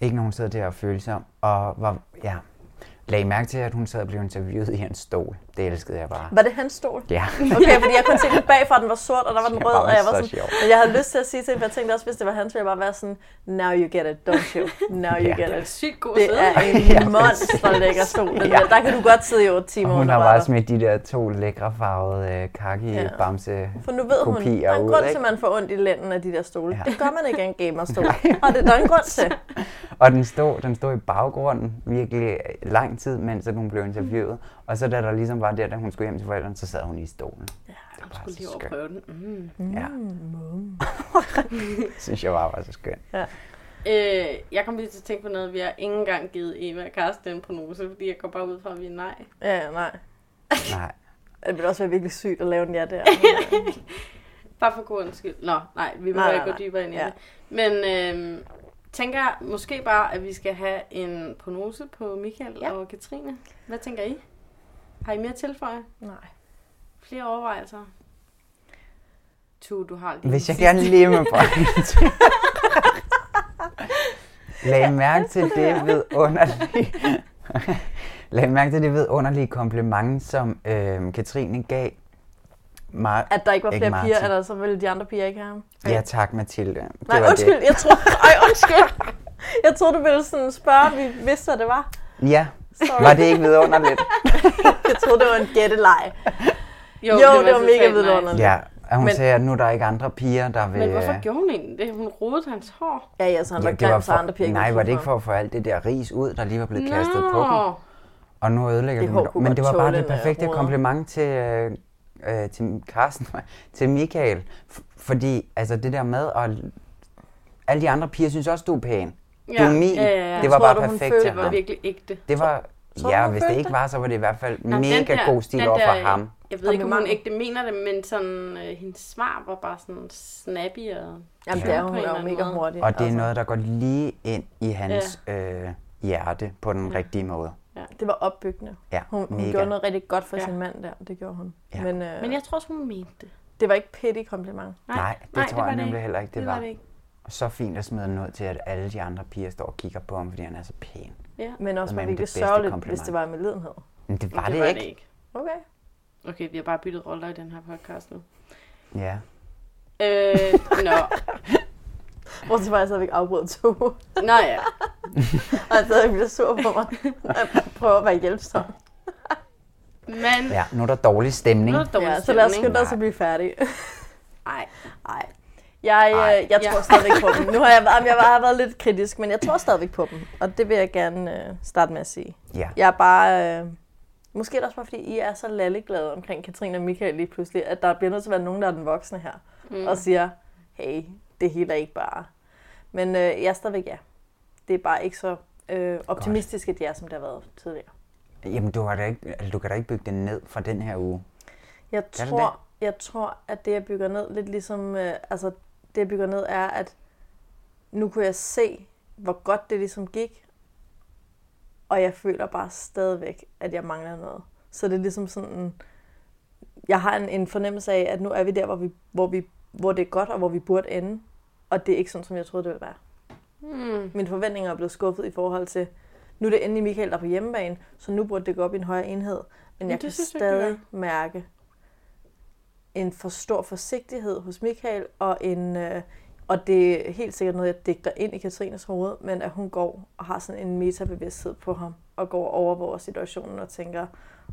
L: ikke nogen sad der og følte sig om. Og var, ja, lagde I mærke til, at hun sad og blev interviewet i hans stol. Det elskede jeg bare.
K: Var det hans stol?
L: Ja.
K: Okay, fordi jeg kunne se den bagfra, den var sort, og der var den
L: Det
K: rød,
L: var
K: og jeg var
L: så
K: sådan,
L: sjovt.
K: men jeg havde lyst til at sige til hende, for jeg tænkte også, hvis det var hans, ville jeg bare være sådan, now you get it, don't you? Now you
L: Ja.
K: get it.
L: Det er
A: sygt god
K: Det
A: sæde.
K: er
A: Ja,
K: en monster lækker stol. Den der. der kan du godt sidde i 8 timer.
L: Og hun
K: under
L: har bare
K: brættet.
L: smidt de der to lækre farvede øh, kaki
K: Ja.
L: ja. bamse
K: For nu ved hun, der
L: kopier
K: er en
L: ud,
K: grund til,
L: ikke?
K: at man får ondt i lænden af de der stole. Det gør man ikke af en gamerstol. og det er der en grund til.
L: Og den stod, den stod i baggrunden virkelig øh, lang tid, mens at hun blev interviewet. Og så da der ligesom var der, da hun skulle hjem til forældrene, så sad hun i stolen. Ja,
A: hun skulle lige overprøve den. Mm.
L: Ja.
A: Mm.
L: synes jeg bare var så skønt.
A: ja. Øh, jeg kom lige til at tænke på noget, vi har ikke engang givet Eva og Karsten en prognose, fordi jeg går bare ud fra, at vi er nej.
H: Ja, nej.
L: Nej.
H: Det ville også være virkelig sygt at lave en ja der.
A: Bare for god undskyld. Nå, nej, vi må
H: Nej,
A: ikke
H: nej,
A: gå
H: nej.
A: dybere ind i
H: Ja.
A: det. Men øh, tænker jeg måske bare, at vi skal have en prognose på Michael ja. og Katrine. Hvad tænker I? Har I mere tilføje?
H: Nej.
A: Flere overvejelser? Tu, du har lige
L: Hvis jeg
A: den
L: gerne
A: sidste.
L: lige må bringe Lag mærke til det vidunderlige. Lag mærke til det vidunderlige kompliment, som øh, Katrine gav. Mar-
H: At der ikke var flere piger,
L: Martin.
H: eller så ville de andre piger ikke have ham.
L: Ja tak, Mathilde. Det
H: Nej,
L: var
H: undskyld,
L: Det.
H: jeg troede, ej, undskyld. Jeg troede, du ville sådan spørge, om vi vidste, hvad det var.
L: Ja,
H: Sorry.
L: var det ikke vidunderligt?
H: Jeg troede, det var en gætteleg.
A: Jo,
H: jo,
A: det var
H: det, var mega
A: totalt
H: vidunderligt.
L: Ja, og hun
H: Men-
L: men, sagde, at nu er der ikke andre piger, der vil... øh,
A: Men hvorfor gjorde hun egentlig det? Hun rodede hans hår.
H: Ja, ja, så
L: Ja, det var for, nej, var det ikke for at få alt det der ris ud, der lige var blevet kastet på dem? Og nu ødelægger
H: Det
L: det
H: hår
L: det
H: kunne
L: Men
H: godt
L: det var bare
H: tåle
L: det
H: en, øh,
L: perfekte
H: roder.
L: kompliment til, øh, øh, til Carsten, til Michael. F- fordi altså det der med, at alle de andre piger synes også, du er pæn. Du er min. Det
A: Tror
L: var bare
A: du, hun
L: perfekt
A: følte,
L: til
A: Det var
L: ham.
A: virkelig ægte.
L: Det var,
A: tror du,
L: ja,
A: hun
L: hvis det
A: følte
L: ikke
A: det?
L: var, så var det i hvert fald
A: Nå,
L: mega
A: den der-
L: god stil
A: den
L: over for
A: der- øh,
L: ham.
A: Jeg ved ikke, om hun
H: Komplimenter.
A: ægte mener det, men sådan, øh, hendes svar var bare sådan snappy og...
H: Jamen, det er hun, hun er jo mega hurtig.
L: Og det er
H: altså.
L: noget, der går lige ind i hans øh, hjerte på den rigtige måde.
H: Det var opbyggende.
L: Ja,
H: hun, hun
L: mega.
H: gjorde noget rigtig godt for
A: Ja.
H: ja. sin mand der, det gjorde hun. Ja. Men, øh,
A: Men jeg tror også, hun mente det.
H: det var ikke petty kompliment.
L: Nej, det tror jeg nemlig heller ikke, det, var.
H: ikke.
L: Og så fint at smide den ud til, at alle de andre piger står og kigger på ham, fordi han er så pæn.
H: Ja. Men også
L: Som
H: var
L: er det
H: virkelig
L: bedste
H: sørgeligt,
L: kompliment.
H: hvis det var med lidenhed.
L: Men det var
A: Men
L: det,
A: var
L: ikke.
A: det ikke.
H: Okay.
A: Okay, vi har bare byttet roller i den her podcast nu.
L: Ja.
A: Øh, nå.
H: Hvor til jeg stadigvæk afbrød to.
A: Nå ja.
H: og jeg stadigvæk bliver sur på mig. Jeg prøver øh, at være hjælpsom.
A: Men...
L: ja, nu er der dårlig stemning.
H: Nu er der dårlig Ja, så lad os stemning. skynde os at blive færdige.
A: Nej.
H: Nej. Jeg, øh, jeg
A: Ja.
H: tror stadigvæk på dem. Nu har jeg, jamen, jeg har været lidt kritisk, men jeg tror stadigvæk på dem. Og det vil jeg gerne øh, starte med at sige.
L: Ja.
H: Jeg er bare... Øh, måske er det også bare, fordi I er så lalleglade omkring Katrine og Michael lige pludselig, at der bliver nødt til at være nogen, der er den voksne her.
A: Mm.
H: Mm. Og siger, hey, det hele er ikke bare... Men øh, jeg er stadigvæk ja. Det er bare ikke så øh, optimistisk, at jeg er, som det har været tidligere.
L: Jamen, du, har da ikke, altså, du kan da ikke bygge den ned fra den her uge.
H: Jeg
L: Kan du
H: tror, jeg tror, at det, jeg bygger ned, lidt ligesom, øh, altså, det, jeg bygger ned, er, at nu kunne jeg se, hvor godt det ligesom gik, og jeg føler bare stadigvæk, at jeg mangler noget. Så det er ligesom sådan, en- jeg har en, en fornemmelse af, at nu er vi der, hvor, vi, hvor, vi, hvor det er godt, og hvor vi burde ende, og det er ikke sådan, som jeg troede, det ville være.
A: Hmm.
H: Mine forventninger er blevet skuffet i forhold til, nu er det endelig Michael, der er på hjemmebane, så nu burde det gå op i en højere enhed. Men
A: Men
H: jeg
A: det
H: kan
A: synes jeg ikke, det
H: stadig mærke en for stor forsigtighed hos Michael, og, en, øh, og det er helt sikkert noget, jeg digter ind i Katrines hoved, men at hun går og har sådan en metabevidsthed på ham, og går og overvåger situationen og tænker,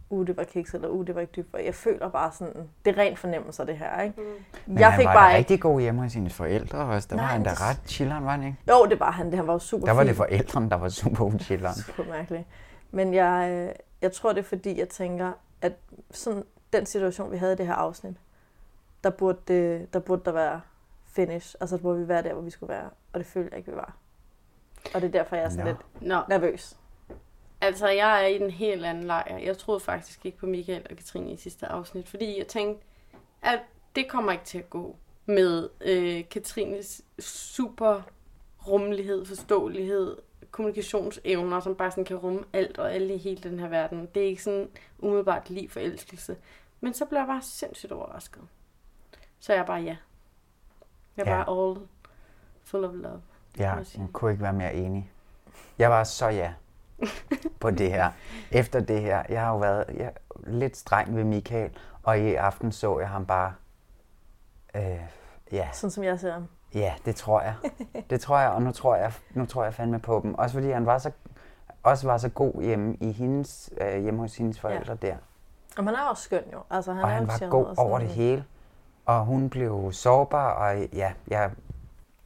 H: uh, det var kiks, eller uh, det var ikke dybt. Og jeg føler bare sådan, det er ren fornemmelser, det her, ikke?
L: Men
H: Jeg
L: han
H: fik
L: var
H: bare
L: da
H: ikke...
L: rigtig god hjemme hos sine forældre også. Der Nej, var han da ret chilleren, var han ikke?
H: Jo, det var han. Det, han var jo super
L: Der var det
H: fin.
L: forældrene, der var super chilleren.
H: Super mærkeligt. Men jeg, øh, jeg tror, det er fordi, jeg tænker, at sådan den situation, vi havde i det her afsnit, der burde, det, der, burde der være finish. Altså, der burde vi være der, hvor vi skulle være. Og det føler jeg ikke, vi var. Og det er derfor, jeg er sådan
A: Nå.
H: lidt
A: Nå.
H: nervøs.
A: Altså, jeg er i den helt anden lejr. Jeg troede faktisk ikke på Michael og Katrine i sidste afsnit, fordi jeg tænkte, at det kommer ikke til at gå med øh, Katrines super rummelighed, forståelighed, kommunikationsevner, som bare sådan kan rumme alt og alle i hele den her verden. Det er ikke sådan umiddelbart lige forelskelse. Men så blev jeg bare sindssygt overrasket. Så jeg er bare ja. Jeg er
L: Ja.
A: bare all full of love.
L: Ja,
A: må jeg sige.
L: jeg kunne ikke være mere enig. Jeg var så ja på det her. Efter det her, jeg har jo været jeg, er lidt streng ved Michael, og i aften så jeg ham bare... Øh, ja,
H: Sådan som jeg ser ham.
L: ja, det tror jeg. Det tror jeg, og nu tror jeg, nu tror jeg fandme på dem. Også fordi han var så, også var så god hjemme, i hendes, øh, hjemme hos hendes forældre ja. der.
H: Og han er også skøn jo. Altså, han
L: og
H: er
L: han
H: jo
L: var
H: charmet
L: god
H: og sådan
L: over det
H: noget.
L: hele. Og hun blev sårbar, og ja, jeg,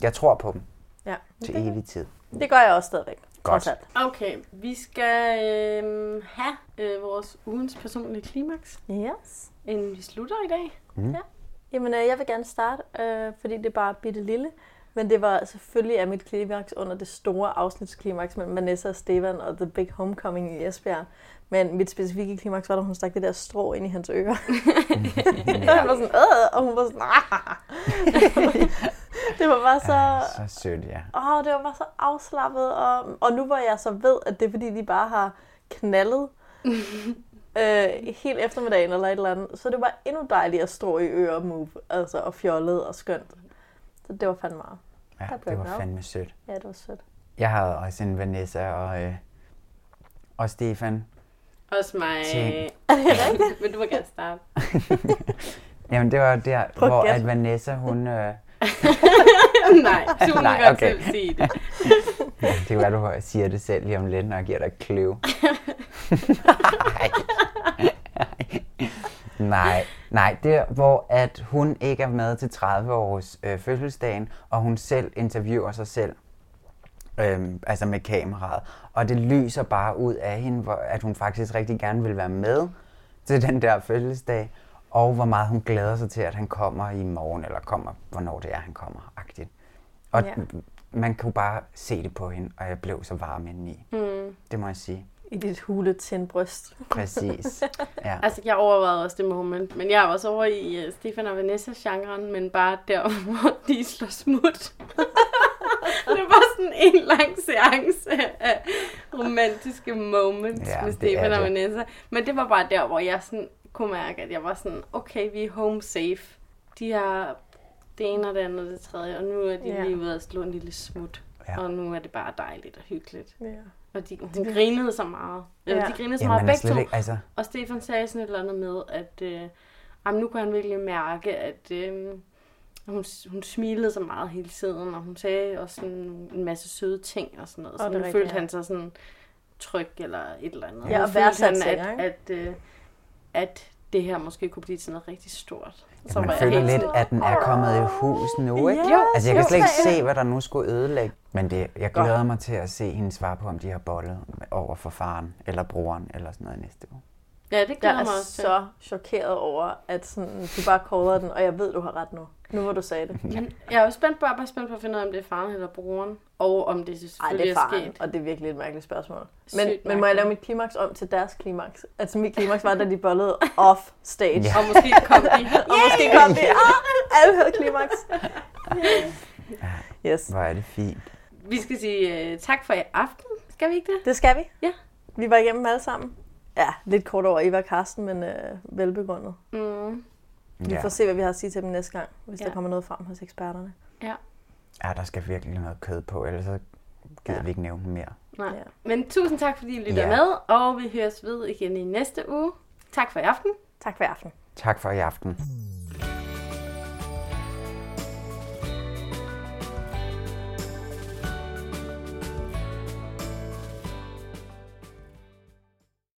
L: jeg tror på dem
H: Ja.
L: til evig tid.
K: Det gør jeg også stadigvæk.
L: Godt.
A: Okay, vi skal øh, have øh, vores ugens personlige klimaks.
K: Yes.
A: Inden vi slutter i dag.
L: Mm. Ja.
K: Jamen, øh, jeg vil gerne starte, øh, fordi det er bare bitte lille. Men det var selvfølgelig af mit klimaks under det store afsnitsklimaks mellem Vanessa og Stefan og The Big Homecoming i Esbjerg. Men mit specifikke klimaks var, da hun stak det der strå ind i hans ører. og han var sådan, øh, og hun var sådan, ah. det var bare så...
L: Så sødt, ja.
K: Åh, det var bare så afslappet, og, og nu hvor jeg så ved, at det er fordi, de bare har knaldet øh, hele eftermiddagen eller et eller andet, så det var endnu dejligere at strå i øer og move, altså og fjollet og skønt. Så det var fandme meget.
L: Ja,
K: Der blev
L: det var
K: glad.
L: fandme sødt.
K: Ja, det var sødt.
L: Jeg havde også en Vanessa og, øh, og Stefan.
A: Også mig.
L: Ting.
A: Er det rigtigt? Men du må gerne starte.
L: Jamen, det var der,
A: Prøv at
L: hvor
A: gætte.
L: at Vanessa, hun... Øh,
A: Nej, du må
L: Nej,
A: godt
L: okay.
A: selv sige det.
L: ja, det kan være, du siger det selv lige om lidt, når jeg giver dig et kløv. nej, nej, det er, hvor at hun ikke er med til 30-års øh, fødselsdagen, og hun selv interviewer sig selv. Øhm, altså med kameraet. Og det lyser bare ud af hende, hvor, at hun faktisk rigtig gerne vil være med til den der fødselsdag. Og hvor meget hun glæder sig til, at han kommer i morgen, eller kommer, hvornår det er, han kommer, agtigt. Og
K: Ja.
L: ja. man kunne bare se det på hende, og jeg blev så varm indeni.
A: Mm.
L: Det må jeg sige.
K: I dit hule til en bryst.
L: Præcis. Ja.
A: Altså, jeg overvejede også det med humlen, men jeg er også over i uh, Stefan og Vanessa-genren, men bare der, hvor de slår smut. det var sådan en lang seance af romantiske moments
L: Ja,
A: ja, med
L: det er
A: Stefan og
L: det.
A: Vanessa. Men det var bare der, hvor jeg sådan kunne mærke, at jeg var sådan, okay, vi er home safe. De har det ene og det andet og det tredje, og nu er de
K: Ja.
A: ja. lige ude at slå en lille smut.
L: Ja.
A: Og nu er det bare dejligt og hyggeligt.
K: Ja.
A: Og de, hun grinede så meget. Ja.
K: Ja.
A: De grinede så
L: Jamen,
A: meget
L: man er
A: begge
L: slet
A: to.
L: ikke- altså-
A: Og Stefan sagde sådan et eller andet med, at øh, jamen, nu kunne han virkelig mærke, at øh, hun, hun smilede så meget hele tiden, og hun sagde også sådan en masse søde ting og sådan noget.
K: Og
A: Så
K: det
A: nu
K: er
A: følte
K: rigtigt, ja.
A: han sig sådan tryg eller et eller andet.
K: Ja,
A: Nu
K: og
A: følte
K: værdsat
A: han,
K: sikkert,
A: at, at, øh, at det her måske kunne blive til noget rigtig stort.
L: Så man
A: var jeg
L: føler
A: helt
L: lidt,
A: sådan,
L: at den er kommet i hus nu, ikke?
A: Ja, Jo,
L: altså, jeg kan slet ikke
A: jo.
L: se, hvad der nu skulle ødelægge. Men det, jeg glæder mig til at se hende svare på, om de har bollet over for faren, eller broren, eller sådan noget næste uge.
A: Ja, det glæder
K: jeg er
A: mig også til.
K: så chokeret over, at sådan, du bare caller den, og jeg ved, du har ret nu. Nu hvor du sagde det.
A: Men jeg er jo spændt på, jeg er bare spændt på at finde ud af, om det er faren eller broren, og om det
K: Ej,
A: selvfølgelig
K: det er
A: er
K: faren,
A: sket.
K: og det er virkelig et mærkeligt spørgsmål.
A: Sygt
K: Men, men må jeg
A: mærkeligt.
K: lave mit klimaks om til deres klimaks? Altså mit klimaks var, da de bollede off stage.
A: Ja. Og måske kom de.
K: og måske kom de. Ah, alle havde klimaks. Yes.
L: Hvor er det fint.
A: Vi skal sige uh, tak for i aften. Skal vi ikke det?
K: Det skal vi.
A: Ja.
K: Vi var igennem alle sammen. Ja, lidt kort over Eva og Karsten, men øh, velbegrundet.
A: Mm.
K: Vi
L: Ja.
K: får se, hvad vi har at sige til dem næste gang, hvis
A: Ja.
K: der kommer noget frem hos eksperterne.
A: Ja.
L: Ja, der skal virkelig noget kød på, ellers så gider vi ikke nævne dem mere.
A: Nej. Ja. Men tusind tak, fordi I lytter
L: Ja.
A: ja. med, og vi høres ved igen i næste uge. Tak for i aften.
K: Tak for i aften.
L: Tak for i aften.